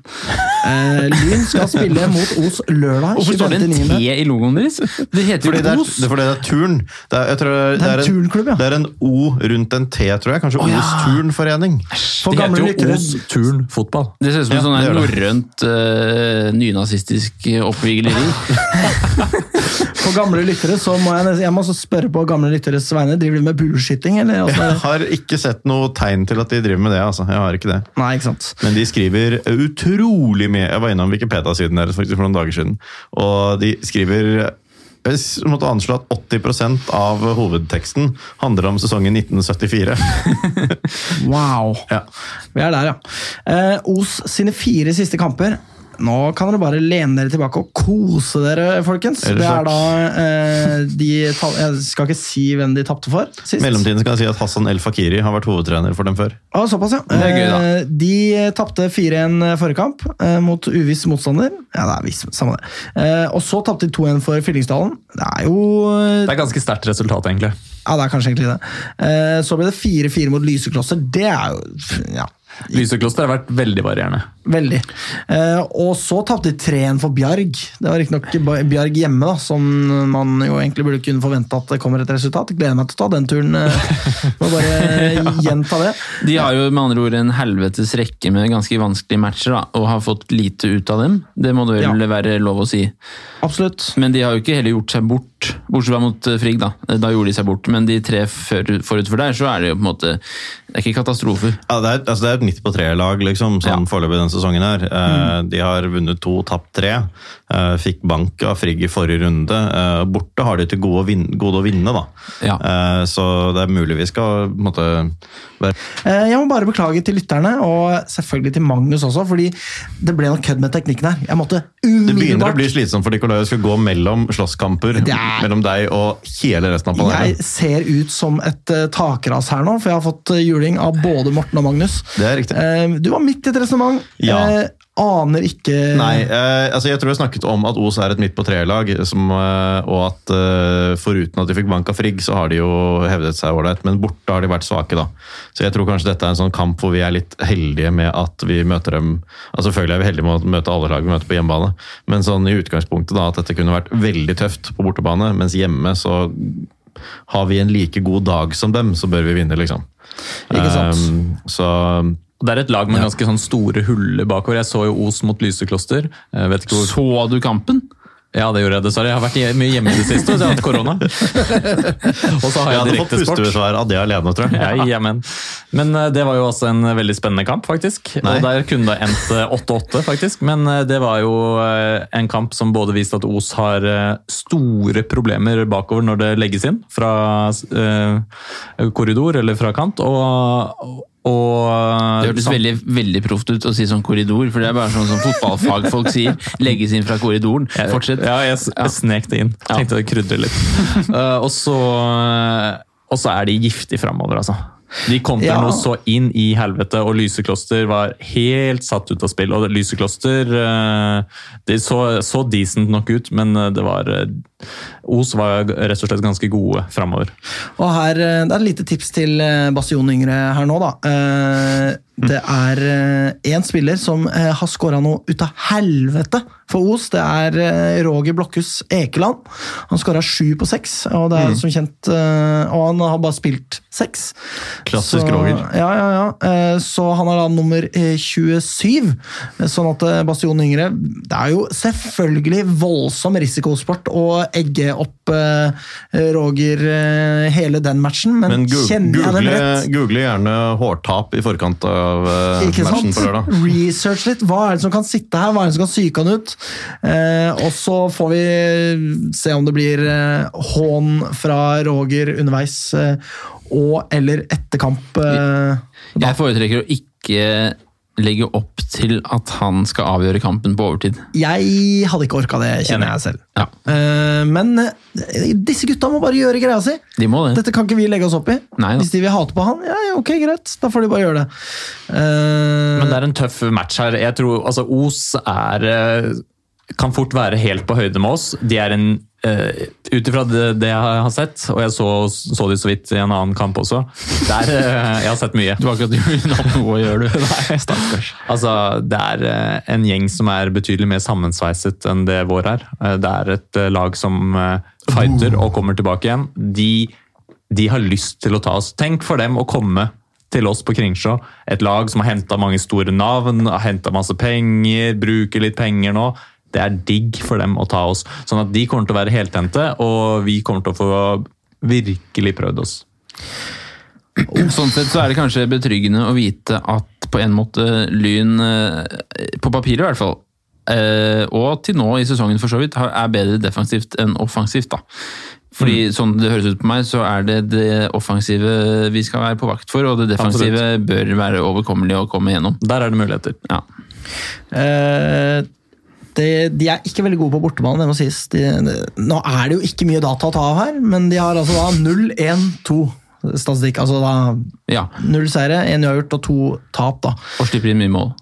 Speaker 2: Eh, Lyn skal spille mot Os lørdag.
Speaker 4: Hvorfor står det en
Speaker 2: 25.9..
Speaker 4: T i logoen deres? Det heter
Speaker 3: Fordi det
Speaker 4: jo
Speaker 3: er,
Speaker 4: Os.
Speaker 3: det er fordi det er turn. Det er, jeg tror det,
Speaker 2: Det er en
Speaker 3: en-
Speaker 2: turnklubb, ja.
Speaker 3: Det er en O rundt en T, tror jeg. Kanskje Os turnforening.
Speaker 2: For
Speaker 1: Det
Speaker 2: gamle
Speaker 1: heter jo
Speaker 2: lyttere
Speaker 1: Os turn fotball.
Speaker 4: Det ser ut som
Speaker 3: Ja,
Speaker 4: en sånn
Speaker 3: det
Speaker 4: her
Speaker 3: gjør
Speaker 4: norrønt eh, nynazistisk eh, oppvigleri.
Speaker 2: For gamle lyttere så må jeg, nesten- jeg må også spørre på gamle lytteres vegne. Driver de med bueskyting, eller? Altså,
Speaker 3: Jeg har ikke sett noe tegn til at de driver med det. altså. Jeg har ikke det.
Speaker 2: Nei, ikke sant.
Speaker 3: Men de skriver eh, utrolig mye. Jeg var innom Wikipedia-siden deres faktisk for noen dager siden. Og de skriver jeg s- måtte anslå at 80 av hovedteksten handler om sesongen 1974.
Speaker 2: Wow.
Speaker 3: Ja.
Speaker 2: Vi er der, ja. Eh, Os sine fire siste kamper. Nå kan dere bare lene dere tilbake og kose dere, folkens.
Speaker 3: Er det
Speaker 2: Det er
Speaker 3: slags-
Speaker 2: da eh, de ta- Jeg skal ikke si hvem de tapte for sist.
Speaker 3: mellomtiden kan jeg si at Hassan El Fakiri har vært hovedtrener for dem før.
Speaker 2: Ah, såpass, ja.
Speaker 4: Det er gøy, da.
Speaker 2: Eh, De tapte 4-1 forrige kamp eh, mot uviss motstander. Ja, det er viss, samme det. Eh, Og så tapte de 2-1 for Fyllingsdalen. Det er jo eh,
Speaker 1: Det er ganske sterkt resultat, egentlig.
Speaker 2: Ja, det er kanskje egentlig det. Eh, Så ble det 4-4 mot Lyseklosser. Det er jo ja,
Speaker 1: Lysekloster har vært veldig varierende.
Speaker 2: veldig. Eh, Og så tapte de 3-1 for Bjarg. Det var riktignok Bjarg hjemme, da, som man jo egentlig burde kunne forvente at det kommer et resultat. Gleder meg til å ta den turen. eh. Må bare gjenta det.
Speaker 4: De har jo med andre ord en helvetes rekke med ganske vanskelige matcher, da, og har fått lite ut av dem. Det må det vel være lov å si.
Speaker 2: Absolutt.
Speaker 4: Men de har jo ikke heller gjort seg bort, bortsett fra mot eh, Frigg, da. Da gjorde de seg bort, men de tre før, forut for der, så er det jo på en måte Det er ikke katastrofer.
Speaker 3: Ja, det, er, altså det er et midt på tre-lag liksom, sånn
Speaker 4: Ja.
Speaker 3: foreløpig denne sesongen. her. Eh, De har vunnet to, tapt tre. Eh, fikk bank av Frigg i forrige runde. Eh, borte har de til gode å vinne, gode å vinne da.
Speaker 4: Ja.
Speaker 3: Eh, så det er mulig vi skal på en måte, være
Speaker 2: Eh, Jeg må bare beklage til lytterne, og selvfølgelig til Magnus også, fordi det ble noe kødd med teknikken her. Jeg måtte
Speaker 3: Det begynner å
Speaker 2: umiddelbart
Speaker 3: bli sånn, slitsomt for Nicolai å skulle gå mellom slåsskamper
Speaker 2: er-
Speaker 3: mellom deg og hele resten av
Speaker 2: Jeg
Speaker 3: panelet.
Speaker 2: ser ut som et eh, takras her nå, for jeg har fått eh, juling av både Morten og Magnus.
Speaker 3: Det er riktig.
Speaker 2: Eh, Du var midt i et resonnement.
Speaker 3: Ja.
Speaker 2: Eh, aner ikke
Speaker 3: Nei, eh, altså jeg tror jeg snakket om at Os er et midt på treet-lag, som, eh, og at eh, foruten at de fikk bank av Frigg, så har de jo hevdet seg ålreit, men borte har de vært svake, da. Så jeg tror kanskje dette er en sånn kamp hvor vi er litt heldige med at vi møter dem altså Selvfølgelig er vi heldige med å møte alle lag vi møter på hjemmebane, men sånn i utgangspunktet da, at dette kunne vært veldig tøft på bortebane, mens hjemme så har vi en like god dag som dem, så bør vi vinne, liksom.
Speaker 2: Ikke sant?
Speaker 3: Um, så
Speaker 1: Det er et lag med ganske sånn store huller bakover. Jeg så jo Os mot Lysekloster. Jeg vet ikke hvor...
Speaker 4: Så du kampen?
Speaker 1: Ja, det gjorde jeg, dessverre. Jeg har vært i- mye hjemme i det siste, så jeg har hatt korona. Og så har
Speaker 3: Jeg
Speaker 1: jeg
Speaker 3: hadde fått
Speaker 1: direktesport.
Speaker 3: pustebesvær av det alene, tror jeg.
Speaker 1: Ja, jamen. Men eh, det var jo også en veldig spennende kamp, faktisk.
Speaker 3: Nei.
Speaker 1: Og der kunne det endt eh, 8-8, faktisk. Men eh, det var jo eh, en kamp som både viste at Os har eh, store problemer bakover når det legges inn fra eh, korridor eller fra kant, og, og eh,
Speaker 4: Det hørtes veldig, veldig proft ut å si sånn korridor, for det er bare sånn som fotballfagfolk sier. Legges inn fra korridoren. Fortsett.
Speaker 1: Eh, Ja, jeg, s- jeg snek det inn. Tenkte å krydre litt. Eh, og, så, eh, og så er de giftige framover, altså. De kontrer
Speaker 2: Ja.
Speaker 1: noe så inn i helvete, og Lysekloster var helt satt ut av spill. Og Lysekloster eh, de så, så decent nok ut, men eh, det var eh, Os var rett og slett ganske gode framover.
Speaker 2: Og her, eh, Det er et lite tips til eh, Bastion Yngre her nå, da. Eh, Det er én spiller som eh, har skåra noe ut av helvete for Os. Det er eh, Roger Blokhus Ekeland. Han skåra sju på seks, og det
Speaker 3: Mm.
Speaker 2: er som kjent eh, Og han har bare spilt seks.
Speaker 3: Klassisk
Speaker 2: så,
Speaker 3: Roger.
Speaker 2: Ja, ja, ja. Eh, Så han er da nummer eh, 27. Eh, Sånn at eh, Bastion Yngre Det er jo selvfølgelig voldsom risikosport å egge opp eh, Roger eh, hele den matchen, men,
Speaker 3: Men gu-
Speaker 2: kjenner jeg den
Speaker 3: google, eh,
Speaker 2: rett?
Speaker 3: google gjerne hårtap i forkant av eh,
Speaker 2: Ikke
Speaker 3: matchen
Speaker 2: sant?
Speaker 3: på lørdag.
Speaker 2: Research litt. Hva er det som kan sitte her? Hva er det som kan psyke han ut? Eh, og så får vi se om det blir eh, hån fra Roger underveis eh, og eller etter kamp. Eh,
Speaker 4: Jeg foretrekker å ikke legge opp til at han skal avgjøre kampen på overtid.
Speaker 2: Jeg hadde ikke orka det, kjenner jeg selv.
Speaker 4: Ja.
Speaker 2: Eh, men eh, disse gutta må bare gjøre greia si.
Speaker 4: De må det.
Speaker 2: Dette kan ikke vi legge oss opp i.
Speaker 4: Nei da.
Speaker 2: Hvis de vil hate på han, ja, ja, ok, greit. Da får de bare gjøre det. Eh,
Speaker 1: Men det er en tøff match her. Jeg tror, altså, Os er, eh, kan fort være helt på høyde med oss. De er en Uh, Ut ifra det, det jeg har sett, og jeg så, så de så vidt i en annen kamp også der, eh, Jeg har sett mye.
Speaker 4: Du har ikke hatt noe å gjøre, du.
Speaker 1: Nei, stakkars. Altså, det er eh, en gjeng som er betydelig mer sammensveiset enn det vår er. Eh, Det er et eh, lag som eh, fighter og kommer tilbake igjen. De, de har lyst til å ta oss. Tenk for dem å komme til oss på Kringsjå. Et lag som har henta mange store navn, har henta masse penger, bruker litt penger nå. Det er digg for dem å ta oss. Sånn at de kommer til å være heltente, og vi kommer til å få virkelig prøvd oss.
Speaker 4: Sånn sett så er det kanskje betryggende å vite at på en måte Lyn, eh, på papiret i hvert fall, eh, og til nå i sesongen for så vidt, har- er bedre defensivt enn offensivt. da.
Speaker 2: Mm.
Speaker 4: Fordi sånn det høres ut på meg, så er det det offensive vi skal være på vakt for, og det defensive bør være overkommelig å komme gjennom.
Speaker 1: Der er det muligheter.
Speaker 4: Ja.
Speaker 2: Eh, det, de er ikke veldig gode på bortebane, det må sies. De, de- nå er det jo ikke mye data å ta av her, men de har altså da 0-1-2 statistikk. Altså da
Speaker 4: ja.
Speaker 2: null seire, én uavgjort og to tap, da.
Speaker 4: Og slipper inn mye mål.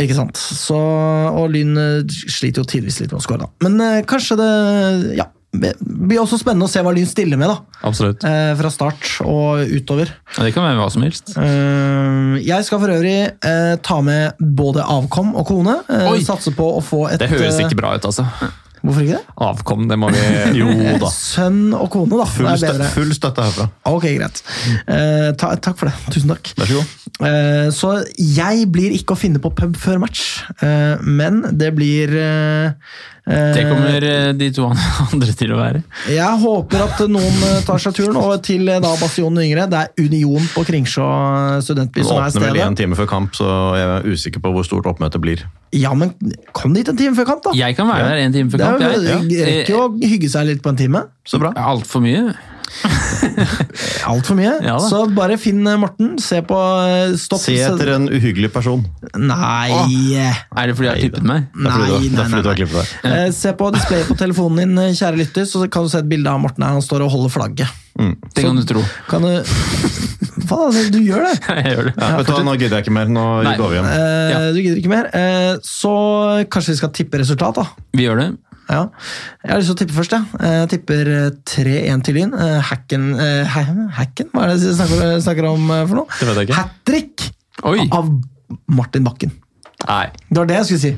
Speaker 2: Ikke sant? Så, og Lyn eh, sliter jo tidvis litt med å skåre, da. Men eh, kanskje det Ja. Det blir også spennende å se hva Lyn stiller med, da.
Speaker 1: Absolutt.
Speaker 2: Eh, fra start og utover.
Speaker 4: Ja, det kan være hva som helst.
Speaker 2: Eh, jeg skal for øvrig eh, ta med både avkom og kone. Eh,
Speaker 1: Oi!
Speaker 2: satse på å få et
Speaker 1: Det høres
Speaker 2: eh,
Speaker 1: ikke bra ut, altså.
Speaker 2: Hvorfor ikke det?
Speaker 1: Avkom, det må vi Jo da.
Speaker 2: Sønn og kone, da.
Speaker 3: Full,
Speaker 2: det er
Speaker 3: stø
Speaker 2: bedre.
Speaker 3: full støtte herfra.
Speaker 2: Ok, greit. Eh, ta, takk for det. Tusen takk.
Speaker 3: Vær så god.
Speaker 2: Eh, så jeg blir ikke å finne på pub før match, eh, men det blir eh, eh,
Speaker 4: Det kommer eh, de to andre til å være.
Speaker 2: Jeg håper at noen eh, tar seg turen. Og til eh, da Bastionen yngre, det er Union på Kringsjå eh, studentby
Speaker 3: Den
Speaker 2: som er
Speaker 3: åpner vel
Speaker 2: stedet.
Speaker 3: en time før kamp, så jeg er usikker på hvor stort oppmøtet blir.
Speaker 2: Ja, men kom dit en time før kamp, da!
Speaker 4: Jeg kan være der en time før
Speaker 2: det
Speaker 4: kamp.
Speaker 2: er, jo-
Speaker 4: jeg.
Speaker 2: det rekker jo å hygge seg litt på en time.
Speaker 3: Så bra.
Speaker 4: Altfor mye.
Speaker 2: Altfor mye.
Speaker 4: Ja da.
Speaker 2: så bare finn eh, Morten. Se på eh, Stopp.
Speaker 3: Se etter en uhyggelig person.
Speaker 2: Nei!
Speaker 4: Er det fordi jeg har tippet meg?
Speaker 3: Det er fordi du
Speaker 2: Nei,
Speaker 3: har- det er
Speaker 2: nei,
Speaker 3: fordi du
Speaker 2: nei.
Speaker 3: har klippet deg.
Speaker 2: Eh, Se på displayet på telefonen din, eh, kjære lytter, så kan du se et bilde av Morten her. Han står og holder flagget.
Speaker 4: Det kan du tro.
Speaker 2: Kan du anbefale. Altså, du gjør det.
Speaker 1: Jeg gjør det.
Speaker 3: Ja, vet du hva, Nå gidder jeg ikke mer. Nå
Speaker 1: Nei.
Speaker 3: går vi hjem.
Speaker 2: Eh,
Speaker 1: Ja.
Speaker 2: Du gidder ikke mer. Eh, så kanskje vi skal tippe resultat, da.
Speaker 4: Vi gjør det.
Speaker 2: Ja. Jeg har lyst til å tippe først. Jeg, jeg tipper eh, 3-1 til Lyn. Eh, Hacken eh, hæ- Hacken? Hva er det du snakker, snakker om eh, for noe?
Speaker 1: Det vet jeg ikke.
Speaker 2: Hat trick
Speaker 4: Oi!
Speaker 2: av Martin Bakken.
Speaker 1: Nei.
Speaker 2: Det var det jeg skulle si.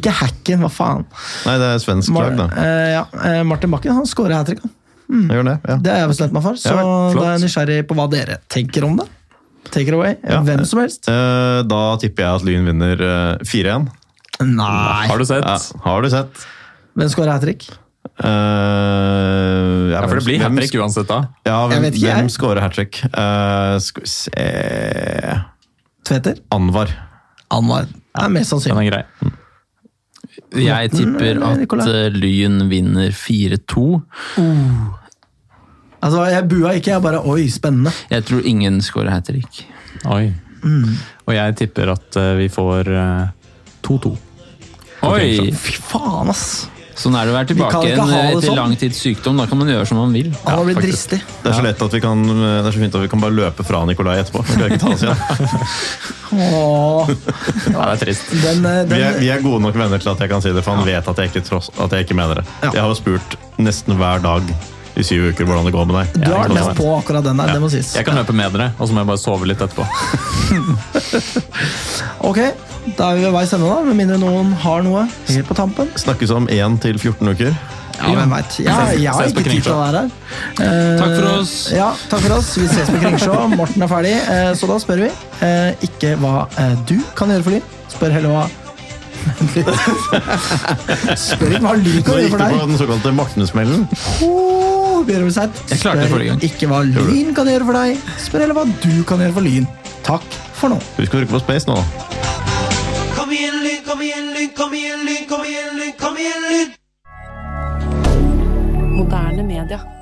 Speaker 2: Ikke hacken, hva faen.
Speaker 3: Nei, det er svensk
Speaker 2: Mar
Speaker 3: lag, da.
Speaker 2: eh, ja, eh, Martin Bakken han scorer hat trick.
Speaker 3: Jeg gjør det, ja.
Speaker 2: Mm. Det har jeg bestemt meg for, så
Speaker 3: Ja vel, flott.
Speaker 2: da er jeg nysgjerrig på hva dere tenker om det. Take it away.
Speaker 3: Ja.
Speaker 2: Hvem som helst.
Speaker 3: Eh, Da tipper jeg at Lyn vinner eh, 4-1.
Speaker 2: Nei!
Speaker 1: Har du sett?
Speaker 3: Ja, har du sett?
Speaker 2: Hvem scorer hat trick?
Speaker 3: Eh, ja,
Speaker 1: Ja, for det
Speaker 3: hvem-
Speaker 1: blir hat
Speaker 3: hvem-
Speaker 1: trick uansett da.
Speaker 3: Ja,
Speaker 2: Jeg
Speaker 3: hvem,
Speaker 2: vet ikke,
Speaker 3: hvem
Speaker 2: jeg.
Speaker 3: scorer hat trick? Eh, skal vi se
Speaker 2: Tveter?
Speaker 3: Anwar.
Speaker 2: Anwar. Det er mest
Speaker 1: Den
Speaker 2: sannsynlig.
Speaker 1: er grei.
Speaker 4: Jeg tipper
Speaker 2: Nei,
Speaker 4: at
Speaker 2: Mm, Nicolai.
Speaker 4: eh, Lyn vinner 4-2.
Speaker 2: Altså, jeg bua ikke, jeg bare Oi, spennende.
Speaker 4: Jeg tror ingen scorer hat trick.
Speaker 1: Oi. Og jeg tipper at eh, vi får eh, 2-2.
Speaker 4: Oi!
Speaker 2: Fy faen, ass!
Speaker 4: Sånn er det å være
Speaker 2: kan
Speaker 4: tilbake
Speaker 2: ikke
Speaker 4: igjen
Speaker 2: ha det
Speaker 4: etter
Speaker 2: sånn.
Speaker 4: lang tids sykdom. Da kan man gjøre som man vil.
Speaker 2: Han har blitt dristig.
Speaker 3: Det er så lett at vi kan eh, Det er så fint at vi kan bare løpe fra Nikolai etterpå. Vi, kan ikke ta oss igjen.
Speaker 2: Åh.
Speaker 1: Ja, det er trist.
Speaker 2: Den, eh, den,
Speaker 3: vi, er, vi er gode nok venner til at jeg kan si det, for han vet at jeg ikke, tross, at jeg ikke mener det.
Speaker 2: Ja.
Speaker 3: Jeg har jo spurt nesten hver dag i syv uker hvordan det går med deg.
Speaker 2: du har
Speaker 3: Jeg
Speaker 2: vært
Speaker 3: kan
Speaker 2: mest
Speaker 3: si
Speaker 2: på akkurat den der, det må sies.
Speaker 1: Jeg kan løpe med dere, og så må jeg bare sove litt etterpå.
Speaker 2: Ok, da er vi ved veis ende, da. Med mindre noen har noe helt på tampen.
Speaker 3: det. Snakkes om én til 14 uker.
Speaker 2: Ja, hvem veit. Ja, jeg har
Speaker 1: ses på
Speaker 2: ikke tid til å være her. Eh,
Speaker 4: Takk for oss.
Speaker 2: Ja, takk for oss. Vi ses på Kringsjå. Morten er ferdig, eh, så da spør vi eh, ikke hva eh, du kan gjøre for Lyn. Spør heller hva Vent litt. Spør ikke hva Lyn
Speaker 3: Nå
Speaker 2: kan gjøre
Speaker 3: gikk
Speaker 2: for
Speaker 3: du på
Speaker 2: deg.
Speaker 3: den såkalte Morten-smellen.
Speaker 2: Oh, Bjørn Ulstein.
Speaker 4: Jeg klarte det
Speaker 2: Spør
Speaker 4: forrige gang.
Speaker 2: Ikke hva Lyn kan gjøre for deg. Spør heller hva du kan gjøre for Lyn. Takk for nå.
Speaker 3: Husk å trykke på space nå, da.
Speaker 8: Kom igjen, Lyn, kom igjen, Lyn, kom igjen, Lyn, kom igjen, Lyn, kom igjen, Lyn!
Speaker 9: Moderne media.